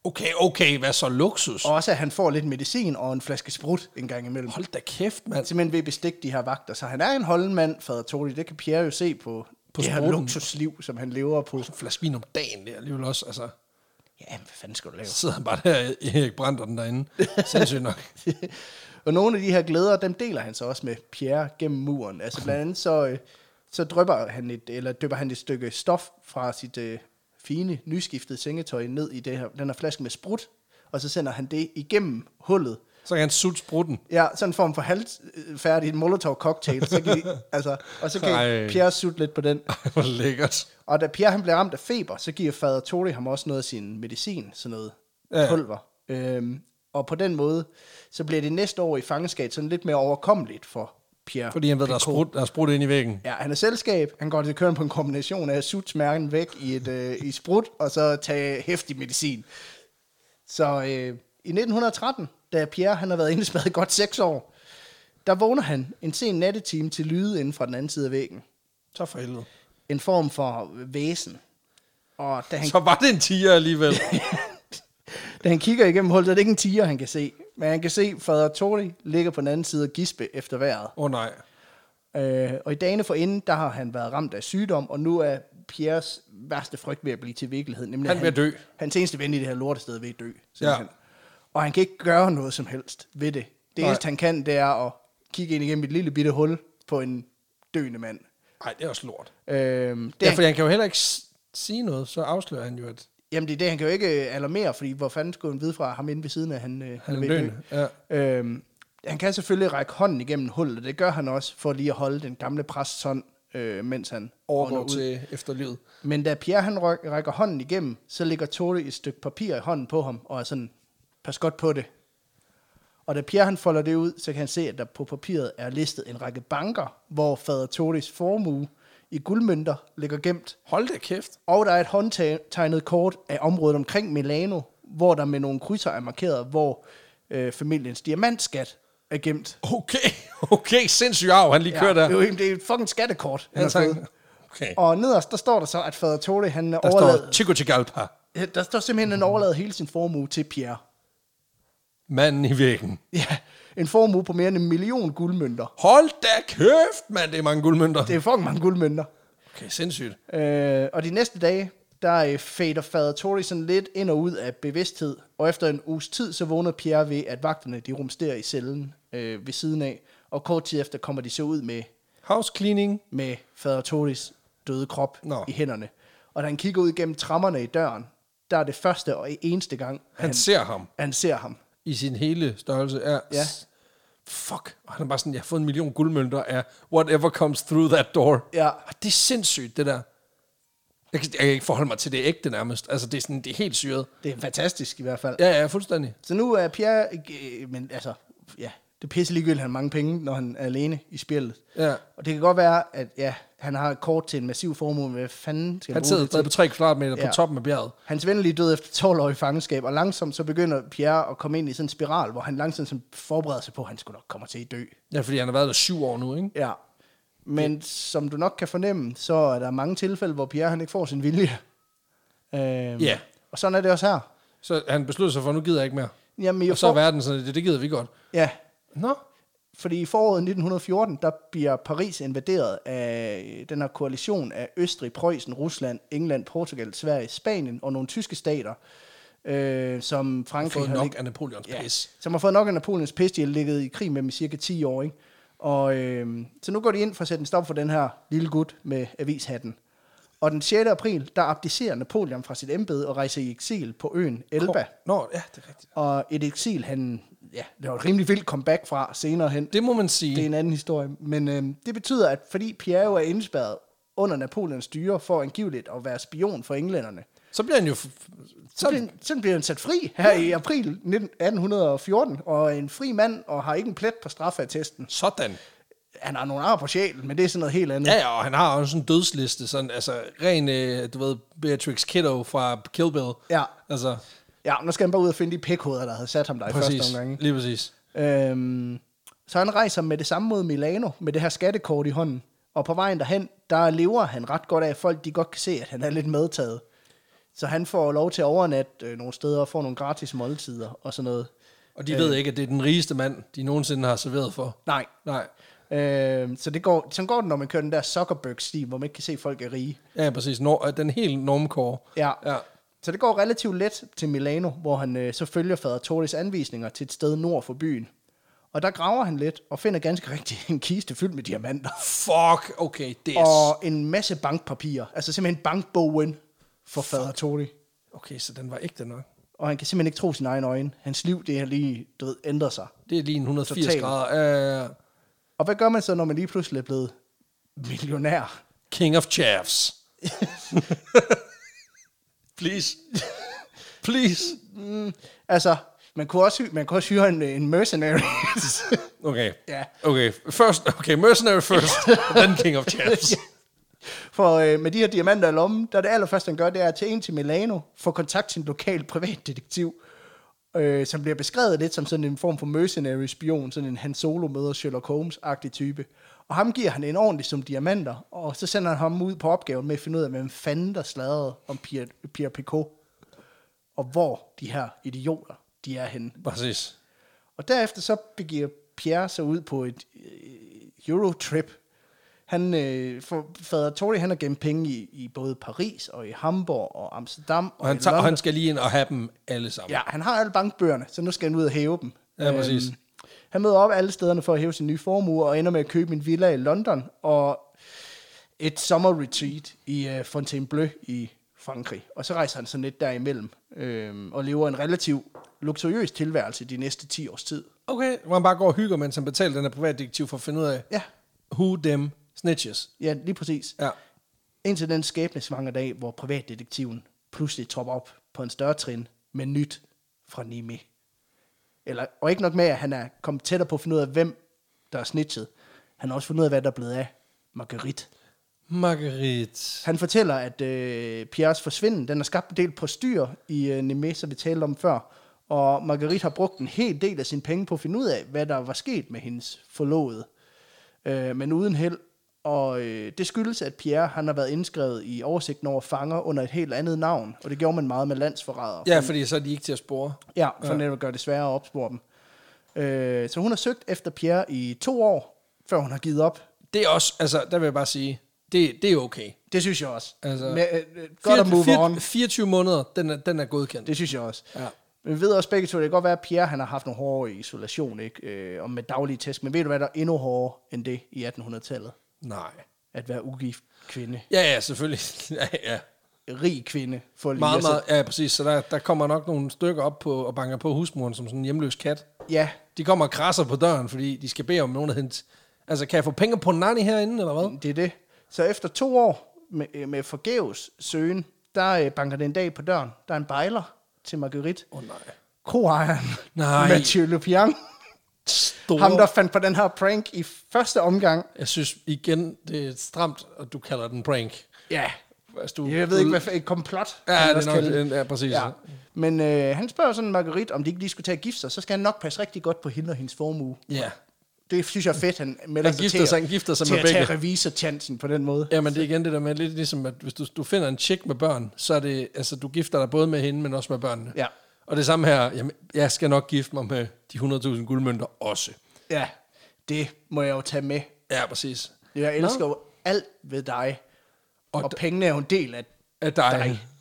Okay, okay, hvad så luksus? Og også at han får lidt medicin og en flaske sprut en gang imellem. Hold da kæft, mand. simpelthen ved at bestikke de her vagter. Så han er en holdenmand, fader Tori. Det kan Pierre jo se på, på På det her sporten. luksusliv, som han lever på. En flaske vin om dagen, det er alligevel også, altså... Ja, hvad fanden skal du lave? Så sidder han bare der, Erik brænder den derinde. Sindssygt nok. *laughs* og nogle af de her glæder, dem deler han så også med Pierre gennem muren. Altså blandt andet så, øh, så drypper han et, eller dypper han et stykke stof fra sit øh, fine, nyskiftede sengetøj ned i det her, den her flaske med sprut, og så sender han det igennem hullet. Så kan han sutte sprutten. Ja, sådan en form for halvfærdig molotov-cocktail. Så *laughs* kan de, altså, og så kan Ej. Pierre sutte lidt på den. Ej, *laughs* hvor lækkert. Og da Pierre han bliver ramt af feber, så giver fader Tori ham også noget af sin medicin, sådan noget Ja. ja. pulver. Øhm, og på den måde, så bliver det næste år i fangenskab sådan lidt mere overkommeligt for Pierre. Fordi han ved, der er Picot. sprudt, der er sprudt ind i væggen. Ja, han er selskab. Han går til køren på en kombination af at sutte smerten væk i et øh, i sprut, og så tage hæftig medicin. Så øh, i 1913, da Pierre han har været indespærret i godt seks år, der vågner han en sen nattetime til lyde inden fra den anden side af væggen. Så for helvede. En form for væsen. Og da han Så var det en tiger alligevel. Da han kigger igennem hullet, er det ikke en tiger, han kan se. Men han kan se, at fader Tori ligger på den anden side og gispe efter vejret. *laughs* Åh oh, nej. Øh, og i dagene forinden, der har han været ramt af sygdom, og nu er Pierres værste frygt ved at blive til virkelighed. Nemlig, Han at er ved at dø. Hans eneste ven i det her lortested er ved at dø. Ja. Og han kan ikke gøre noget som helst ved det. Det Nej. eneste, han kan, det er at kigge ind igennem et lille bitte hul på en døende mand. Nej, det er også lort. Øh, det, Ja, for han kan jo heller ikke s- sige noget, så afslører han jo, at Jamen det er det, han kan jo ikke øh, alarmere, fordi hvor fanden skulle han vide fra ham inde ved siden af, han, øh, han er ved at dø. døende. Ja. Øhm, han kan selvfølgelig række hånden igennem hullet, og det gør han også, for lige at holde den gamle præsts hånd, øh, mens han ånder Overgår ud. til efterlivet. Men da Pierre han ryk- rækker hånden igennem, så ligger Tore et stykke papir i hånden på ham, og er sådan, pas godt på det. Og da Pierre han folder det ud, så kan han se, at der på papiret er listet en række banker, hvor fader Tores formue i guldmønter ligger gemt. Hold da kæft. Og der er et håndtegnet kort af området omkring Milano, hvor der med nogle krydser er markeret, hvor øh, familiens diamantskat er gemt. Okay, *laughs* okay, sindssyg arv, han lige kører der. Det er jo ikke- det er et fucking skattekort. Han Han har tager, fået. okay. Og nederst, der står der så, at fader Tore, han Der overlad, står Chico Chigalpa, står... der står simpelthen, han overlader hele sin formue til Pierre. manden i væggen. Ja, en formue på mere end en million guldmønter. Hold da kæft, mand, det er mange guldmønter. Det er fucking mange guldmønter. Okay, sindssygt. Øh, og de næste dage, der øh, fader fader Tori sådan lidt ind og ud af bevidsthed, og efter en uges tid, så vågner Pierre ved, at vagterne de rumsterer i cellen øh, ved siden af, og kort tid efter kommer de så ud med, House cleaning. med fader Toris døde krop Nå. Nå. i hænderne. Og da han kigger ud gennem trammerne i døren, der er det første og eneste gang, Han, han ser ham han ser ham. i sin hele størrelse. Er, Ja. Fuck. Og han er bare sådan, jeg har fået en million guldmønter af whatever comes through that door. Ja. Og det er sindssygt, det der. Jeg kan, jeg kan ikke forholde mig til det ægte nærmest. Altså, det er, sådan, det er helt syret. Det er fantastisk i hvert fald. Ja. Ja, ja, fuldstændig. Så nu er Pierre, øh, men altså, ja, det er pisse ligegyldigt, han har mange penge, når han er alene i spillet. Ja. Og det kan godt være, at ja, han har et kort til en massiv formue, men hvad fanden skal Han han sidder bruge det stadig til? på 3 kvadratmeter ja. Ja. på toppen af bjerget. Hans ven er lige død efter 12 år i fangenskab, og langsomt så begynder Pierre at komme ind i sådan en spiral, hvor han langsomt sådan forbereder sig på, at han skulle nok komme til at dø. Ja, fordi han har været der syv år nu, ikke? Ja. Men det. som du nok kan fornemme, så er der mange tilfælde, hvor Pierre han ikke får sin vilje. Øhm, Ja. Og sådan er det også her. Så han besluttede sig for, nu gider jeg ikke mere. Jamen, jeg Og så er for... verden sådan, det, det gider vi godt. Ja, Nå, fordi i foråret 1914, der bliver Paris invaderet af den her koalition af Østrig, Preussen, Rusland, England, Portugal, Sverige, Spanien og nogle tyske stater, øh, som han Frankrig fået har nok lig- af Napoleons ja. ja, pis. som har fået nok af Napoleons pis, de har ligget i krig med dem i cirka 10 år. Ikke? Og, øh, så nu går de ind for at sætte en stop for den her lille gut med avishatten. Og den 6. april, der abdicerer Napoleon fra sit embede og rejser i eksil på øen Elba. Nå, ja, det er rigtigt. Og et eksil, han, ja, det var et rimelig vildt comeback fra senere hen. Det må man sige. Det er en anden historie. Men øhm, det betyder, at fordi Pierre jo er indspærret under Napoleons styre for angiveligt at være spion for englænderne, Så bliver han jo... f- så bliver, han- så bliver han sat fri her i april 19- 1814, og er en fri mand, og har ikke en plet på straffattesten. Sådan. Han har nogle ar på sjælen, men det er sådan noget helt andet. Ja, ja, og han har også en dødsliste, sådan, altså ren, øh, du ved, Beatrix Kiddo fra Kill Bill. Ja. Altså, ja nu skal han bare ud og finde de pikhoveder, der havde sat ham der i præcis, første omgang. ikke? lige præcis. Øhm, så han rejser med det samme mod Milano, med det her skattekort i hånden. Og på vejen derhen, der lever han ret godt af, at folk de godt kan se, at han er lidt medtaget. Så han får lov til at overnatte øh, nogle steder og får nogle gratis måltider og sådan noget. Og de øh. ved ikke, at det er den rigeste mand, de nogensinde har serveret for. Nej. Nej, Øhm, så det går, sådan går det, når man kører den der Zuckerberg-stil, hvor man ikke kan se, at folk er rige. ja, præcis. Nor- den helt øh, normcore. Ja. ja. Så det går relativt let til Milano, hvor han øh, så følger fader Toris anvisninger til et sted nord for byen. Og der graver han lidt og finder ganske *laughs* rigtigt en kiste fyldt med diamanter. Fuck, okay, det er... Og en masse bankpapirer. Altså simpelthen bankbogen for fader Tori. Okay, så den var ægte nok. Og han kan simpelthen ikke tro sin egen øjne. Hans liv, det har lige, du ved, ændret sig. Det er lige en 180 Total. Total. grader. Uh, Og hvad gør man så, når man lige pludselig er blevet millionær? King of Chaffs. *laughs* Please. Please. Altså, man kunne også, hy- man kunne også hyre en, en mercenary. *laughs* Okay. Ja. Okay, first, okay, mercenary *laughs* first, og then king of chaps. For øh, med de her diamanter i lommen, der er det allerførste, han gør, det er at tage ind til Milano, få kontakt til en lokal privatdetektiv, øh, som bliver beskrevet lidt som sådan en form for mercenary-spion, sådan en Han Solo møder Sherlock Holmes-agtig type. Og ham giver han en ordentlig som diamanter, og så sender han ham ud på opgaven med at finde ud af, hvem fanden der sladrede om Pierre, Pierre Picot, og hvor de her idioter, de er henne. Præcis. Og derefter så begiver Pierre sig ud på et øh, Eurotrip. Han, øh, for fader Tori, han har gemt penge i, i både Paris og i Hamburg og Amsterdam. Og han, i tager, og London. han skal lige ind og have dem alle sammen. Ja, han har alle bankbøgerne, så nu skal han ud og hæve dem. Øhm, Ja, præcis. han møder op alle stederne for at hæve sin nye formue, og ender med at købe en villa i London og et summer retreat i øh, Fontainebleau i Frankrig. Og så rejser han sådan lidt derimellem, øh, og lever en relativt luksuriøs tilværelse de næste 10 års tid. Okay, hvor han bare går og hygger, mens han betaler den her privatdetektiv for at finde ud af, Ja, who them snitches. Ja, lige præcis. Ja. Indtil den skæbnesvangre dag, hvor privatdetektiven pludselig tropper op på en større trin med nyt fra Nimi. Eller, og ikke nok med, at han er kommet tættere på at finde ud af, hvem der er snitchet. Han har også fundet ud af, hvad der er blevet af Marguerite. Marguerite. Han fortæller, at øh, Pierres forsvinden, den har skabt en del på styr i øh, Nime, som vi talte om før. Og Marguerite har brugt en hel del af sine penge på at finde ud af, hvad der var sket med hendes forlovede. Øh, men uden held. Og øh, det skyldes, at Pierre han har været indskrevet i oversigten over fanger under et helt andet navn. Og det gjorde man meget med landsforrædere. Ja, fordi så er de ikke til at spore. Ja, for netop at gøre det sværere at opspore dem. Øh, så hun har søgt efter Pierre i to år, før hun har givet op. Det er også, altså, der vil jeg bare sige, det, det er okay. Det synes jeg også. Altså, med, øh, godt at move on. 24 måneder, den er, den er godkendt. Det synes jeg også. Ja. Men vi ved også begge to, det kan godt være, at Pierre han har haft nogle hårde isolation, ikke? Øh, og med daglige test. Men ved du hvad, der er endnu hårdere end det i 1800-tallet? Nej. At være ugift kvinde. Ja, ja, selvfølgelig. *laughs* ja, ja. Rig kvinde. For lige Meget, at sætte- meget, ja, præcis. Så der, der kommer nok nogle stykker op på og banker på husmuren som sådan en hjemløs kat. Ja, De kommer og krasser på døren, fordi de skal bede om nogen at hente... Altså, kan jeg få penge på Nani herinde, eller hvad? det er det. Så efter to år med, øh, med forgæves søgen, der øh, banker det en dag på døren. Der er en bejler til Marguerite. Åh, oh, nej. Kroejeren. Nej. Mathieu Lupian. Store. Ham, der fandt på den her prank i første omgang. Jeg synes igen, det er stramt, at du kalder den prank. Ja. Altså, du... Jeg ved ikke, hvad for et komplot. Ja, kan man det også er kalde nok, ja, præcis. Ja. Ja. Men øh, han spørger sådan Marguerite, om de ikke lige skulle tage at gifte sig, så skal han nok passe rigtig godt på hende og hendes formue. ja. Det synes jeg er fedt, han melder Han gifter til, sig- at- han gifter sig til med at tage begge. revisorchancen på den måde. Jamen, det er igen det der med, lidt ligesom, at hvis du, du finder en chick med børn, så er det, altså, du gifter dig både med hende, men også med børnene. Ja. Og det samme her, jamen, jeg skal nok gifte mig med de 100.000 guldmønter også. Ja, det må jeg jo tage med. Ja, præcis. Jeg elsker jo alt ved dig, og, Og og pengene er jo en del af Af dig.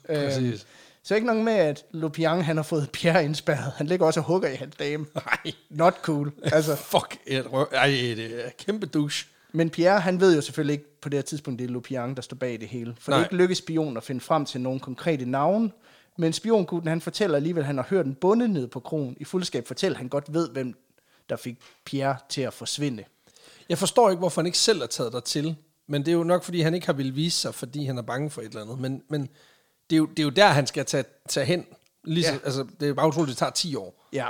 Øh, dig. Øhm, Præcis. Så ikke nok med, at Lupiang han har fået Pierre indspærret. Han ligger også og hugger i hans dame. Nej. Not cool. Altså, Altså, fuck et røv. Ej, det er kæmpe douche. Men Pierre, han ved jo selvfølgelig ikke på det her tidspunkt, det er Lupiang, der står bag det hele. For Nej. det Nej. er ikke lykkedes spion at finde frem til nogen konkrete navne. Men spiongutten, han fortæller alligevel, at han har hørt en bonde nede på krogen. I fuldskab fortæller, at han godt ved, hvem der fik Pierre til at forsvinde. Jeg forstår ikke, hvorfor han ikke selv har taget dig til. Men det er jo nok, fordi han ikke har ville vise sig, fordi han er bange for et eller andet. Men, men det, er jo, det er jo der, han skal tage, tage hen. Lige Ja. ja. altså, det er bare utroligt, det tager 10 år. Ja.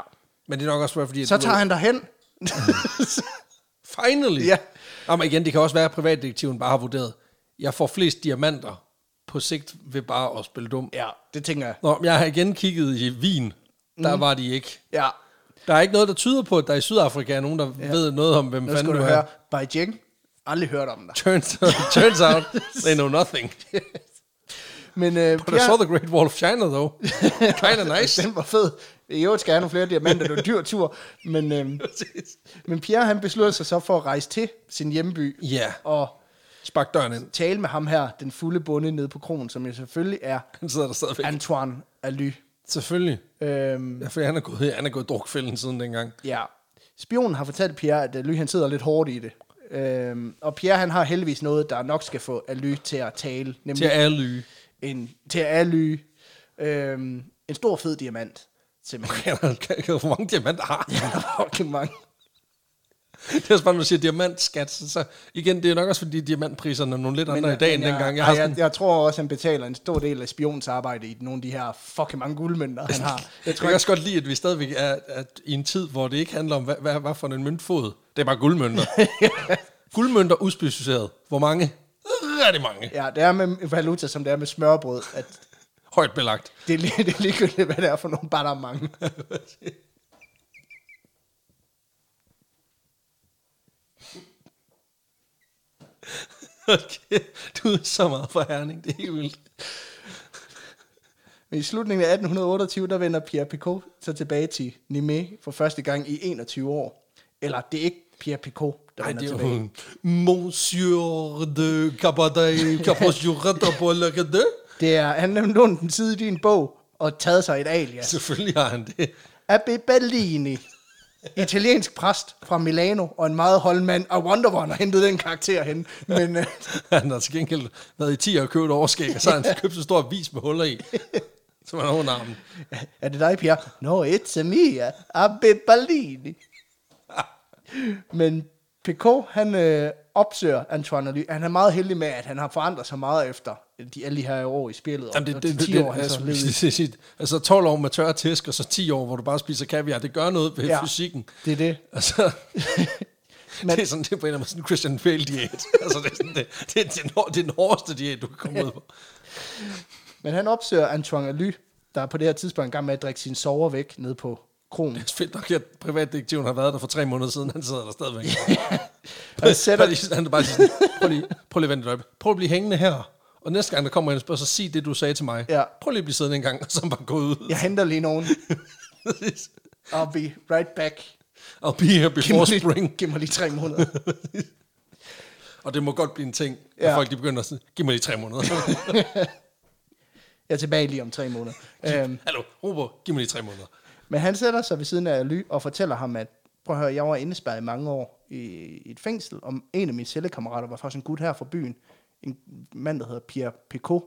Men det er nok også, fordi... at Så du- tager han derhen. Finally! Ja. Jamen igen, det kan også være, at privatdetektiven bare har vurderet, jeg får flest diamanter på sigt ved bare at spille dum. ja, det tænker jeg. Nå, men jeg har igen kigget i Wien. Der Mhm. mm. var de ikke. Ja. Der er ikke noget, der tyder på, at der i Sydafrika er nogen, der ja. ved noget om, hvem Nu fanden skal du du er. høre. Beijing. Aldrig hørt *laughs* om dig. Turns, turns out, they know *laughs* nothing. Men øh, But I saw Pierre, the Great Wall of China, *laughs* though. Kind of nice. den var fed. I øvrigt skal jeg have nogle flere diamanter, det er en dyr tur. Men, øh, men Pierre, han beslutter sig så for at rejse til sin hjemby. Ja. Og Spark døren ind. tale med ham her, den fulde bonde nede på kronen, som jo selvfølgelig er Han sidder der stadigvæk. Han... Antoine Aly. Selvfølgelig. Øhm, Ja, for han er gået, han er gået drukfælden siden dengang. ja. Spionen har fortalt Pierre, at Aly han sidder lidt hårdt i det. Øhm, og Pierre han har heldigvis noget, der nok skal få Aly til at tale. Nemlig Til alle en, til Aly. Øhm, en stor fed diamant. Simpelthen. *laughs* Hvor mange diamanter har *laughs* han? Ja, der var fucking mange. *laughs* Det er også bare, når du siger diamantskat, så, så igen, det er nok også fordi diamantpriserne er nogle lidt andre i dag end øh, jeg, dengang. Jeg jeg, har jeg, sådan, jeg, tror også, han betaler en stor del af spions arbejde i nogle af de her fucking mange guldmønter, han *laughs* har. jeg tror også godt lide, at vi stadigvæk er at i en tid, hvor det ikke handler om, hvad, hvad, hvad for en møntfod. Det er bare *laughs* guldmønter. guldmønter uspecificeret. Hvor mange? Rigtig mange. Ja, det er med valuta, som det er med smørbrød, at Højt belagt. *laughs* det er, lige, *laughs* det er ligegyldigt, hvad det er for nogle, bare der er mange. Okay. Du er så meget for herning, det er helt vildt. Men i slutningen af 1828, der vender Pierre Picot så tilbage til Nîmes for første gang i 21 år. Eller det er ikke Pierre Picot, der Nej, vender det er tilbage. jo Monsieur de Cabadai Caposjurata på Lagade. Det er, han har lånt den side i din bog og taget sig et alias. Selvfølgelig har han det. Abbe *laughs* Bellini. Italiensk præst fra Milano og en meget holdmand af Wonder Woman har hentet den karakter hen. Men øh, *laughs* Han har til gengæld været i 10 og købt overskæg, og så har han købt så stor vis med huller i. Som han har under armen. er det dig, Pierre? No, it's a me, Abbe Bellini. Men Picot, han øh, opsøger Antoine Aly. Han er meget heldig med, at han har forandret sig meget efter de, alle de her år i spillet. Jamen, det, og det, de det, 10 det, år, han så altså, levede i. det, det, det, altså 12 år med tørre tæsk, og så 10 år, hvor du bare spiser kaviar. Det gør noget ved Ja. ja. fysikken. Det er det. Altså, Men- *laughs* Men, det er sådan, det er på en eller anden måde sådan en Christian Bale-diæt. altså, det er, sådan, det, det, er den, hår- det er den hårdeste diæt, du kan komme ud på. Men han opsøger Antoine Aly, der er på det her tidspunkt i gang med at drikke sin sover væk ned på kronen. Det er fedt nok, at privatdetektiven har været der for tre måneder siden. Han sidder der stadigvæk. Han Bare sætter, lige, han er bare sådan, prøv lige, prøv lige at vente et øjeblik. Prøv at blive hængende her. Og næste gang, der kommer en og spørger, så sig det, du sagde til mig. Ja. Prøv lige at blive siddende en gang, *laughs* og så bare gå ud. jeg henter lige nogen. I'll be right back. og be here Giv mig, before lige, spring. giv mig lige tre måneder. Og det må godt blive en ting, at Ja. folk de begynder at sige, giv mig lige tre måneder. Jeg er tilbage lige om tre måneder. *laughs* Øhm, *laughs* Hallo, Robert, giv mig lige tre *laughs* måneder. men han sætter sig ved siden af Aly og fortæller ham, at prøv at høre, jeg var indespærret i mange år i, i et fængsel, og en af mine cellekammerater var faktisk en gut her fra byen. En mand, der hedder Pierre Picot.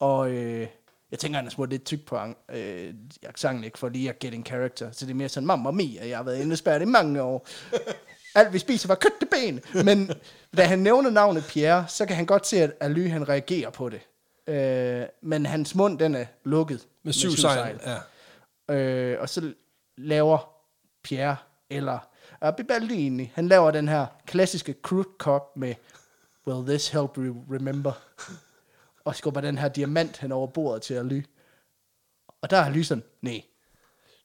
Og øh, jeg tænker, han er smurt lidt tyk på øh, accenten, ikke for lige at get in character. Så det er mere sådan, mamma mia, jeg har været indespærret i mange år. *laughs* Alt vi spiser var køtteben. Men da han nævner navnet Pierre, så kan han godt se, at Aly han reagerer på det. Øh, men hans mund, den er lukket. Med syv sejl. Ja. Øh, og så laver Pierre, eller Abbe Baldini, han laver den her klassiske crude cop med Will this help you remember? Og skubber den her diamant hen over bordet til Aly. Og der er Aly sådan, nej,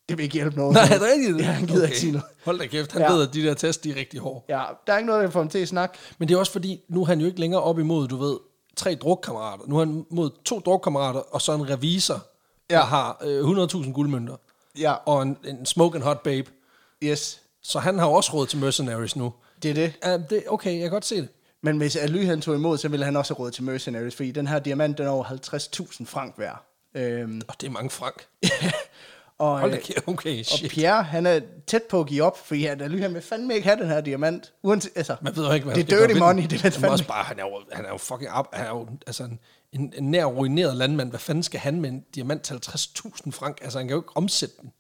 det vil ikke hjælpe noget. Nej, er det rigtigt? Ja, han gider ikke sige noget. Hold da kæft, han Ja. ja. ved, at de der test, de er rigtig hårde. Ja, der er ikke noget, der får ham til at snakke. Men det er også fordi, nu er han jo ikke længere op imod, du ved, tre drukkammerater. Nu er han mod to drukkammerater, og så en revisor, ja. der har øh, 100.000 guldmønter. Ja. Og en, en smoke and hot babe. Yes, Så han har jo også råd til mercenaries nu. det er det. Ja, det, okay, jeg kan godt se det. Men hvis Aly han tog imod, så ville han også have råd til Mercenaries, fordi den her diamant, den er over 50.000 frank værd. Øhm, *laughs* Og det er mange frank. og, Hold da øh, kæft, okay, Og shit. Pierre, han er tæt på at give op, fordi han, Aly, han vil fandme ikke have den her diamant. Uanset, altså, Man ved jo ikke, hvad det han skal er gøre dirty ved den. money, det er Jamen fandme. også bare, han er jo, han er jo fucking op, han er jo altså en, en, en nær ruineret landmand. Hvad fanden skal han med en diamant til 50.000 frank? Altså, han kan jo ikke omsætte den.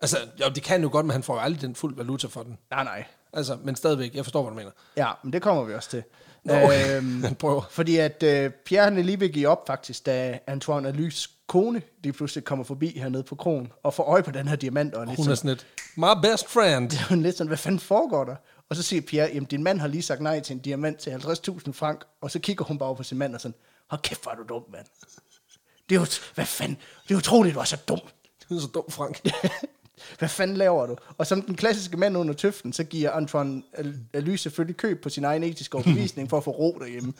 Altså, jo, det kan han jo godt, men han får jo aldrig den fuld valuta for den. Nej, nej. Altså, men stadigvæk, jeg forstår, hvad du mener. Ja, men det kommer vi også til. Øhm, Nå, okay. *laughs* Han prøver. Fordi at øh, Pierre han er lige ved at give op faktisk, da Antoine Alys kone lige pludselig kommer forbi hernede på krogen og får øje på den her diamant. Og er lidt Hun er sådan lidt, my best friend. *laughs* sådan, *laughs* hun er lidt sådan, hvad fanden foregår der? Og så siger Pierre, jamen din mand har lige sagt nej til en diamant til 50.000 frank, og så kigger hun bare over på sin mand og sådan, hold kæft, hvor er du dum, mand. Det er jo, hvad fanden, det er utroligt, du er så dum. Hun er så dum, Frank. Hvad fanden laver du? Og som den klassiske mand under tøften, så giver Antoine Al- Aly selvfølgelig køb på sin egen etiske overbevisning for at få ro derhjemme.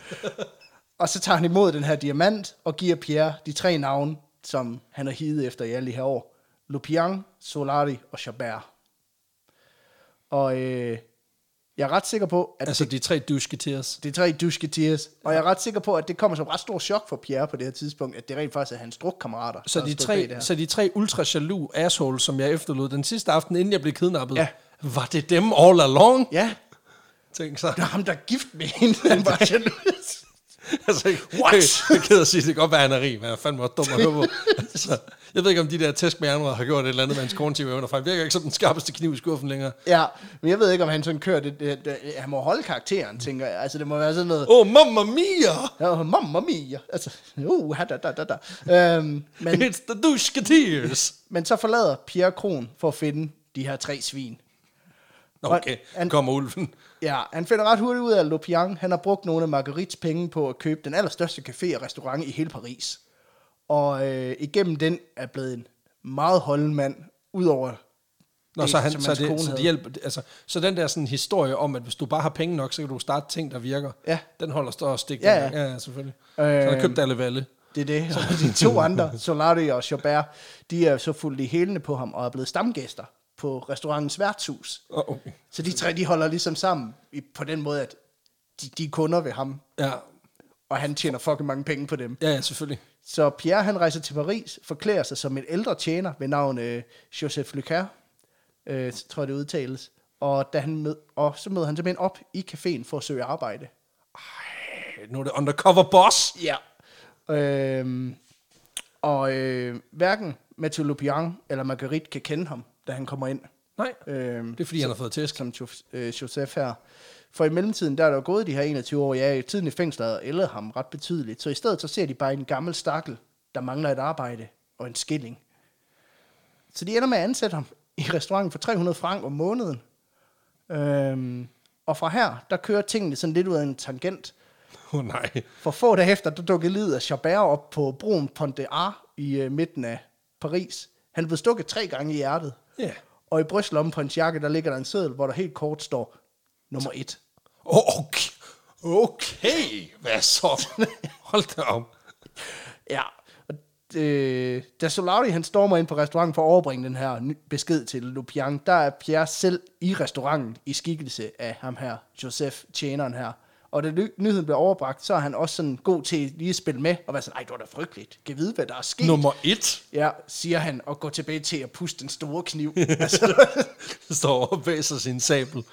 Og så tager han imod den her diamant og giver Pierre de tre navne, som han har higet efter i alle de her år. Lupian, Solari og Chabert. Og øh, Jeg er ret sikker på, at Altså de tre doucheketeers. det er tre dusketiers, og jeg er ret sikker på, at det kommer som ret stor chok for Pierre på det her tidspunkt, at det rent faktisk er hans drukkammerater. Så der de, stod bag det her. tre, så de tre ultra jaloux assholes, som jeg efterlod den sidste aften, inden jeg blev kidnappet, Ja. var det dem all along? Ja, Tænk så. *laughs* det er ham, der er gift med hende. Han *laughs* var jaloux. altså, What? Jeg, jeg er ked at sige, det kan godt være, han er rig, men jeg er fandme også dum at *laughs* høre på. altså, jeg ved ikke, om de der tæsk med andre har gjort et eller andet med hans kognitive evner, for han virker ikke som den skarpeste kniv i skuffen længere. ja, men jeg ved ikke, om han sådan kører det, det, det. Han må holde karakteren, tænker jeg. Altså, det må være sådan noget... Åh, oh, mamma mia! Oh, mamma mia! Altså, uh, da, da, da, da. Øhm, *laughs* men, It's the doucheketeers! men så forlader Pierre Kron for at finde de her tre svin. Nå, Okay, han- kommer ulven. Ja, han finder ret hurtigt ud af, at Lopiang han har brugt nogle af Marguerites penge på at købe den allerstørste café og restaurant i hele Paris. Og øh, igennem den er blevet en meget holden mand, udover Nå, det, så, han, som så, hans kone det, så, det havde. hjælper, det- altså, så den der sådan historie om, at hvis du bare har penge nok, så kan du starte ting, der virker. Ja. Den holder stå og stik. Ja, dengang. ja. ja, ja selvfølgelig. Øh, så han Øhm. købte alle valle. Det er det. Og de to *laughs* andre, Solari og Chabert, de er så fuldt i hælene på ham og er blevet stamgæster på restaurantens værtshus. Oh, okay. Så de tre, de holder ligesom sammen i, på den måde, at de, de er kunder ved ham, ja. og han tjener fucking mange penge på dem. ja, ja, selvfølgelig. Så Pierre, han rejser til Paris, forklæder sig som en ældre tjener ved navn øh, Joseph Lucas, øh, tror jeg det udtales. Og, da han med, og så møder han simpelthen op i caféen for at søge arbejde. Øh, Nu er det undercover boss. Ja. Øhm, og øh, hverken Mathieu Lupian eller Marguerite kan kende ham, da han kommer ind. Nej, Øhm, det er fordi, han har fået tæsk. som jo, øh, Josef her. For i mellemtiden, der er der jo gået de her 21 år, ja, i tiden i fængslet og ældet ham ret betydeligt. Så i stedet, så ser de bare en gammel stakkel, der mangler et arbejde og en skilling. Så de ender med at ansætte ham i restauranten for 300 frank om måneden. Øhm, og fra her, der kører tingene sådan lidt ud af en tangent. Åh oh, nej. For få dage efter, der dukkede livet af Chabert op på broen Pont de Ar i øh, midten af Paris. Han blev stukket tre gange i hjertet. Ja. Og i brystlommen på hans jakke, der ligger der en seddel, hvor der helt kort står nummer et. Oh, okay. okay, hvad så? Hold da *laughs* op. Ja. Og, øh, da Solari han stormer ind på restauranten for at overbringe den her ny- besked til Lupian, der er Pierre selv i restauranten i skikkelse af ham her, Joseph, tjeneren her. Og da ny- nyheden bliver overbragt, så er han også sådan god til lige at spille med og være sådan, ej, det var da frygteligt. Kan vide, hvad der er sket. Nummer et Ja, siger han, og går tilbage til at puste den store kniv. altså, står og væser *laughs* sin sabel.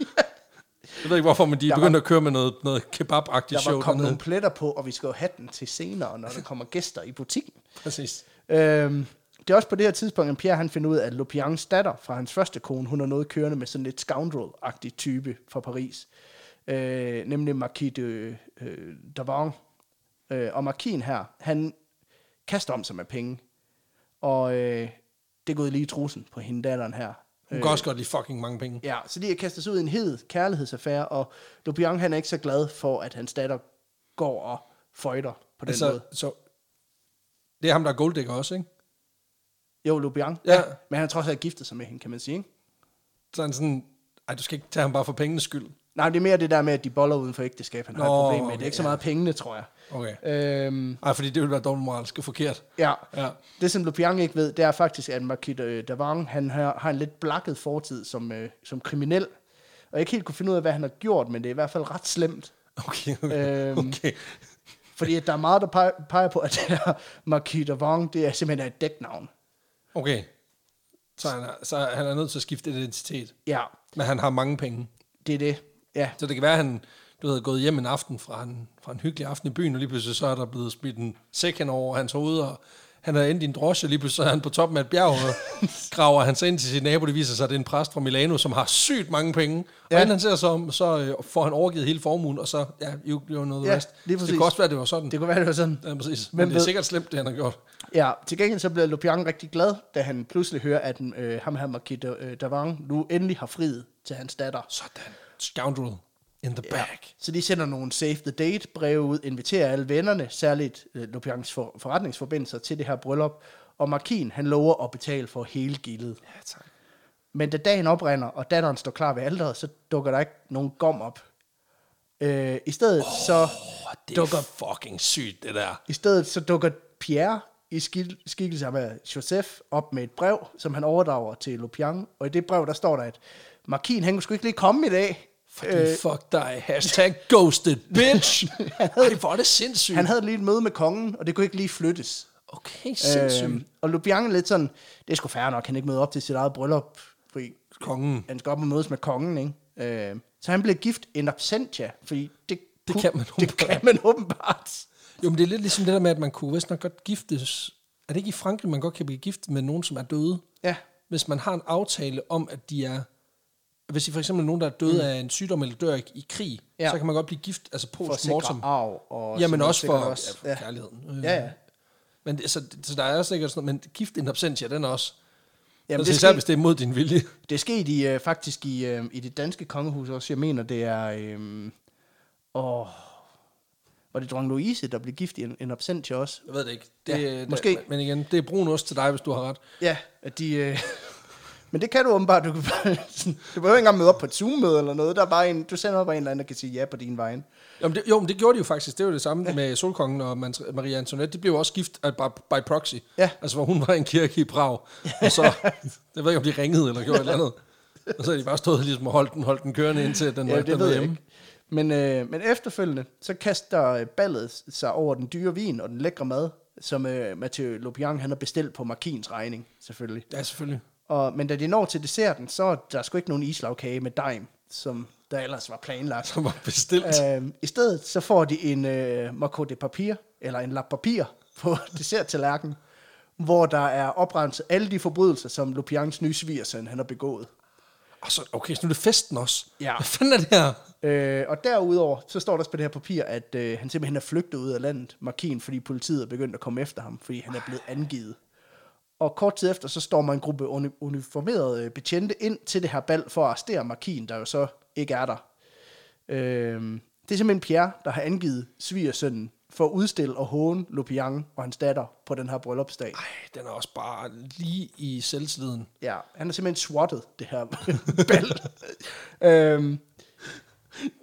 Jeg ved ikke hvorfor, men de er var- begyndt at køre med noget, noget kebab-agtigt der var show kommet dernede. nogle pletter på, og vi skal jo have den til senere, når der kommer gæster i butikken. Præcis. Øhm, det er også på det her tidspunkt, at Pierre han finder ud af, at Lopians datter fra hans første kone, hun er noget kørende med sådan lidt scoundrel-agtig type fra Paris. Øh, nemlig Marquis de øh, Davon. Øh, og Marquisen her, han kaster om sig med penge. Og øh, det er gået lige i trusen på hende datteren her. Øh, Hun kan også godt lide fucking mange penge. Ja, så de har kastet sig ud i en hed kærlighedsaffære, og Lopian han er ikke så glad for, at hans datter går og føjter på den altså, Altså, måde. så, det er ham, der er golddigger også, ikke? Jo, Lopian. Ja. Men han har trods alt giftet sig med hende, kan man sige, ikke? Så er han sådan, ej, du skal ikke tage ham bare for pengenes skyld. Nej, det er mere det der med, at de boller uden for ægteskab, han Nå, har Nå, et problem med. Det er okay, ikke så ja. meget pengene, tror jeg. Okay. Øhm, Ej, fordi det ville være dobbelt moralsk og forkert. ja. Ja. Det, som Lopiang ikke ved, det er faktisk, at Marquis de Davang, han har, har en lidt blakket fortid som, øh, som kriminel. Og jeg ikke helt kunne finde ud af, hvad han har gjort, men det er i hvert fald ret slemt. *laughs* Okay, okay. Øhm. okay. Fordi at der er meget, der pe- peger på, at det her Marquis de Vang, det er simpelthen et dæknavn. okay. Så, han er, så han er nødt til at skifte identitet. Ja, Men han har mange penge. det er det. Ja, Så det kan være, at han du ved, er gået hjem en aften fra en, fra en hyggelig aften i byen, og lige pludselig så er der blevet smidt en sæk hen over hans hoved, og han er endt i en drosje, og lige pludselig så er han på toppen af et bjerg, *laughs* og graver han sig ind til sin nabo, det viser sig, at det er en præst fra Milano, som har sygt mange penge. Ja. Ja. Og inden han ser sig om, så øh, får han overgivet hele formuen, og så, ja, you, you know the Ja, rest. lige så det præcis. kan også være, at det var sådan. det Det, kunne være, det var sådan. ja, præcis. Men, Hvem Men det er ved? sikkert slemt, det han har gjort. Ja, til gengæld så bliver Lopiang rigtig glad, da han pludselig hører, at øh, ham her Marquis de øh, Davang nu endelig har friet til hans datter. Sådan. Scoundrel in the bag. Så de sender nogle save the date breve ud, inviterer alle vennerne, særligt øh, Lopiangs for, forretningsforbindelser, til det her bryllup. Og Markin, han lover at betale for hele gildet. Ja, tak. Men da dagen oprinder, og datteren står klar ved alderet, så dukker der ikke nogen gom op. Øh, I stedet oh. så Åh, det Dukker- er fucking sygt, det der. I stedet så dukker Pierre i skik- skikkelse af Joseph op med et brev, som han overdrager til Lopiang. Og i det brev, der står der, at Markin, han kunne sgu ikke lige komme i dag. Fordi øh, fuck dig. Hashtag ghosted, bitch. *laughs* Ej, hvor er det sindssygt. Han havde lige et møde med kongen, og det kunne ikke lige flyttes. Okay, sindssygt. Øhm, og Lubian er lidt sådan, det er sgu fair nok, han ikke møder op til sit eget bryllup, fordi Kongen. han skal op og mødes med kongen, ikke? Øhm, så han blev gift in absentia, fordi det, Det kunne- kan man det åbenbart. kan man åbenbart. Jo, men det er lidt ligesom det der med, at man kunne vist nok godt giftes. Er det ikke i Frankrig, man godt kan blive gift med nogen, som er døde? Ja, Hvis man har en aftale om, at de er... Hvis I for eksempel er nogen, der er døde mm. af en sygdom eller dør i, i krig, Ja. ja. så kan man godt blive gift, altså for at post sikre mortem. arv. Og Ja, men også for, sikkert også. Ja, Ja. for kærligheden. Øh, Ja, ja. Men, det- så, så der er sikkert sådan noget, men gift in absentia, den er også. Jamen, Jamen, altså, det, det især, skete, hvis det er mod din vilje. det skete i, øh, faktisk i, øh, i det danske kongehus også. Jeg mener, det er... Øh, åh, var det dronning Louise, der blev gift i en, en absentia også? Jeg ved det ikke. Det, Ja, det- måske. Men igen, det er brun ost til dig, hvis du har ret. Ja, at de... Øh, *laughs* men det kan du åbenbart. Du, kan *laughs* bare, sådan, du behøver ikke engang møde op på et Zoom-møde eller noget. Der er bare en, du sender bare en eller anden, der kan sige ja på din vej. Jo, men det, jo, men det gjorde de jo faktisk. Det var det samme ja. med Solkongen og Man- Maria Antoinette. De blev jo også gift af, by, by proxy. Ja. Altså, hvor hun var i en kirke i Prag. Og så, *laughs* jeg ved ikke, om de ringede eller gjorde et eller andet. Og så havde de bare stået ligesom og holdt den, holdt den kørende indtil den var Ja, det den ved var jeg hjemme. ikke. Men, øh, men efterfølgende, så kaster øh, ballet sig over den dyre vin og den lækre mad, som øh, Mathieu Lopiang, han har bestilt på Markins regning, selvfølgelig. Ja, selvfølgelig. Og, men da de når til desserten, så er der sgu ikke nogen islagkage med dejm, som der ellers var planlagt. *laughs* Som var bestilt. Øh. Øh, I stedet så får de en øh, marco de papir, eller en lap papir *laughs* på desserttallerkenen, hvor der er oprenset alle de forbrydelser, som Lupians nye svigersøn han har begået. Og så, okay, så nu er det festen også. Ja. Hvad fanden er det her? Øh, og derudover, så står der også på det her papir, at øh, han simpelthen er flygtet ud af landet, Markin, fordi politiet er begyndt at komme efter ham, fordi han er blevet angivet. Og kort tid efter, så stormer en gruppe uni- uniformerede øh, betjente ind til det her bal for at arrestere Markin, der jo så ikke er der. Øh, det er simpelthen Pierre, der har angivet svigersønnen for at udstille og håne Lupiang og hans datter på den her bryllupsdag. Ej, den er også bare lige i selvsliden. Ja, han er simpelthen swattet, det her *laughs* bal. øhm,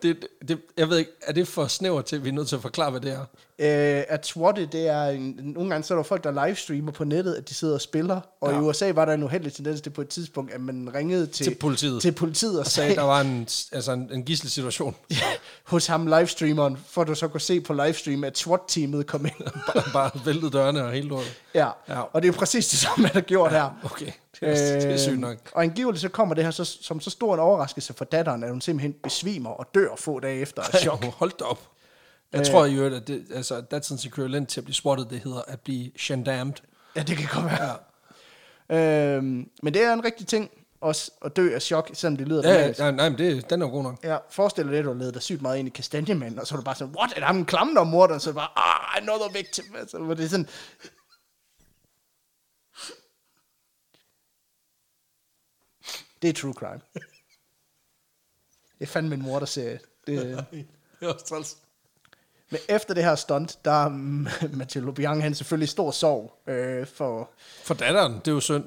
Det, det, jeg ved ikke, er det for snæver til, at vi er nødt til at forklare, hvad det er? Øh, at swatte, det er en, nogle gange så er der jo folk, der livestreamer på nettet, at de sidder og spiller. Og ja. Ja. i USA var der en uheldig tendens til på et tidspunkt, at man ringede til, Til politiet. til politiet og, og Sagde, *laughs* sagde, der var en, altså en, en gisselsituation. *laughs* hos ham livestreameren, for at du så kunne se på livestream, at SWAT-teamet kom ind. bare, bare væltet dørene og hele lortet. ja. *laughs* Ja. og det er jo præcis det samme, han har gjort her. Okay, det er, øh, det er sygt nok. Og angiveligt så kommer det her så, som så stor en overraskelse for datteren, at hun simpelthen besvimer og dør få dage efter *laughs* af chok. Chok. Hold da op. Jeg øh, tror jo, at det, altså, at datidens ekvivalent til at blive swattet, det hedder at blive gendarmed. Ja, det kan godt være. Ja. Øhm, men det er en rigtig ting, også at dø af chok, selvom det lyder Ja, banalt. ja, nej, nej, men det, den er jo god nok. Ja, forestil dig det, du har ledet dig sygt meget ind i kastanjemanden, og så er du bare sådan, what, er der ham en klamme, der er morder? Og så er du bare, ah, another victim. Altså, hvor det er sådan... Det er true crime. Det er fandme en morderserie. Det... Det er også træls. Men efter det her stunt, der er mm, Mathieu Lubiang, han selvfølgelig i stor sorg øh, for... For datteren, det er jo synd.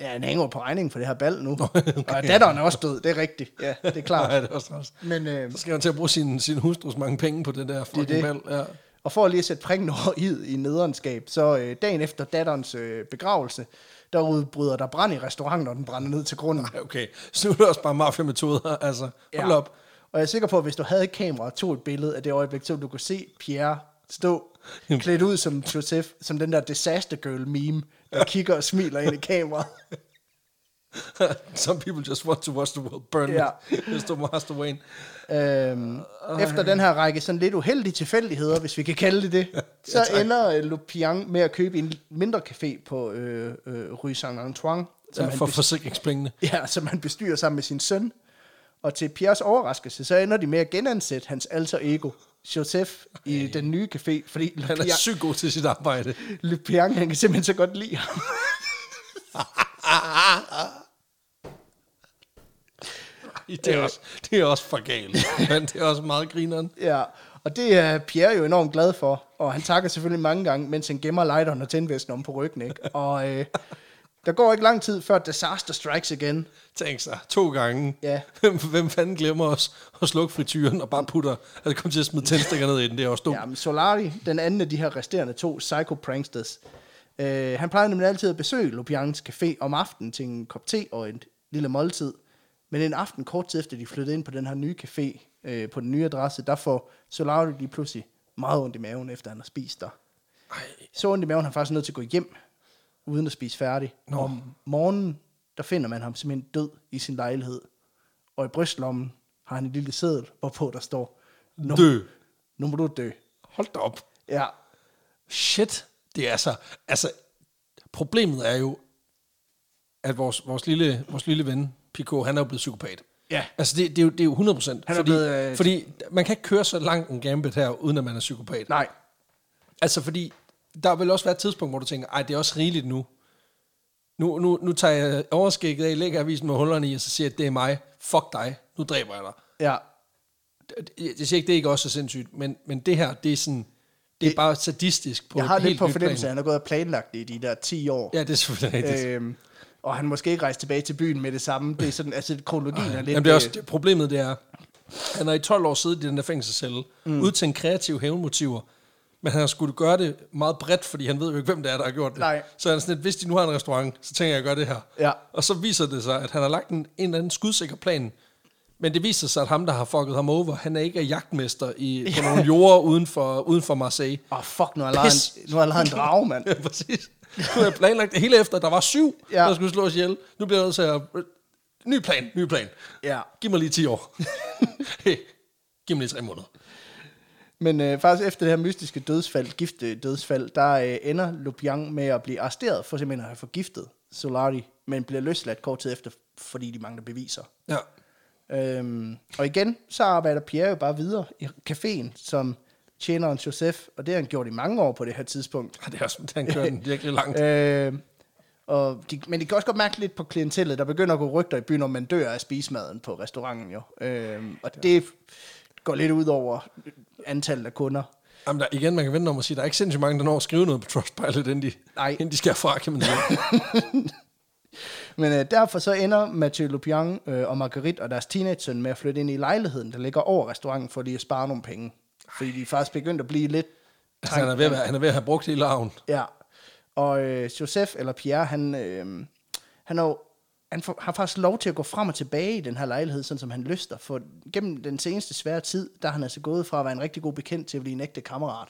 Ja, han hænger jo på regningen for det her bal nu. Okay. Og datteren er også død, det er rigtigt. Ja, det er Ja, klart. det er også træls. Men, øh, Så skal han til at bruge sin, sin hustrus mange penge på det der fucking det. det valg. Ja. Og for lige at sætte prikken over *laughs* i, i nederenskab, så øh, dagen efter datterens øh, begravelse, der udbryder der brand i restauranten, og den brænder ned til grunden. Ej, okay. Så nu er det også bare mafia-metoder, altså. Hold ja. op. *laughs* Og jeg er sikker på, at hvis du havde et kamera og tog et billede af det øjeblik, så ville du kunne se Pierre stå klædt ud som Joseph, som den der disaster girl meme, der kigger og smiler ind i kameraet. Some people just want to watch the world burn. Ja. Ja. Det stod Master Wayne. Øhm, efter den her række sådan lidt uheldige tilfældigheder, hvis vi kan kalde det *laughs* det, så tak. ender øh, Lupiang med at købe en mindre café på øh, øh, Rue Saint-Antoine, som Ja, han for forsikringspengene. *laughs* Ja, som han bestyrer sammen med sin søn. Og til Piers overraskelse, så ender de med at genansætte hans alter ego, Joseph, i den nye café, fordi Han er Le sygt god til sit arbejde. Piang, han kan simpelthen så godt lide ham. Ah, Det er, også, det er også for galt, men det er også meget grineren. Ja, og det er Pierre jo enormt glad for, og han takker selvfølgelig mange gange, mens han gemmer lighteren og tændvesten om på ryggen, ikke? Og øh, der går ikke lang tid, før disaster strikes igen. Tænk sig, to gange. Ja. Hvem, hvem fanden glemmer os at slukke frityren og bare putter, altså kom til at smide tændstikker ned i den, det er også dumt. Ja, men Solari, den anden af de her resterende to psycho pranksters, øh, han plejer nemlig altid at besøge Lupians café om aftenen til en kop te og en lille måltid. Men en aften kort tid efter, de flyttede ind på den her nye café, øh, på den nye adresse, der får Solari lige pludselig meget ondt i maven, efter han har spist der. Ej, Så ondt i maven, han er faktisk nødt til at gå hjem, uden at spise færdig. Nå. Om morgenen, der finder man ham simpelthen død i sin lejlighed. Og i brystlommen har han en lille seddel, hvorpå der står, nu, Dø. nu må du dø. hold da op. Ja, Shit, det er så... Altså, problemet er jo, at vores, vores, lille, vores lille ven, Pico, han er jo blevet psykopat. Ja. Altså, det, det, er, jo, det er jo 100 procent. Han er fordi, blevet, øh, fordi man kan ikke køre så langt en gambit her, uden at man er psykopat. nej. Altså, fordi der vil også være et tidspunkt, hvor du tænker, ej, det er også rigeligt nu. Nu, nu, nu tager jeg overskægget af, lægger avisen med hullerne i, og så siger jeg, det er mig. Fuck dig. Nu dræber jeg dig. Ja, Jeg jeg siger ikke, det er ikke også så sindssygt, men, men det her, det er sådan... Det er Det- bare sadistisk på jeg har et lidt helt på nyt fornemmelse, at plan. han har gået og planlagt det i de der 10 år. Ja, det er selvfølgelig rigtigt. Øhm, og han måske ikke rejse tilbage til byen med det samme. Det er sådan, altså kronologien er lidt... Jamen, det er også, øh, det, problemet det er, han har i 12 år siddet i den der fængselscelle, mm. udtænkt kreative hævnmotiver, men han har skulle gøre det meget bredt, fordi han ved jo ikke, hvem det er, der har gjort det. Nej. Så han er sådan lidt, hvis de nu har en restaurant, så tænker jeg at gøre det her. Ja. Og så viser det sig, at han har lagt en, en eller anden skudsikker plan, men det viser sig, at ham, der har fucket ham over, han er ikke er jagtmester i, på nogle jorder uden for, uden for Marseille. Åh, oh, fuck, nu har jeg lejet Pis. en, nu har jeg lejet en drage, mand. *laughs* Ja, præcis. Nu har jeg planlagt det hele efter, der var syv, Ja. ja. der skulle slås ihjel. Nu bliver jeg nødt til at... Ny plan, ny plan. Ja. Giv mig lige 10 år. *laughs* hey, giv mig lige 3 måneder. Men øh, faktisk efter det her mystiske dødsfald, gifte dødsfald, der øh, ender Lupiang med at blive arresteret for simpelthen at have forgiftet Solari, men bliver løsladt kort tid efter, fordi de mangler beviser. Ja. Øhm, og igen, så arbejder Pierre jo bare videre i caféen som tjeneren Joseph, og det har han gjort i mange år på det her tidspunkt. Ej, Det er også, det han kører den virkelig *laughs* langt. Øh, og de, men de kan også godt mærke lidt på klientellet. Der begynder at gå rygter i byen, om man dør af spismaden på restauranten jo. Øh, og det går lidt ud over antallet af kunder. Jamen, der, igen, man kan vente om at sige, der er ikke sindssygt mange, der når at skrive noget på Trustpilot, inden de, Nej. inden de skal herfra, kan *laughs* man sige. Men øh, derfor så ender Mathieu Lupian øh, og Marguerite og deres teenage-søn med at flytte ind i lejligheden, der ligger over restauranten, for lige at spare nogle penge. Fordi de er faktisk begyndt at blive lidt... altså, han, er ved at, være- han er ved at have brugt hele arven. Ja. Og øh, Joseph, eller Pierre, han, øh, han, er jo, han får, har faktisk lov til at gå frem og tilbage i den her lejlighed, sådan som han lyster. For gennem den seneste svære tid, der er han altså gået fra at være en rigtig god bekendt til at blive en ægte kammerat.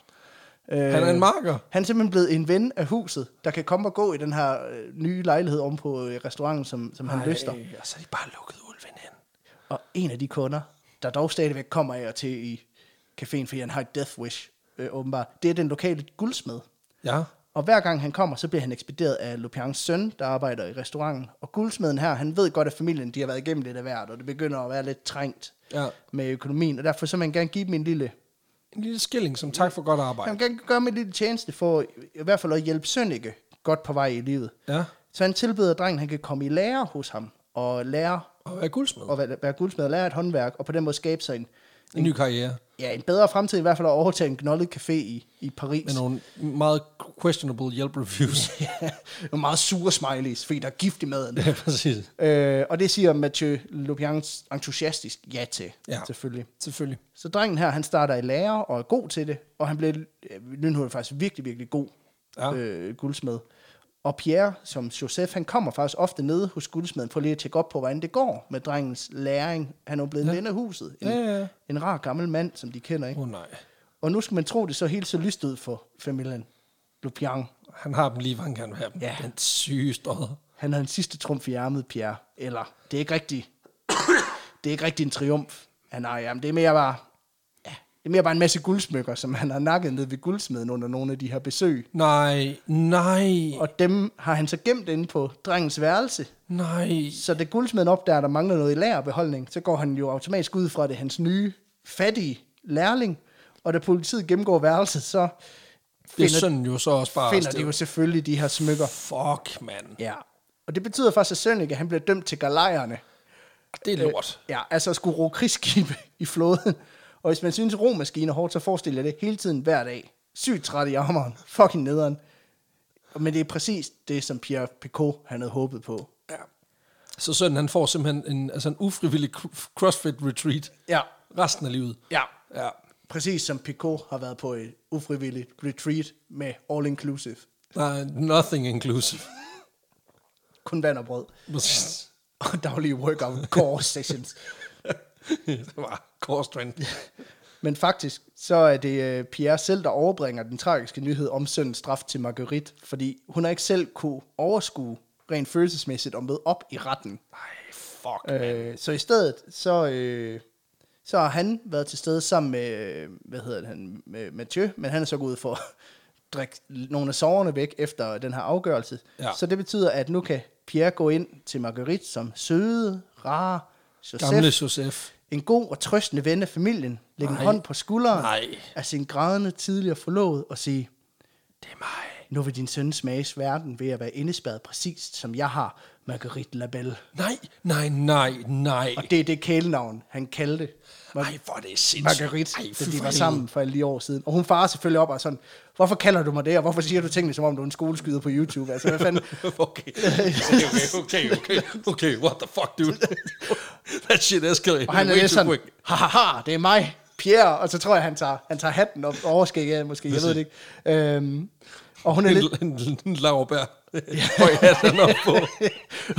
Øh, Han er en marker. han er simpelthen blevet en ven af huset, der kan komme og gå i den her øh, nye lejlighed om på øh, restauranten, som, som han lyster. Ej, Og så er de bare lukket ulven hen. Og en af de kunder, der dog stadigvæk kommer af og til i caféen, fordi han har et death wish, øh, åbenbart, det er den lokale guldsmed. Ja. Og hver gang han kommer, så bliver han ekspederet af Lupians søn, der arbejder i restauranten. Og guldsmeden her, han ved godt, at familien de har været igennem lidt af hvert, og det begynder at være lidt trængt Ja. med økonomien. Og derfor så vil han gerne give dem en lille, En lille skilling som tak for godt arbejde. han kan gøre dem en lille tjeneste for i hvert fald at hjælpe Sønneke godt på vej i livet. Ja. Så han tilbyder drengen, at han kan komme i lære hos ham og lære Og være guldsmed. og være være guldsmed og lære et håndværk, og på den måde skabe sig en, En ny karriere. ja, en bedre fremtid, i hvert fald at overtage en gnollet café i, i Paris. *laughs* Med nogle meget questionable hjælp reviews. nogle meget sure smileys, fordi der er gift i maden. *laughs* ja, præcis. Øh, og det siger Mathieu Lupians entusiastisk ja til, ja. Ja. selvfølgelig. Selvfølgelig. Så drengen her, han starter i lære og er god til det, og han bliver øh, lynhurtigt faktisk virkelig, virkelig god ja. Ja. øh, guldsmed. Og Pierre, som Joseph, han kommer faktisk ofte nede hos guldsmeden for lige at tjekke op på, hvordan det går med drengens læring. Han er jo blevet ja. en ven af huset. En, Ja, ja, ja. en rar gammel mand, som de kender, ikke? Åh oh, nej. Og nu skal man tro, det så helt så lyst ud for familien Lupian. Han har dem lige, hvor han kan have dem. Ja. Ja. Den syge stodder. Han havde en sidste trumf i ærmet, Pierre. Eller, det er ikke rigtigt. *coughs* det er ikke rigtigt en triumf. Han har, jamen, det er mere bare... Ja, det er mere bare en masse guldsmykker, som han har nakket ned ved guldsmeden under nogle af de her besøg. Nej, nej, Og dem har han så gemt inde på drengens værelse. nej. Så da guldsmeden opdager, at der mangler noget i lagerbeholdning, så går han jo automatisk ud fra at det, er hans nye, fattige lærling. Og da politiet gennemgår værelset, så Det er finder, sådan jo så også bare... finder de jo selvfølgelig de her smykker. Fuck, mand. Ja. Og det betyder faktisk, at Sønneke, han bliver dømt til galejerne. Det er lort. Ja, altså at skulle ro krigsskibe i flåden. Og hvis man synes, romaskiner er hårdt, så forestil jer det hele tiden hver dag. Sygt træt i armoren. *laughs* Fucking nederen. Men det er præcis det, som Pierre Picot han havde håbet på. Ja. Så sønnen, han får simpelthen en, altså en ufrivillig cr- CrossFit retreat. Ja. Resten af livet. Ja. Ja. Præcis som Picot har været på et ufrivilligt retreat med all inclusive. *laughs* Nej, nothing inclusive. Kun vand og brød. Præcis. og daglige workout core sessions. det var core strength. Men faktisk, så er det øh, Pierre selv, der overbringer den tragiske nyhed om søndens straf til Marguerite, fordi hun har ikke selv kunne overskue rent følelsesmæssigt og med op i retten. Nej, fuck. Øh, så i stedet, så, øh, så har han været til stede sammen med, øh, hvad hedder han, med Mathieu, men han er så gået ud for at drikke nogle af soverne væk efter den her afgørelse. Ja. Ja. Så det betyder, at nu kan Pierre gå ind til Marguerite som søde, rare Joseph, Gamle Josef. en god og trøstende ven af familien, lægge en Nej. hånd på skulderen Nej. af sin grædende tidligere forlovede og sige, Det er mig. nu vil din søn smages verden ved at være indespærret præcist, som jeg har, Marguerite Labelle. Nej, nej, nej, nej. Og det er det kælenavn, han kaldte Nej, hvor er det sindssygt. Marguerite, Ej, da fy de for var helvede. sammen for alle de år siden. Og hun farer selvfølgelig op og er sådan, hvorfor kalder du mig det, og hvorfor siger du tingene, som om du er en skoleskyder på YouTube? Altså, hvad fanden? *laughs* okay. okay, okay, okay, okay, what the *laughs* fuck, dude? That shit escalated *laughs* Og han er way lidt too sådan, quick. haha, det er mig, Pierre. Og så tror jeg, han tager, han tager hatten op og overskægget af, måske, jeg ved det ikke. Øhm, og hun er lidt... En, en, en laverbær. Høj hat han op på.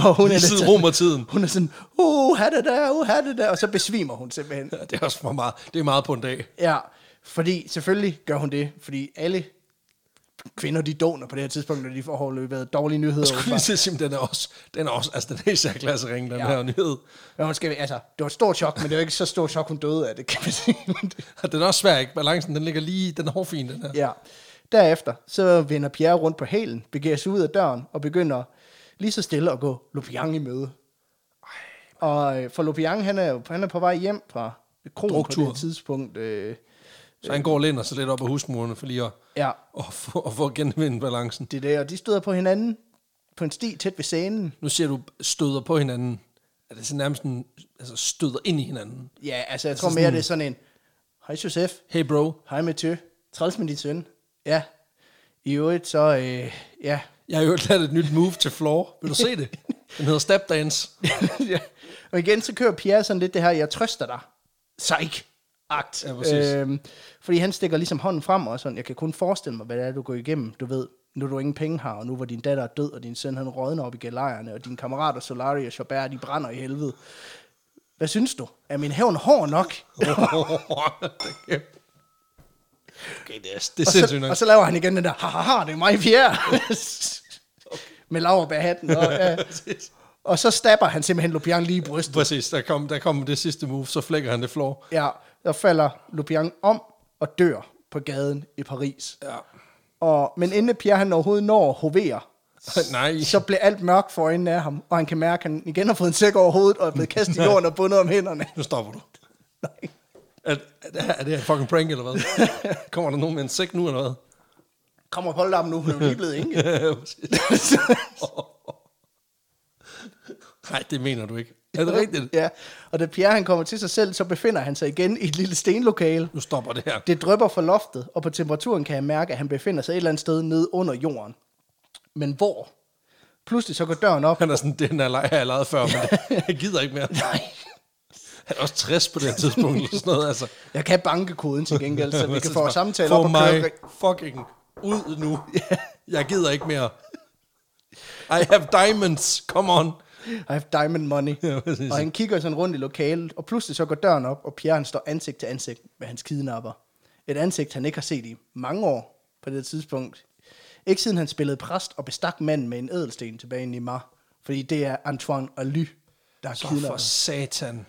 og hun er Lige lidt siden sådan, romertiden. hun er sådan, uh, hat det der, uh, hat det der, og så besvimer hun simpelthen. Ja, det er også for meget. Det er meget på en dag. Ja, fordi selvfølgelig gør hun det, fordi alle kvinder, de doner på det her tidspunkt, når de får overløbet dårlige nyheder. Skulle lige åbenbart. til at sige, den er også, den er også, altså den er især klassering, den ja. Ja. her nyhed. Men hun skal, altså, det var et stort chok, men det var ikke så stort chok, hun døde af det, kan man sige. *laughs* Men det- Og Den er også svær, ikke? Balancen, den ligger lige, den er hårfin, den her. ja. Derefter, så vender Pierre rundt på hælen, begiver sig ud af døren og begynder lige så stille at gå Lupiang i møde. Og øh, for Lupiang, han er, jo- han er på vej hjem fra kronen på Druktur. det tidspunkt. Øh, Så han går og læner sig lidt op ad husmurene for lige at, ja, at, få, at få genvinde balancen. det er det, og de støder på hinanden på en sti tæt ved scenen. Nu siger du, støder på hinanden. Er det så nærmest en, altså støder ind i hinanden? Ja, altså jeg tror mere, det er sådan en, hej Josef, Hey bro, hej Mathieu, træls med din søn. Ja, i øvrigt så, øh, ja. *laughs* jeg har jo lavet et nyt move til floor. Vil du se det? Den hedder step dance. ja. Og igen, så kører Pierre sådan lidt det her, jeg trøster dig. Psych. Akt. Ja, præcis. øhm, fordi han stikker ligesom hånden frem og sådan, jeg kan kun forestille mig, hvad det er, du går igennem. Du ved, nu du ingen penge har, og nu hvor din datter er død, og din søn han rådner op i galejerne, og dine kammerater Solari og Chabert, de brænder i helvede. Hvad synes du? Er min hævn hård nok? Øh. *laughs* okay, det er, det er Og sindssygt så, nok. og så laver han igen den der, ha ha ha, det er mig, *laughs* Pierre. Med laverbærhatten. Og, ja. Præcis. og så stabber han simpelthen Lupian lige i brystet. Præcis, der kom, der kom det sidste move, så flækker han det floor. Ja, der falder Lupian om og dør på gaden i Paris. Ja. Og, men inden Pierre han overhovedet når at hovere, *laughs* Nej. så bliver alt mørkt for øjnene af ham, og han kan mærke, at han igen har fået en sæk over hovedet, og er blevet kastet i jorden og bundet om hænderne. Nu stopper du. Er, er, det her- er det her fucking prank, eller *laughs* hvad? Kommer der nogen med en sæk nu, eller hvad? Kom og hold ham nu, hun er jo lige blevet *laughs* enke. *laughs* Præcis. Nej, det mener du ikke. Er det rigtigt? Ja, og da Pierre han kommer til sig selv, så befinder han sig igen i et lille stenlokale. Nu stopper det her. Det drypper fra loftet, og på temperaturen kan jeg mærke, at han befinder sig et eller andet sted nede under jorden. Men hvor? Pludselig så går døren op. Han er sådan, den er jeg har jeg lejet før, *laughs* men jeg gider ikke mere. Nej, Han er også 60 på det her tidspunkt, eller sådan *laughs* noget, altså. jeg kan banke koden til gengæld, *laughs* så vi kan få vores samtale Få op og mig køre. fucking ud nu. Jeg gider ikke mere. I have diamonds, come on. I have diamond money. Ja, præcis. og han kigger sådan rundt i lokalet, og pludselig så går døren op, og Pierre han står ansigt til ansigt med hans kidnapper. Et ansigt, han ikke har set i mange år på det tidspunkt. Ikke siden han spillede præst og bestak manden med en ædelsten tilbage i Neymar. Fordi det er Antoine Aly, der har Så kidnappet. for satan.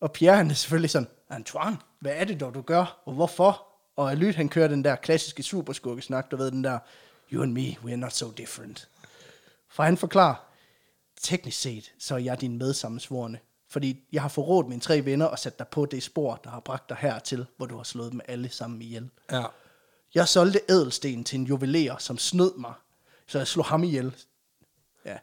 Og Pierre han er selvfølgelig sådan, Antoine, hvad er det dog, du gør, og hvorfor? Og Alyt, han kører den der klassiske superskurkesnak, du ved den der, you and me, we are not so different. For han forklarer, teknisk set, så er jeg din medsammensvorene, fordi jeg har forrådt mine tre venner og sat dig på det spor, der har bragt dig hertil, hvor du har slået dem alle sammen ihjel. Ja. Jeg solgte ædelsten til en juveler, som snød mig, så jeg slog ham ihjel. Ja.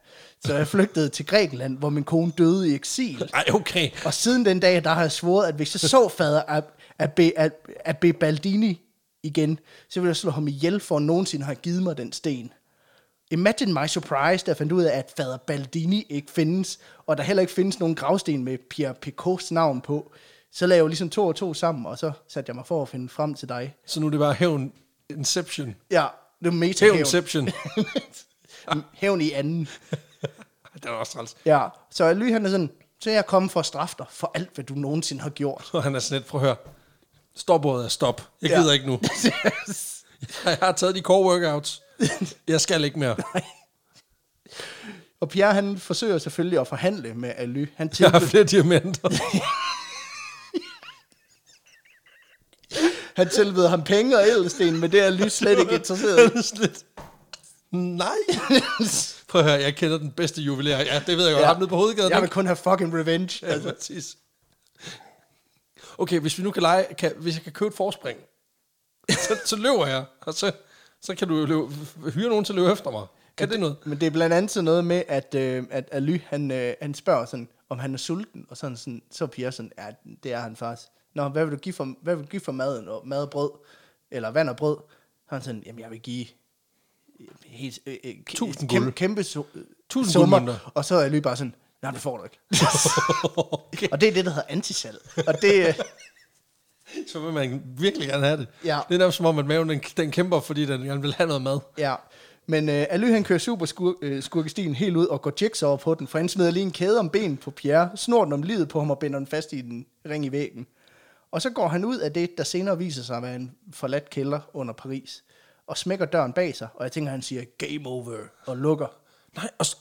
Så jeg flygtede til Grækenland, hvor min kone døde i eksil. Ej, okay. Og siden den dag, der har jeg svoret, at hvis jeg så fader Ab- Ab- Ab- Abbe Baldini igen, så ville jeg slå ham ihjel, for at nogensinde har givet mig den sten. Imagine my surprise, da jeg fandt ud af, at fader Baldini ikke findes, og der heller ikke findes nogen gravsten med Pierre Picots navn på. Så lavede jeg jo ligesom to og to sammen, og så satte jeg mig for at finde frem til dig. Så nu er det bare hævn. Inception. *laughs* Ja, det er meta Hævnception. Hævn i anden. Det er også træls. Ja, så Ly han er sådan, så er jeg kommet for at straffe dig for alt, hvad du nogensinde har *laughs* gjort. Og han er sådan lidt, prøv at høre. Stopordet er stop. Jeg Ja. gider ikke *laughs* nu. Jeg har taget de core workouts. Jeg skal ikke mere. og Pierre han forsøger selvfølgelig at forhandle med Aly. Han Jeg har tilbyder, flere *laughs* diamanter. han tilbyder ham penge og ædelsten, men det er Aly slet ikke *laughs* interesseret i. Han er sådan lidt, Nej. *laughs* Prøv at høre, jeg kender den bedste juveler. Ja, det ved jeg godt. Ja. Ham nede på hovedgaden. jeg ikke? vil kun have fucking revenge. Ja, Altså. præcis. Okay, hvis vi nu kan lege, kan, hvis jeg kan købe et forspring, så, så løber jeg, og så, så kan du jo løbe, hyre nogen til at løbe efter mig. Kan det noget? Men det er blandt andet sådan noget med, at, øh, at Aly, han, øh, han spørger sådan, om han er sulten, og sådan, sådan så er Pierre sådan, ja, det er han faktisk. Nå, hvad vil du give for, hvad vil du give for maden, og mad og brød, eller vand og brød? Så er han sådan, jamen jeg vil give øh, helt, øh, øh, k- Tusind kæmpe, guld. kæmpe so, øh, Tusind guldmønter. summer, og så er Aly bare sådan, nej, det får du *laughs* ikke. *laughs* okay. og det er det, der hedder antisalg. Og det, øh, Så vil man virkelig gerne have det. Ja. Det er nærmest som om, at maven den, den kæmper, fordi den gerne vil have noget mad. Ja, men øh, Aly han kører super skur, øh, skurkestien helt ud og går jigs over på den, for han smider lige en kæde om benet på Pierre, snor den om livet på ham og binder den fast i den ring i væggen. Og så går han ud af det, der senere viser sig at være en forladt kælder under Paris, og smækker døren bag sig, og jeg tænker, han siger game over og lukker. Nej, og, s-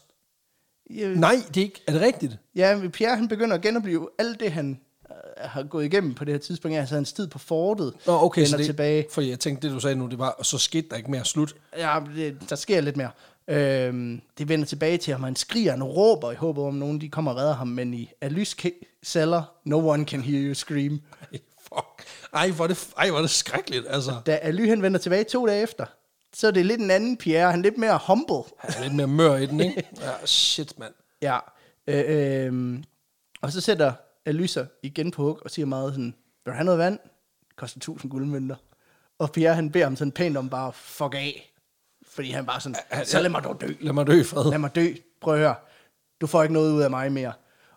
Øh, nej det er, ikke, er det rigtigt? Ja, men Pierre han begynder at genopleve alt det, han øh, har gået igennem på det her tidspunkt. Altså hans tid på fortet Nå, okay, vender så det, tilbage. For jeg tænkte, det du sagde nu, det var, og så skete der ikke mere slut. Ja, men det, der sker lidt mere. Øhm, det vender tilbage til ham, han skriger, han råber i håbet om, at nogen de kommer og redder ham, men i Alys ke- celler, no one can hear you scream. Ej, fuck. Ej, hvor er det, ej, hvor er det skrækkeligt, altså. Da Aly han vender tilbage to dage efter, så er det lidt en anden Pierre, han er lidt mere humble. Han er lidt mere mør i den, ikke? Ja, shit, mand. Ja, øh, øhm, og så sætter Aly sig igen på hug og siger meget sådan, vil du have noget vand? Det koster 1000 guldmønter. Og Pierre han beder ham sådan pænt om bare, fuck af. Fordi han bare sådan, så lad mig dog dø. Lad mig dø i fred. Lad mig dø. Prøv at høre. Du får ikke noget ud af mig mere.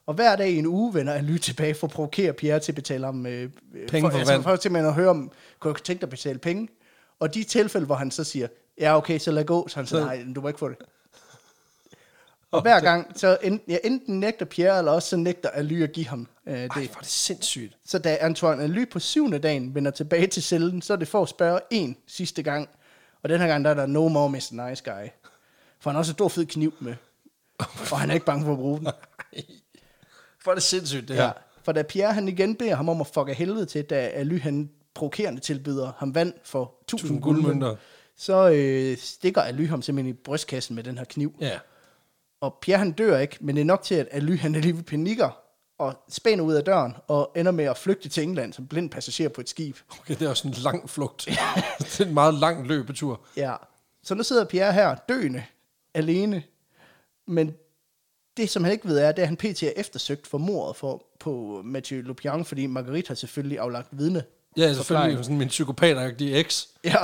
Og hver dag i en uge vender Aly tilbage for at provokere Pierre til at betale ham øh, øh, Penge for altså, vand. for simpelthen at høre om, kunne jeg tænke dig at betale penge? Og de tilfælde, hvor han så siger, ja okay, så lad gå, så han siger, Så- nej, du må ikke *laughs* få det. Og hver gang, så enten, ja, enten nægter Pierre, eller også så nægter Aly at give ham øh, det. Ej, hvor er det sindssygt. Så da Antoine Aly på syvende dagen vender tilbage til cellen, så er det for at spørge en sidste gang. Og den her gang, der er der no more Mr. Nice Guy. For han har også en stor fed kniv med. Og han er ikke bange for at bruge den. *laughs* For det sindssygt, det Ja. For da Pierre han igen beder ham om at fuck af helvede til, da Aly han provokerende tilbyder ham vand for 1000 Tusind guldmønter, guldmønter. så øh, stikker Aly ham simpelthen i brystkassen med den her kniv. Ja. Og Pierre han dør ikke, men det er nok til, at Aly han alligevel panikker og spænder ud af døren og ender med at flygte til England som blind passager på et skib. Okay, det er også en lang flugt. *laughs* det er en meget lang løbetur. Ja. Så nu sidder Pierre her, døende, alene. Men det, som han ikke ved, er, det er, at han pt. er eftersøgt for mordet for, på Mathieu Lupian, fordi Marguerite har selvfølgelig aflagt vidne. Ja, selvfølgelig. Sådan min psykopatagtige eks. Ja.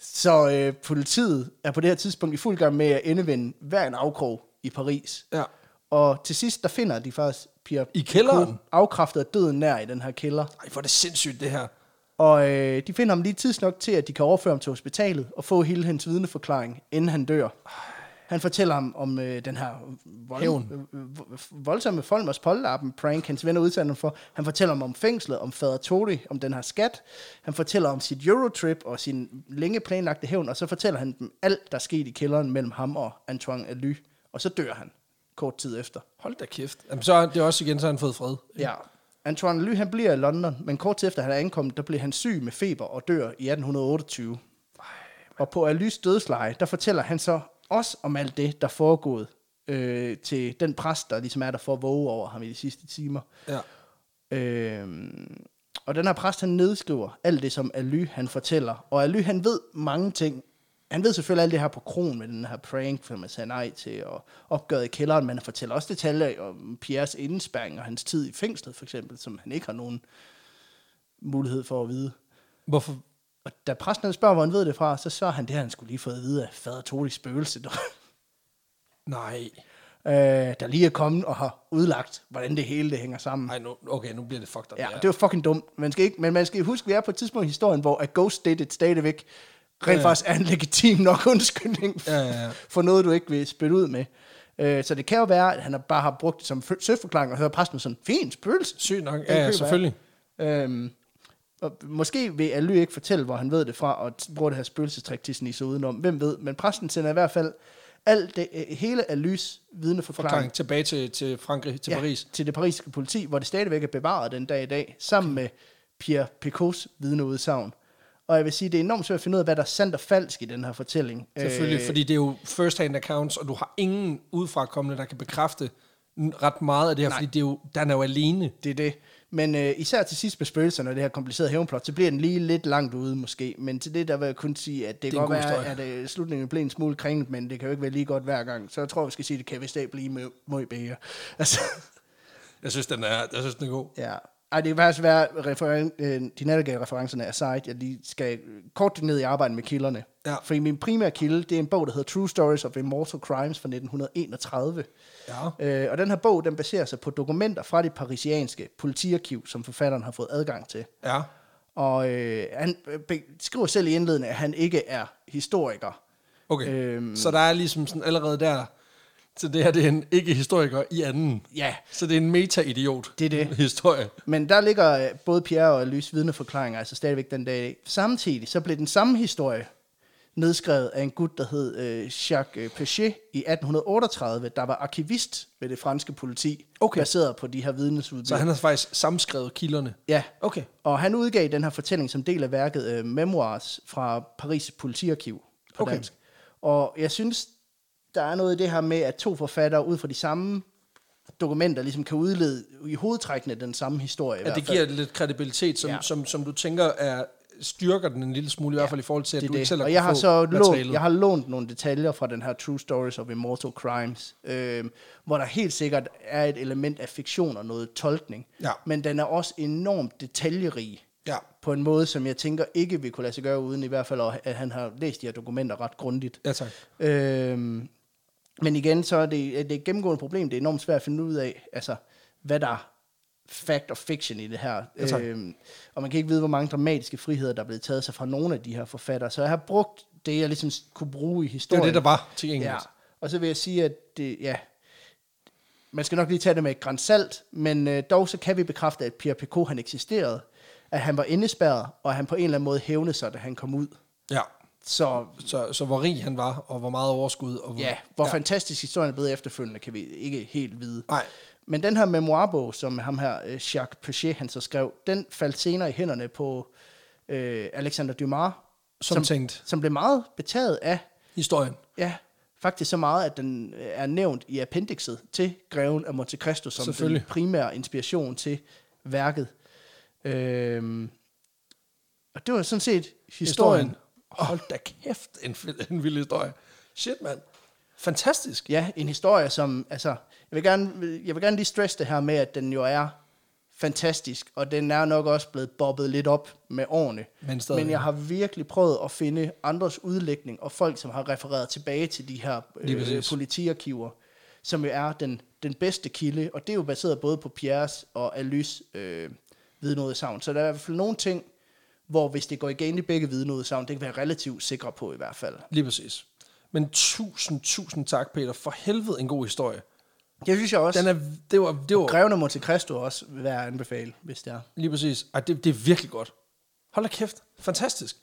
Så øh, politiet er på det her tidspunkt i fuld gang med at endevende hver en afkrog i Paris. Ja. Og til sidst, der finder de faktisk Pierre I kælderen? Picot afkræftet af døden nær i den her kælder. Ej, hvor er det sindssygt, det her. Og øh, de finder ham lige tids nok til, at de kan overføre ham til hospitalet og få hele hans vidneforklaring, inden han dør. Han fortæller ham om øh, den her vold, Hævn. øh, vo- voldsomme Folmers Polterappen prank, hans venner udsatte ham for. Han fortæller ham om fængslet, om fader Tori, om den her skat. Han fortæller om sit Eurotrip og sin længe planlagte hævn, og så fortæller han dem alt, der skete i kælderen mellem ham og Antoine Aly. Og så dør han kort tid efter. Hold da kæft. Jamen, så er det også igen, så har han fået fred. Ja. Antoine Ly, han bliver i London, men kort tid efter han er ankommet, der bliver han syg med feber og dør i 1828. og på Alys dødsleje, der fortæller han så også om alt det, der er foregået øh, til den præst, der ligesom er der for at våge over ham i de sidste timer. Ja. Øh, og den her præst, han nedskriver alt det, som Aly han fortæller. Og Aly, han ved mange ting. Han ved selvfølgelig alt det her på krogen med den her prank, som man sagde nej til, og opgøret i kælderen, men han fortæller også detaljer om Pierres indespærring og hans tid i fængslet, for eksempel, som han ikke har nogen mulighed for at vide. Hvorfor? Og da præsten han spørger, hvor han ved det fra, så svarer han det, han skulle lige fået at vide af fader Tolis spøgelse, der, Nej. *laughs* øh, der lige er kommet og har udlagt, hvordan det hele det hænger sammen. Ej, nu, okay, nu bliver det fucked up. Ja, det var fucking dumt. Man skal ikke, men man skal huske, at vi er på et tidspunkt i historien, hvor at Ghost Did It stadigvæk rent Ja. faktisk er en legitim nok *laughs* undskyldning Ja, ja, ja. for noget, du ikke vil spille ud med. Øh, så det kan jo være, at han bare har brugt det som fø- søforklaring og hører præsten sådan, fin spøgelse. Sygt nok. køber Ja, ja, jeg. selvfølgelig. Øhm, og måske vil Aly ikke fortælle, hvor han ved det fra, og t- bruger det her spøgelsestrik til at snige sig udenom. Hvem ved, men præsten sender i hvert fald alt det, øh, hele Alys vidneforklaring Forklaring tilbage til, til Frankrig, til ja. Paris. til det parisiske politi, hvor det stadigvæk er bevaret den dag i dag, sammen med Pierre Picots vidneudsagn. Og jeg vil sige, det er enormt svært at finde ud af, hvad der er sandt og falsk i den her fortælling. Selvfølgelig, øh, fordi det er jo first-hand accounts, og du har ingen udefrakommende, der kan bekræfte n- ret meget af det her, nej. fordi det er jo, den er jo alene. Det er det. Men øh, især til sidst med spøgelserne og det her komplicerede hævnplot, så bliver den lige lidt langt ude måske. Men til det, der vil jeg kun sige, at det, Det det er kan en godt være, god at øh, slutningen blev en smule kringet, men det kan jo ikke være lige godt hver gang. Så jeg tror, vi skal sige, at det kan vist ikke blive mø- møg bedre. Altså, Jeg synes, den er, jeg synes, den er god. ja. Ej, det kan faktisk være, referen- øh, de nattergale referencerne er sejt. Jeg lige skal kort ned i arbejdet med kilderne. Ja. Fordi min primære kilde, det er en bog, der hedder True Stories of Immortal Crimes fra 1931. Ja. Øh, og den her bog, den baserer sig på dokumenter fra det parisianske politiarkiv, som forfatteren har fået adgang til. Ja. Og øh, han øh, skriver selv i indledningen, at han ikke er historiker. Okay. Øhm. Øhm. Så der er ligesom sådan allerede der, så det her det er en ikke-historiker i anden. Ja. Så det er en meta-idiot. Det er det. *laughs* Historie. Men der ligger øh, både Pierre og Lys vidneforklaringer, altså stadigvæk den dag. i dag. Samtidig så blev den samme historie nedskrevet af en gut, der hed øh, Jacques øh, Pechet i 1838, der var arkivist ved det franske politi, Okay. baseret på de her vidnesudbud. Så han har faktisk samskrevet kilderne. Ja, Okay. og han udgav den her fortælling som del af værket øh, Memoirs fra Paris Politiarkiv på Okay. okay. dansk. Og jeg synes, der er noget i det her med, at to forfattere ud fra de samme dokumenter ligesom kan udlede i hovedtrækkene den samme historie. i At hvert det fald. giver lidt kredibilitet, som, ja. Ja. som, som du tænker er styrker den en lille smule, i hvert fald i forhold til, at det er du ikke det. selv har Og jeg kunnet har få så materialet. lånt, jeg har lånt nogle detaljer fra den her True Stories of Immortal Crimes, øh, hvor der helt sikkert er et element af fiktion og noget tolkning. Ja. Men den er også enormt detaljerig. Ja. på en måde, som jeg tænker ikke vi kunne lade sig gøre uden i hvert fald, at han har læst de her dokumenter ret grundigt. Ja, tak. Øhm, men igen, så er det, er det et gennemgående problem. Det er enormt svært at finde ud af, altså, hvad der er fact og fiction i det her. Ja, tak. øhm, og man kan ikke vide, hvor mange dramatiske friheder, der er blevet taget sig fra nogle af de her forfattere. Så jeg har brugt det, jeg ligesom kunne bruge i Det historien. var det, der var til engelsk. Ja, og så vil jeg sige, at det, ja, man skal nok lige tage det med et gran salt, men øh, dog så kan vi bekræfte, at Pierre Picot han eksisterede, at han var indespærret, og at han på en eller anden måde hævnede sig, da han kom ud. Ja. Så Så, så hvor rig han var, og hvor meget overskud. Og hvor, ja, hvor ja. fantastisk historien er blevet efterfølgende, kan vi ikke helt vide. Nej. Men den her memoirbog, som ham her, øh, Jacques Pechet, han så skrev, den faldt senere i hænderne på øh, Alexander Dumas, Som tænkt. som blev meget betaget af Historien. Ja, faktisk så meget, at den øh, er nævnt i appendixet til Greven af Monte Cristo, som den Selvfølgelig. primære inspiration til værket. Øhm, og det var sådan set historien. Historien. Hold da kæft, en, fed- en vild historie. Shit, mand. Fantastisk. Ja, en historie, som, altså, jeg vil, gerne, jeg vil gerne lige stresse det her med, at den jo er fantastisk, og den er nok også blevet bobbet lidt op med årene. Men stadig. Men jeg har virkelig prøvet at finde andres udlægning, og folk, som har refereret tilbage til de her Lige øh, præcis. politiarkiver, som jo er den, den bedste kilde, og det er jo baseret både på Pierres og Alys øh, vidneudsagn. Så der er i hvert fald nogle ting, hvor hvis det går igen i begge vidneudsagn, det kan være relativt sikre på i hvert fald. Lige præcis. Men tusind, tusind tak, Peter. For helvede en god historie. Jeg synes jeg også. Den er, det var, det var Greven af Monte Cristo er også værd at anbefale, hvis det er. lige præcis. Ej, det, det er virkelig godt. Hold da kæft. Fantastisk.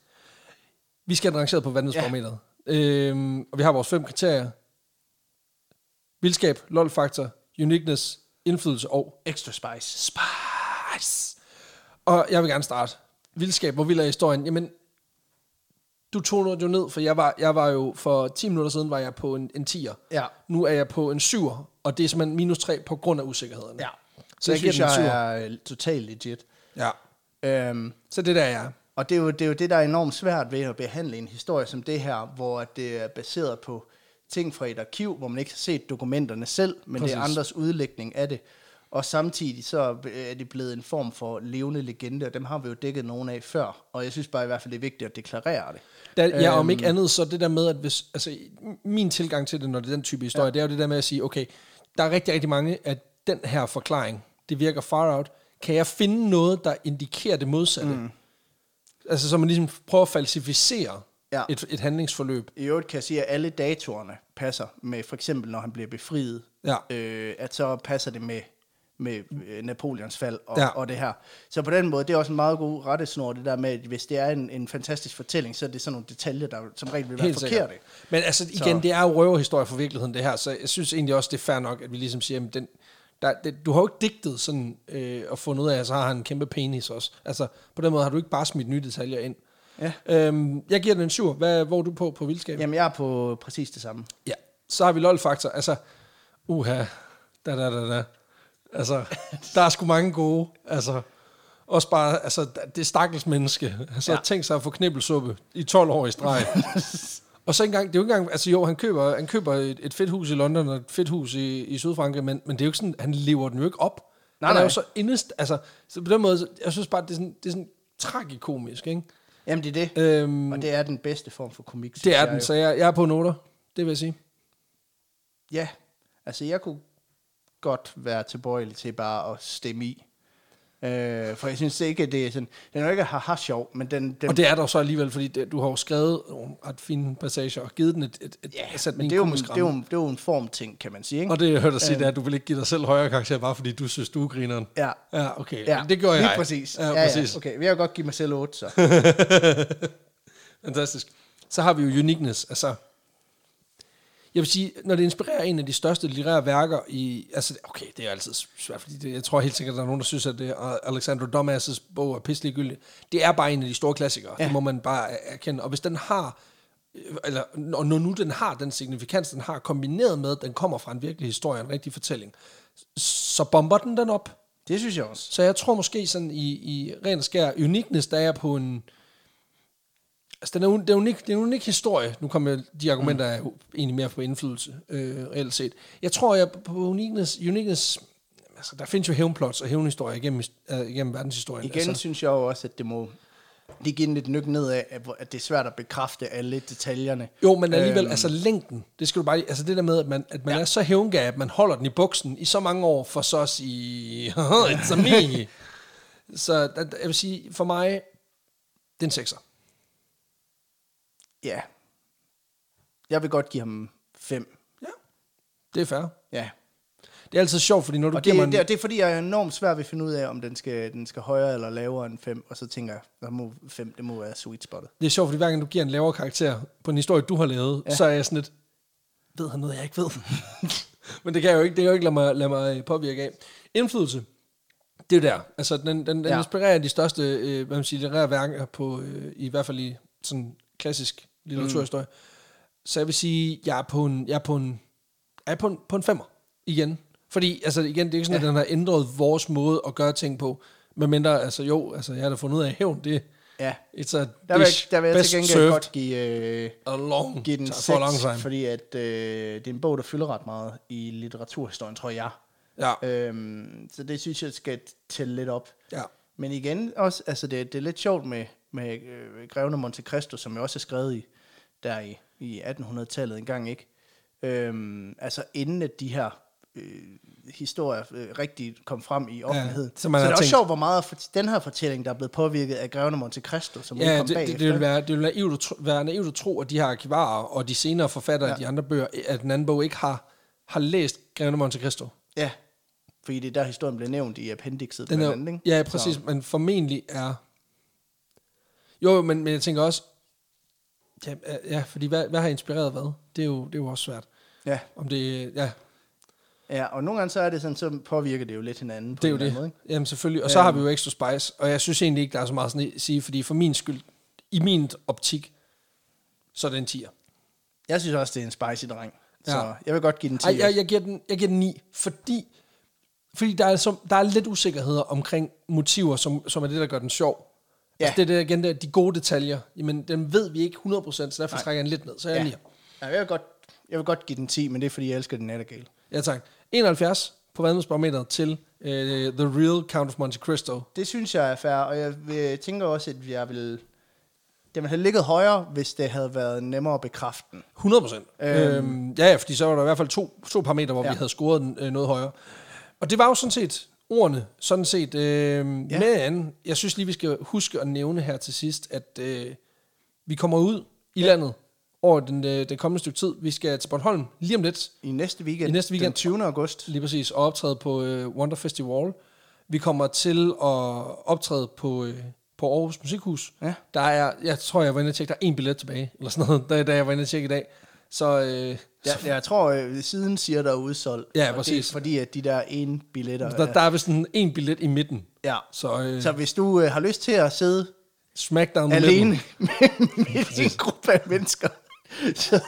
Vi skal have den rangeret på vanvidsparametret. Ja. Øhm, og vi har vores fem kriterier. Vildskab, lol-faktor, uniqueness, indflydelse og Extra spice. Spice. Og jeg vil gerne starte. Vildskab, hvor vild er historien? Jamen, du tog noget jo ned, for jeg var, jeg var jo for 10 minutter siden var jeg på en, en 10'er. Ja. Nu er jeg på en 7'er, og det er simpelthen minus 3 på grund af usikkerhederne. Ja. Så Så jeg det giver synes den en jeg syver. er øh, totalt legit. Ja. Øhm, Så det der er jeg. og det er, jo, det er jo det, der er enormt svært ved at behandle en historie som det her, hvor at det er baseret på ting fra et arkiv, hvor man ikke har set dokumenterne selv, men Præcis. det er Præcis. andres udlægning af det. Og samtidig så øh, er det blevet en form for levende legende, og dem har vi jo dækket nogen af før. Og jeg synes bare i hvert fald, det er vigtigt at deklarere det. Der, ja, om ikke andet, så det der med, at hvis, altså, min tilgang til det, når det er den type historie, ja. det er jo det der med at sige, okay, der er rigtig, rigtig mange af den her forklaring, det virker far out, kan jeg finde noget, der indikerer det modsatte? Mm. Altså, så man ligesom prøver at falsificere Ja. et, et handlingsforløb. I øvrigt kan jeg sige, at alle datorerne passer med, for eksempel når han bliver befriet, Ja. øh, at så passer det med, med øh, Napoleons fald og, Ja. ja. og det her. Så på den måde, det er også en meget god rettesnor, det der med, at hvis det er en, en fantastisk fortælling, så er det sådan nogle detaljer, der som regel vil være Helt sikkert. forkerte. Men altså igen, Så- det er jo røverhistorie for virkeligheden, det her, så jeg synes egentlig også, det er fair nok, at vi ligesom siger, jamen, den, der, det, du har jo ikke digtet sådan, øh, og fundet ud af, at så har han en kæmpe penis også. Altså, på den måde har du ikke bare smidt nye detaljer ind. Ja. Øhm, jeg giver den en syv. Hvad, hvor er du på på vildskab? Jamen, jeg er på præcis det samme. Ja. Så har vi LOL-faktor. Altså, uha, da da da da. *laughs* Altså, der er sgu mange gode. Altså, også bare, altså, det stakkels menneske. Altså, ja. Ja. tænk sig at få knibbelsuppe i 12 år *laughs* i streg. og så engang, det er jo ikke engang, altså jo, han køber, han køber et, et fedt hus i London og et fedt hus i, i Sydfrankrig, men, men det er jo ikke sådan, han lever den jo ikke op. Nej, han er nej. jo så indest, altså, så på den måde, så- jeg synes bare, det er sådan, det er sådan tragikomisk, ikke? Jamen, det er det. Øhm, Og det er den bedste form for komik. synes det er jeg den, jo. så jeg, jeg er på noter, det vil jeg sige. Ja, altså jeg kunne godt være tilbøjelig til bare at stemme i. Øh, for jeg synes ikke, at det er sådan... Den er jo ikke haha sjov, men den... den Og det er der så alligevel, fordi det, du har jo skrevet nogle ret fine passager og givet den et, et, et ja, sat den i men en det er, jo, en- komisk det, er jo, ramme. en- det er jo en formting, kan man sige, ikke? Og det, jeg hørte dig sige, det er, at du vil ikke give dig selv højere karakter, bare fordi du synes, du er grineren. Ja. Ja, okay. Ja, det gjorde lige jeg. præcis. Ja, ja, præcis. Ja, okay. Okay, jeg vil godt give mig selv 8, så. *laughs* Fantastisk. Så har vi jo uniqueness. Altså, jeg vil sige, når det inspirerer en af de største litterære værker i... Altså, okay, det er altid svært, fordi det, jeg tror helt sikkert, at der er nogen, der synes, at det er Alexander Dumas' bog er pisseliggyldig. Det er bare en af de store klassikere. Ja. Det må man bare erkende. Og hvis den har øh, eller, og når nu den har den signifikans, den har, kombineret med, at den kommer fra en virkelig historie, en rigtig fortælling, så bomber den den op. Det synes jeg også. Så jeg tror måske sådan i, i ren og skær uniqueness, der er jeg på en... Altså, den er, un, det, er unik, det er en unik historie. Nu kommer jeg- de argumenter, er jo egentlig mere på indflydelse, øh, reelt set. Jeg tror, jeg på uniqueness... uniqueness altså, der findes jo hævnplots og hævnhistorier igennem, øh, igennem verdenshistorien. Igen altså, synes jeg jo også, at det må... Det giver en lidt nyk ned af, at hvor- at det er svært at bekræfte alle detaljerne. jo, men alligevel, øhm, altså længden, det skal du bare... Altså det der med, at man, at man ja. er så hævngav, at man holder den i buksen i så mange år, for så at sige, *laughs* "Haha, it's a *laughs* me. så der, der- jeg vil sige, for mig, det er en sekser. Ja. Jeg vil godt give ham 5. Ja, det er fair. Ja. Det er altid sjovt, fordi når du Og giver mig... det, en- det, det er fordi, jeg er enormt svær ved at finde ud af, om den skal, den skal højere eller lavere end 5, og så tænker jeg, der må 5, det må være sweet spottet. Det er sjovt, fordi hver gang du giver en lavere karakter på en historie, du har lavet, ja. så er jeg sådan lidt, ved han noget, jeg ikke ved? *laughs* Men det kan jeg jo ikke, det kan jeg jo ikke lade mig, lade mig øh, påvirke af. Indflydelse, det er jo der. Altså, den, den, den ja. Ja. inspirerer de største øh, hvad man siger, litterære værker på, øh, i hvert fald i sådan klassisk litteraturhistorie. Mm. Så jeg vil sige, jeg er på en, jeg er på en, jeg er på en, på en femmer igen. Fordi, altså igen, det er ikke sådan, ja. at den har ændret vores måde at gøre ting på. Men mindre, altså jo, altså jeg har da fundet ud af hævn, det, Ja. It's a Der vil, dish jeg, der vil jeg best til gengæld served godt give, øh, a long, give den time, for a long 6, time. fordi at, øh, det er en bog, der fylder ret meget i litteraturhistorien, tror jeg. Ja, Øhm, så det synes jeg skal tælle lidt op. ja. Men igen, også, altså det, det er lidt sjovt med, med øh, Greven af Monte Cristo, som jo også er skrevet i, der i, i 1800-tallet engang, ikke? Øhm, altså inden at de her øh, historier øh, rigtig kom frem i offentligheden. så så man det har er også tænkt- sjovt, hvor meget for, den her fortælling, der er blevet påvirket af Greven af Monte Cristo, som ja, Ja, kom det, bag. det, det, vil være, det vil være ivd at tro, være naivt at tro, at de her arkivarer og de senere forfattere ja. af de andre bøger, at den anden bog ikke har, har læst Greven af Monte Cristo. Ja, fordi det er der, historien blev nævnt i appendixet. Den blandt er, andet, ikke? ja, præcis, men formentlig er... Jo, jo, men, men jeg tænker også... Ja, ja fordi hvad, hvad har inspireret hvad? Det er jo, det er jo også svært. Ja, Om det, ja, ja, og nogle gange så er det sådan, så påvirker det jo lidt hinanden på Det er en jo eller anden måde. det. Måde, Ikke? Øhm. Jamen selvfølgelig. Og så har vi jo Extra Spice, og jeg synes egentlig ikke, der er så meget sådan at sige, fordi for min skyld, i min optik, så er det en 10'er. Jeg synes også, det er en spicy dreng. Så Ja. jeg vil godt give den 10. Ej, jeg, jeg, giver den, jeg giver den 9, fordi, fordi der, er så, der er lidt usikkerheder omkring motiver, som, som er det, der gør den sjov. Ja. Ja. Altså det er det, igen, der, de gode detaljer, jamen dem ved vi ikke 100%, så derfor trækker jeg den lidt ned, så jeg er Ja. ja. 9. Ja, jeg, vil godt, jeg vil godt give den 10, men det er, fordi jeg elsker den Nattergale. Ja tak. 71 på vandhedsbarometeret til øh, The Real Count of Monte Cristo. Det synes jeg er fair, og jeg vil- tænker også, at jeg vil... Den ville have ligget højere, hvis det havde været nemmere at bekræfte den. 100 procent. Øhm, ja, ja, fordi så var der i hvert fald to, to parametre, hvor ja. Ja. vi havde scoret den øh, noget højere. Og det var jo sådan set ordene, sådan set. Øh, ja. Men jeg synes lige, vi skal huske at nævne her til sidst, at øh, vi kommer ud i landet over den, øh, den kommende stykke tid. Vi skal til Bornholm lige om lidt, I næste weekend, I næste den weekend. 20. august. lige præcis, og optræde på øh, Wonder Festival. Vi kommer til at optræde på, øh, på Aarhus Musikhus. Ja. Der er, jeg tror, jeg var inde og tjekke, der er en billet tilbage, eller sådan noget, *laughs* da, da jeg var inde og tjekke i dag. Så øh, Jeg, jeg tror, øh, siden siger der er udsolgt. Ja, og Det præcis. er, fordi at de der ene billetter... Altså, der, der er vist sådan en billet i midten. ja. Så, øh, Så så hvis du øh, har lyst til at sidde smackdown med alene dem, *laughs* med en gruppe af mennesker, *laughs* så,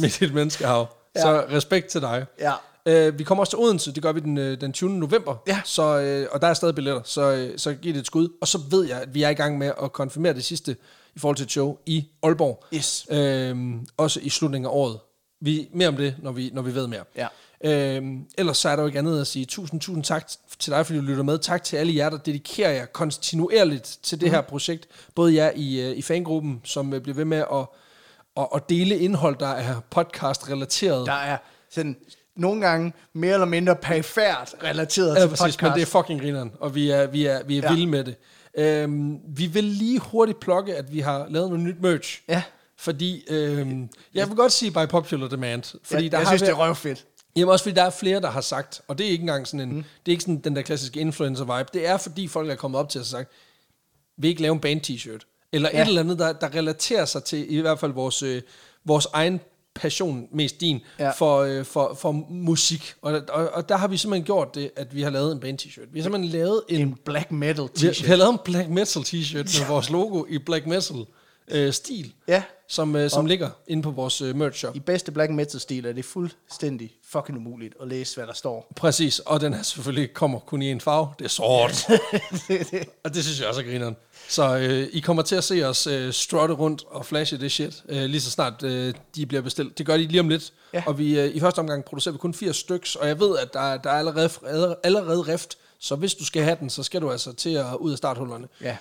med dit menneskehav. Ja. Så respekt til dig. Ja. Øh, vi kommer også til Odense, det gør vi den, øh, den 20. november, Ja. så, øh, og der er stadig billetter, så, øh, så giv det et skud. Og så ved jeg, at vi er i gang med at konfirmere det sidste i forhold til et show i Aalborg. Yes. Øhm, også i slutningen af året. Vi, mere om det, når vi, når vi ved mere. Ja. Øhm, ellers så er der jo ikke andet at sige tusind, tusind tak til dig, fordi du lytter med. Tak til alle jer, der dedikerer jer kontinuerligt til Mhm. det mm. her projekt. Både jer i, øh, i fangruppen, som øh, bliver ved med at, at, at dele indhold, der er podcast-relateret. der er sådan nogle gange mere eller mindre perifært relateret Ja, til præcis, podcast. men det er fucking grineren, og vi er, vi er, vi er Ja. ja. vilde med det. Øhm, vi vil lige hurtigt plukke, at vi har lavet noget nyt merch. Ja. Fordi, øhm, jeg vil godt sige by popular demand. Fordi jeg, der jeg har synes, været, det er røvfedt. Jamen også fordi der er flere, der har sagt, og det er ikke engang sådan en, mm. det er ikke sådan den der klassiske influencer-vibe, det er fordi folk er kommet op til os og sagt, vil I ikke lave en band-t-shirt? Eller Ja. ja. et eller andet, der, der relaterer sig til i hvert fald vores, øh, vores egen passion, mest din, Ja. ja. for, øh, for, for musik. Og, og, og der har vi simpelthen gjort det, at vi har lavet en band-t-shirt. Vi har simpelthen lavet en, En black metal vi har, vi t-shirt. har lavet en black metal t-shirt med vores logo i black metal øh, stil, Ja. som, øh, som ligger inde på vores øh, merch shop. I bedste black metal-stil er det fuldstændig fucking umuligt at læse, hvad der står. Præcis, og den er selvfølgelig kommer kun i en farve. Det er sort. og *laughs* det synes jeg også er grineren. Så øh, I kommer til at se os øh, strutte rundt og flashe det shit, øh, lige så snart øh, de bliver bestilt. Det gør de lige om lidt. Ja. Ja. Og vi, øh, i første omgang producerer vi kun 80 styks, og jeg ved, at der, er- der er allerede, allerede, allerede rift. Så hvis du skal have den, så skal du altså til at ud af starthullerne. Ja.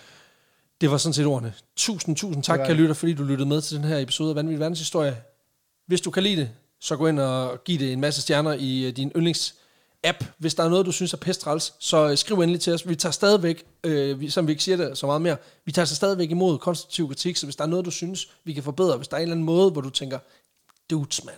Det var sådan set ordene. Tusind, tusind tak, kære lytter, fordi du lyttede med til den her episode af Vanvittig Verdenshistorie. Hvis du kan lide det, så gå ind og giv det en masse stjerner i øh, din yndlings-app. Hvis der er noget, du synes er pestræls, så øh, skriv endelig til os. Vi tager stadigvæk, øh, vi, som vi ikke siger det så meget mere, vi tager så stadigvæk imod konstruktiv kritik, så hvis der er noget, du synes, vi kan forbedre, hvis der er en eller anden måde, hvor du tænker, dudes, mand,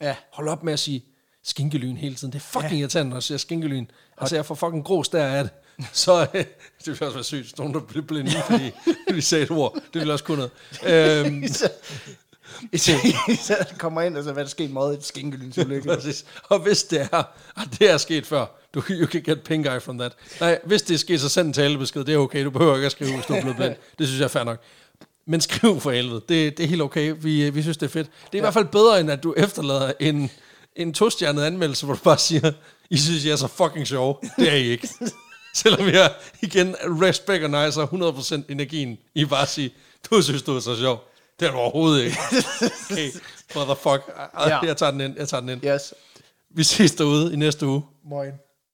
Ja. hold op med at sige skinkelyn hele tiden. Det er fucking ja. irriterende, når jeg siger skinkelyn. Altså, jeg får fucking grås der af det. *laughs* Så øh, det ville også være sygt, hvis nogen der blev blinde, fordi vi sagde et ord. Det ville også kunne noget. Øhm, *laughs* Så, så kommer ind, og så hvad der sket meget et *laughs* skinkelynsulykke. Præcis. Og hvis det er, og det er sket før, du kan you can get pink eye from that. Nej, hvis det er sket, så send en talebesked. Det er okay, du behøver ikke at skrive, hvis du er blevet blind. Det synes jeg er fair nok. Men skriv for helvede. Det, det er helt okay. Vi, øh, vi synes, det er fedt. Det er ja. i hvert fald bedre, end at du efterlader en, en tostjernet anmeldelse, hvor du bare siger, I synes, jeg er så fucking sjov. Det er I ikke. Selvom jeg igen respecterniser 100% energien i bare at sige, du synes, du er så sjov. Det er du overhovedet ikke. Okay, Ah, motherfucker. Ja. Jeg tager den ind, jeg tager den ind. Yes. Vi ses derude i næste uge. Moin.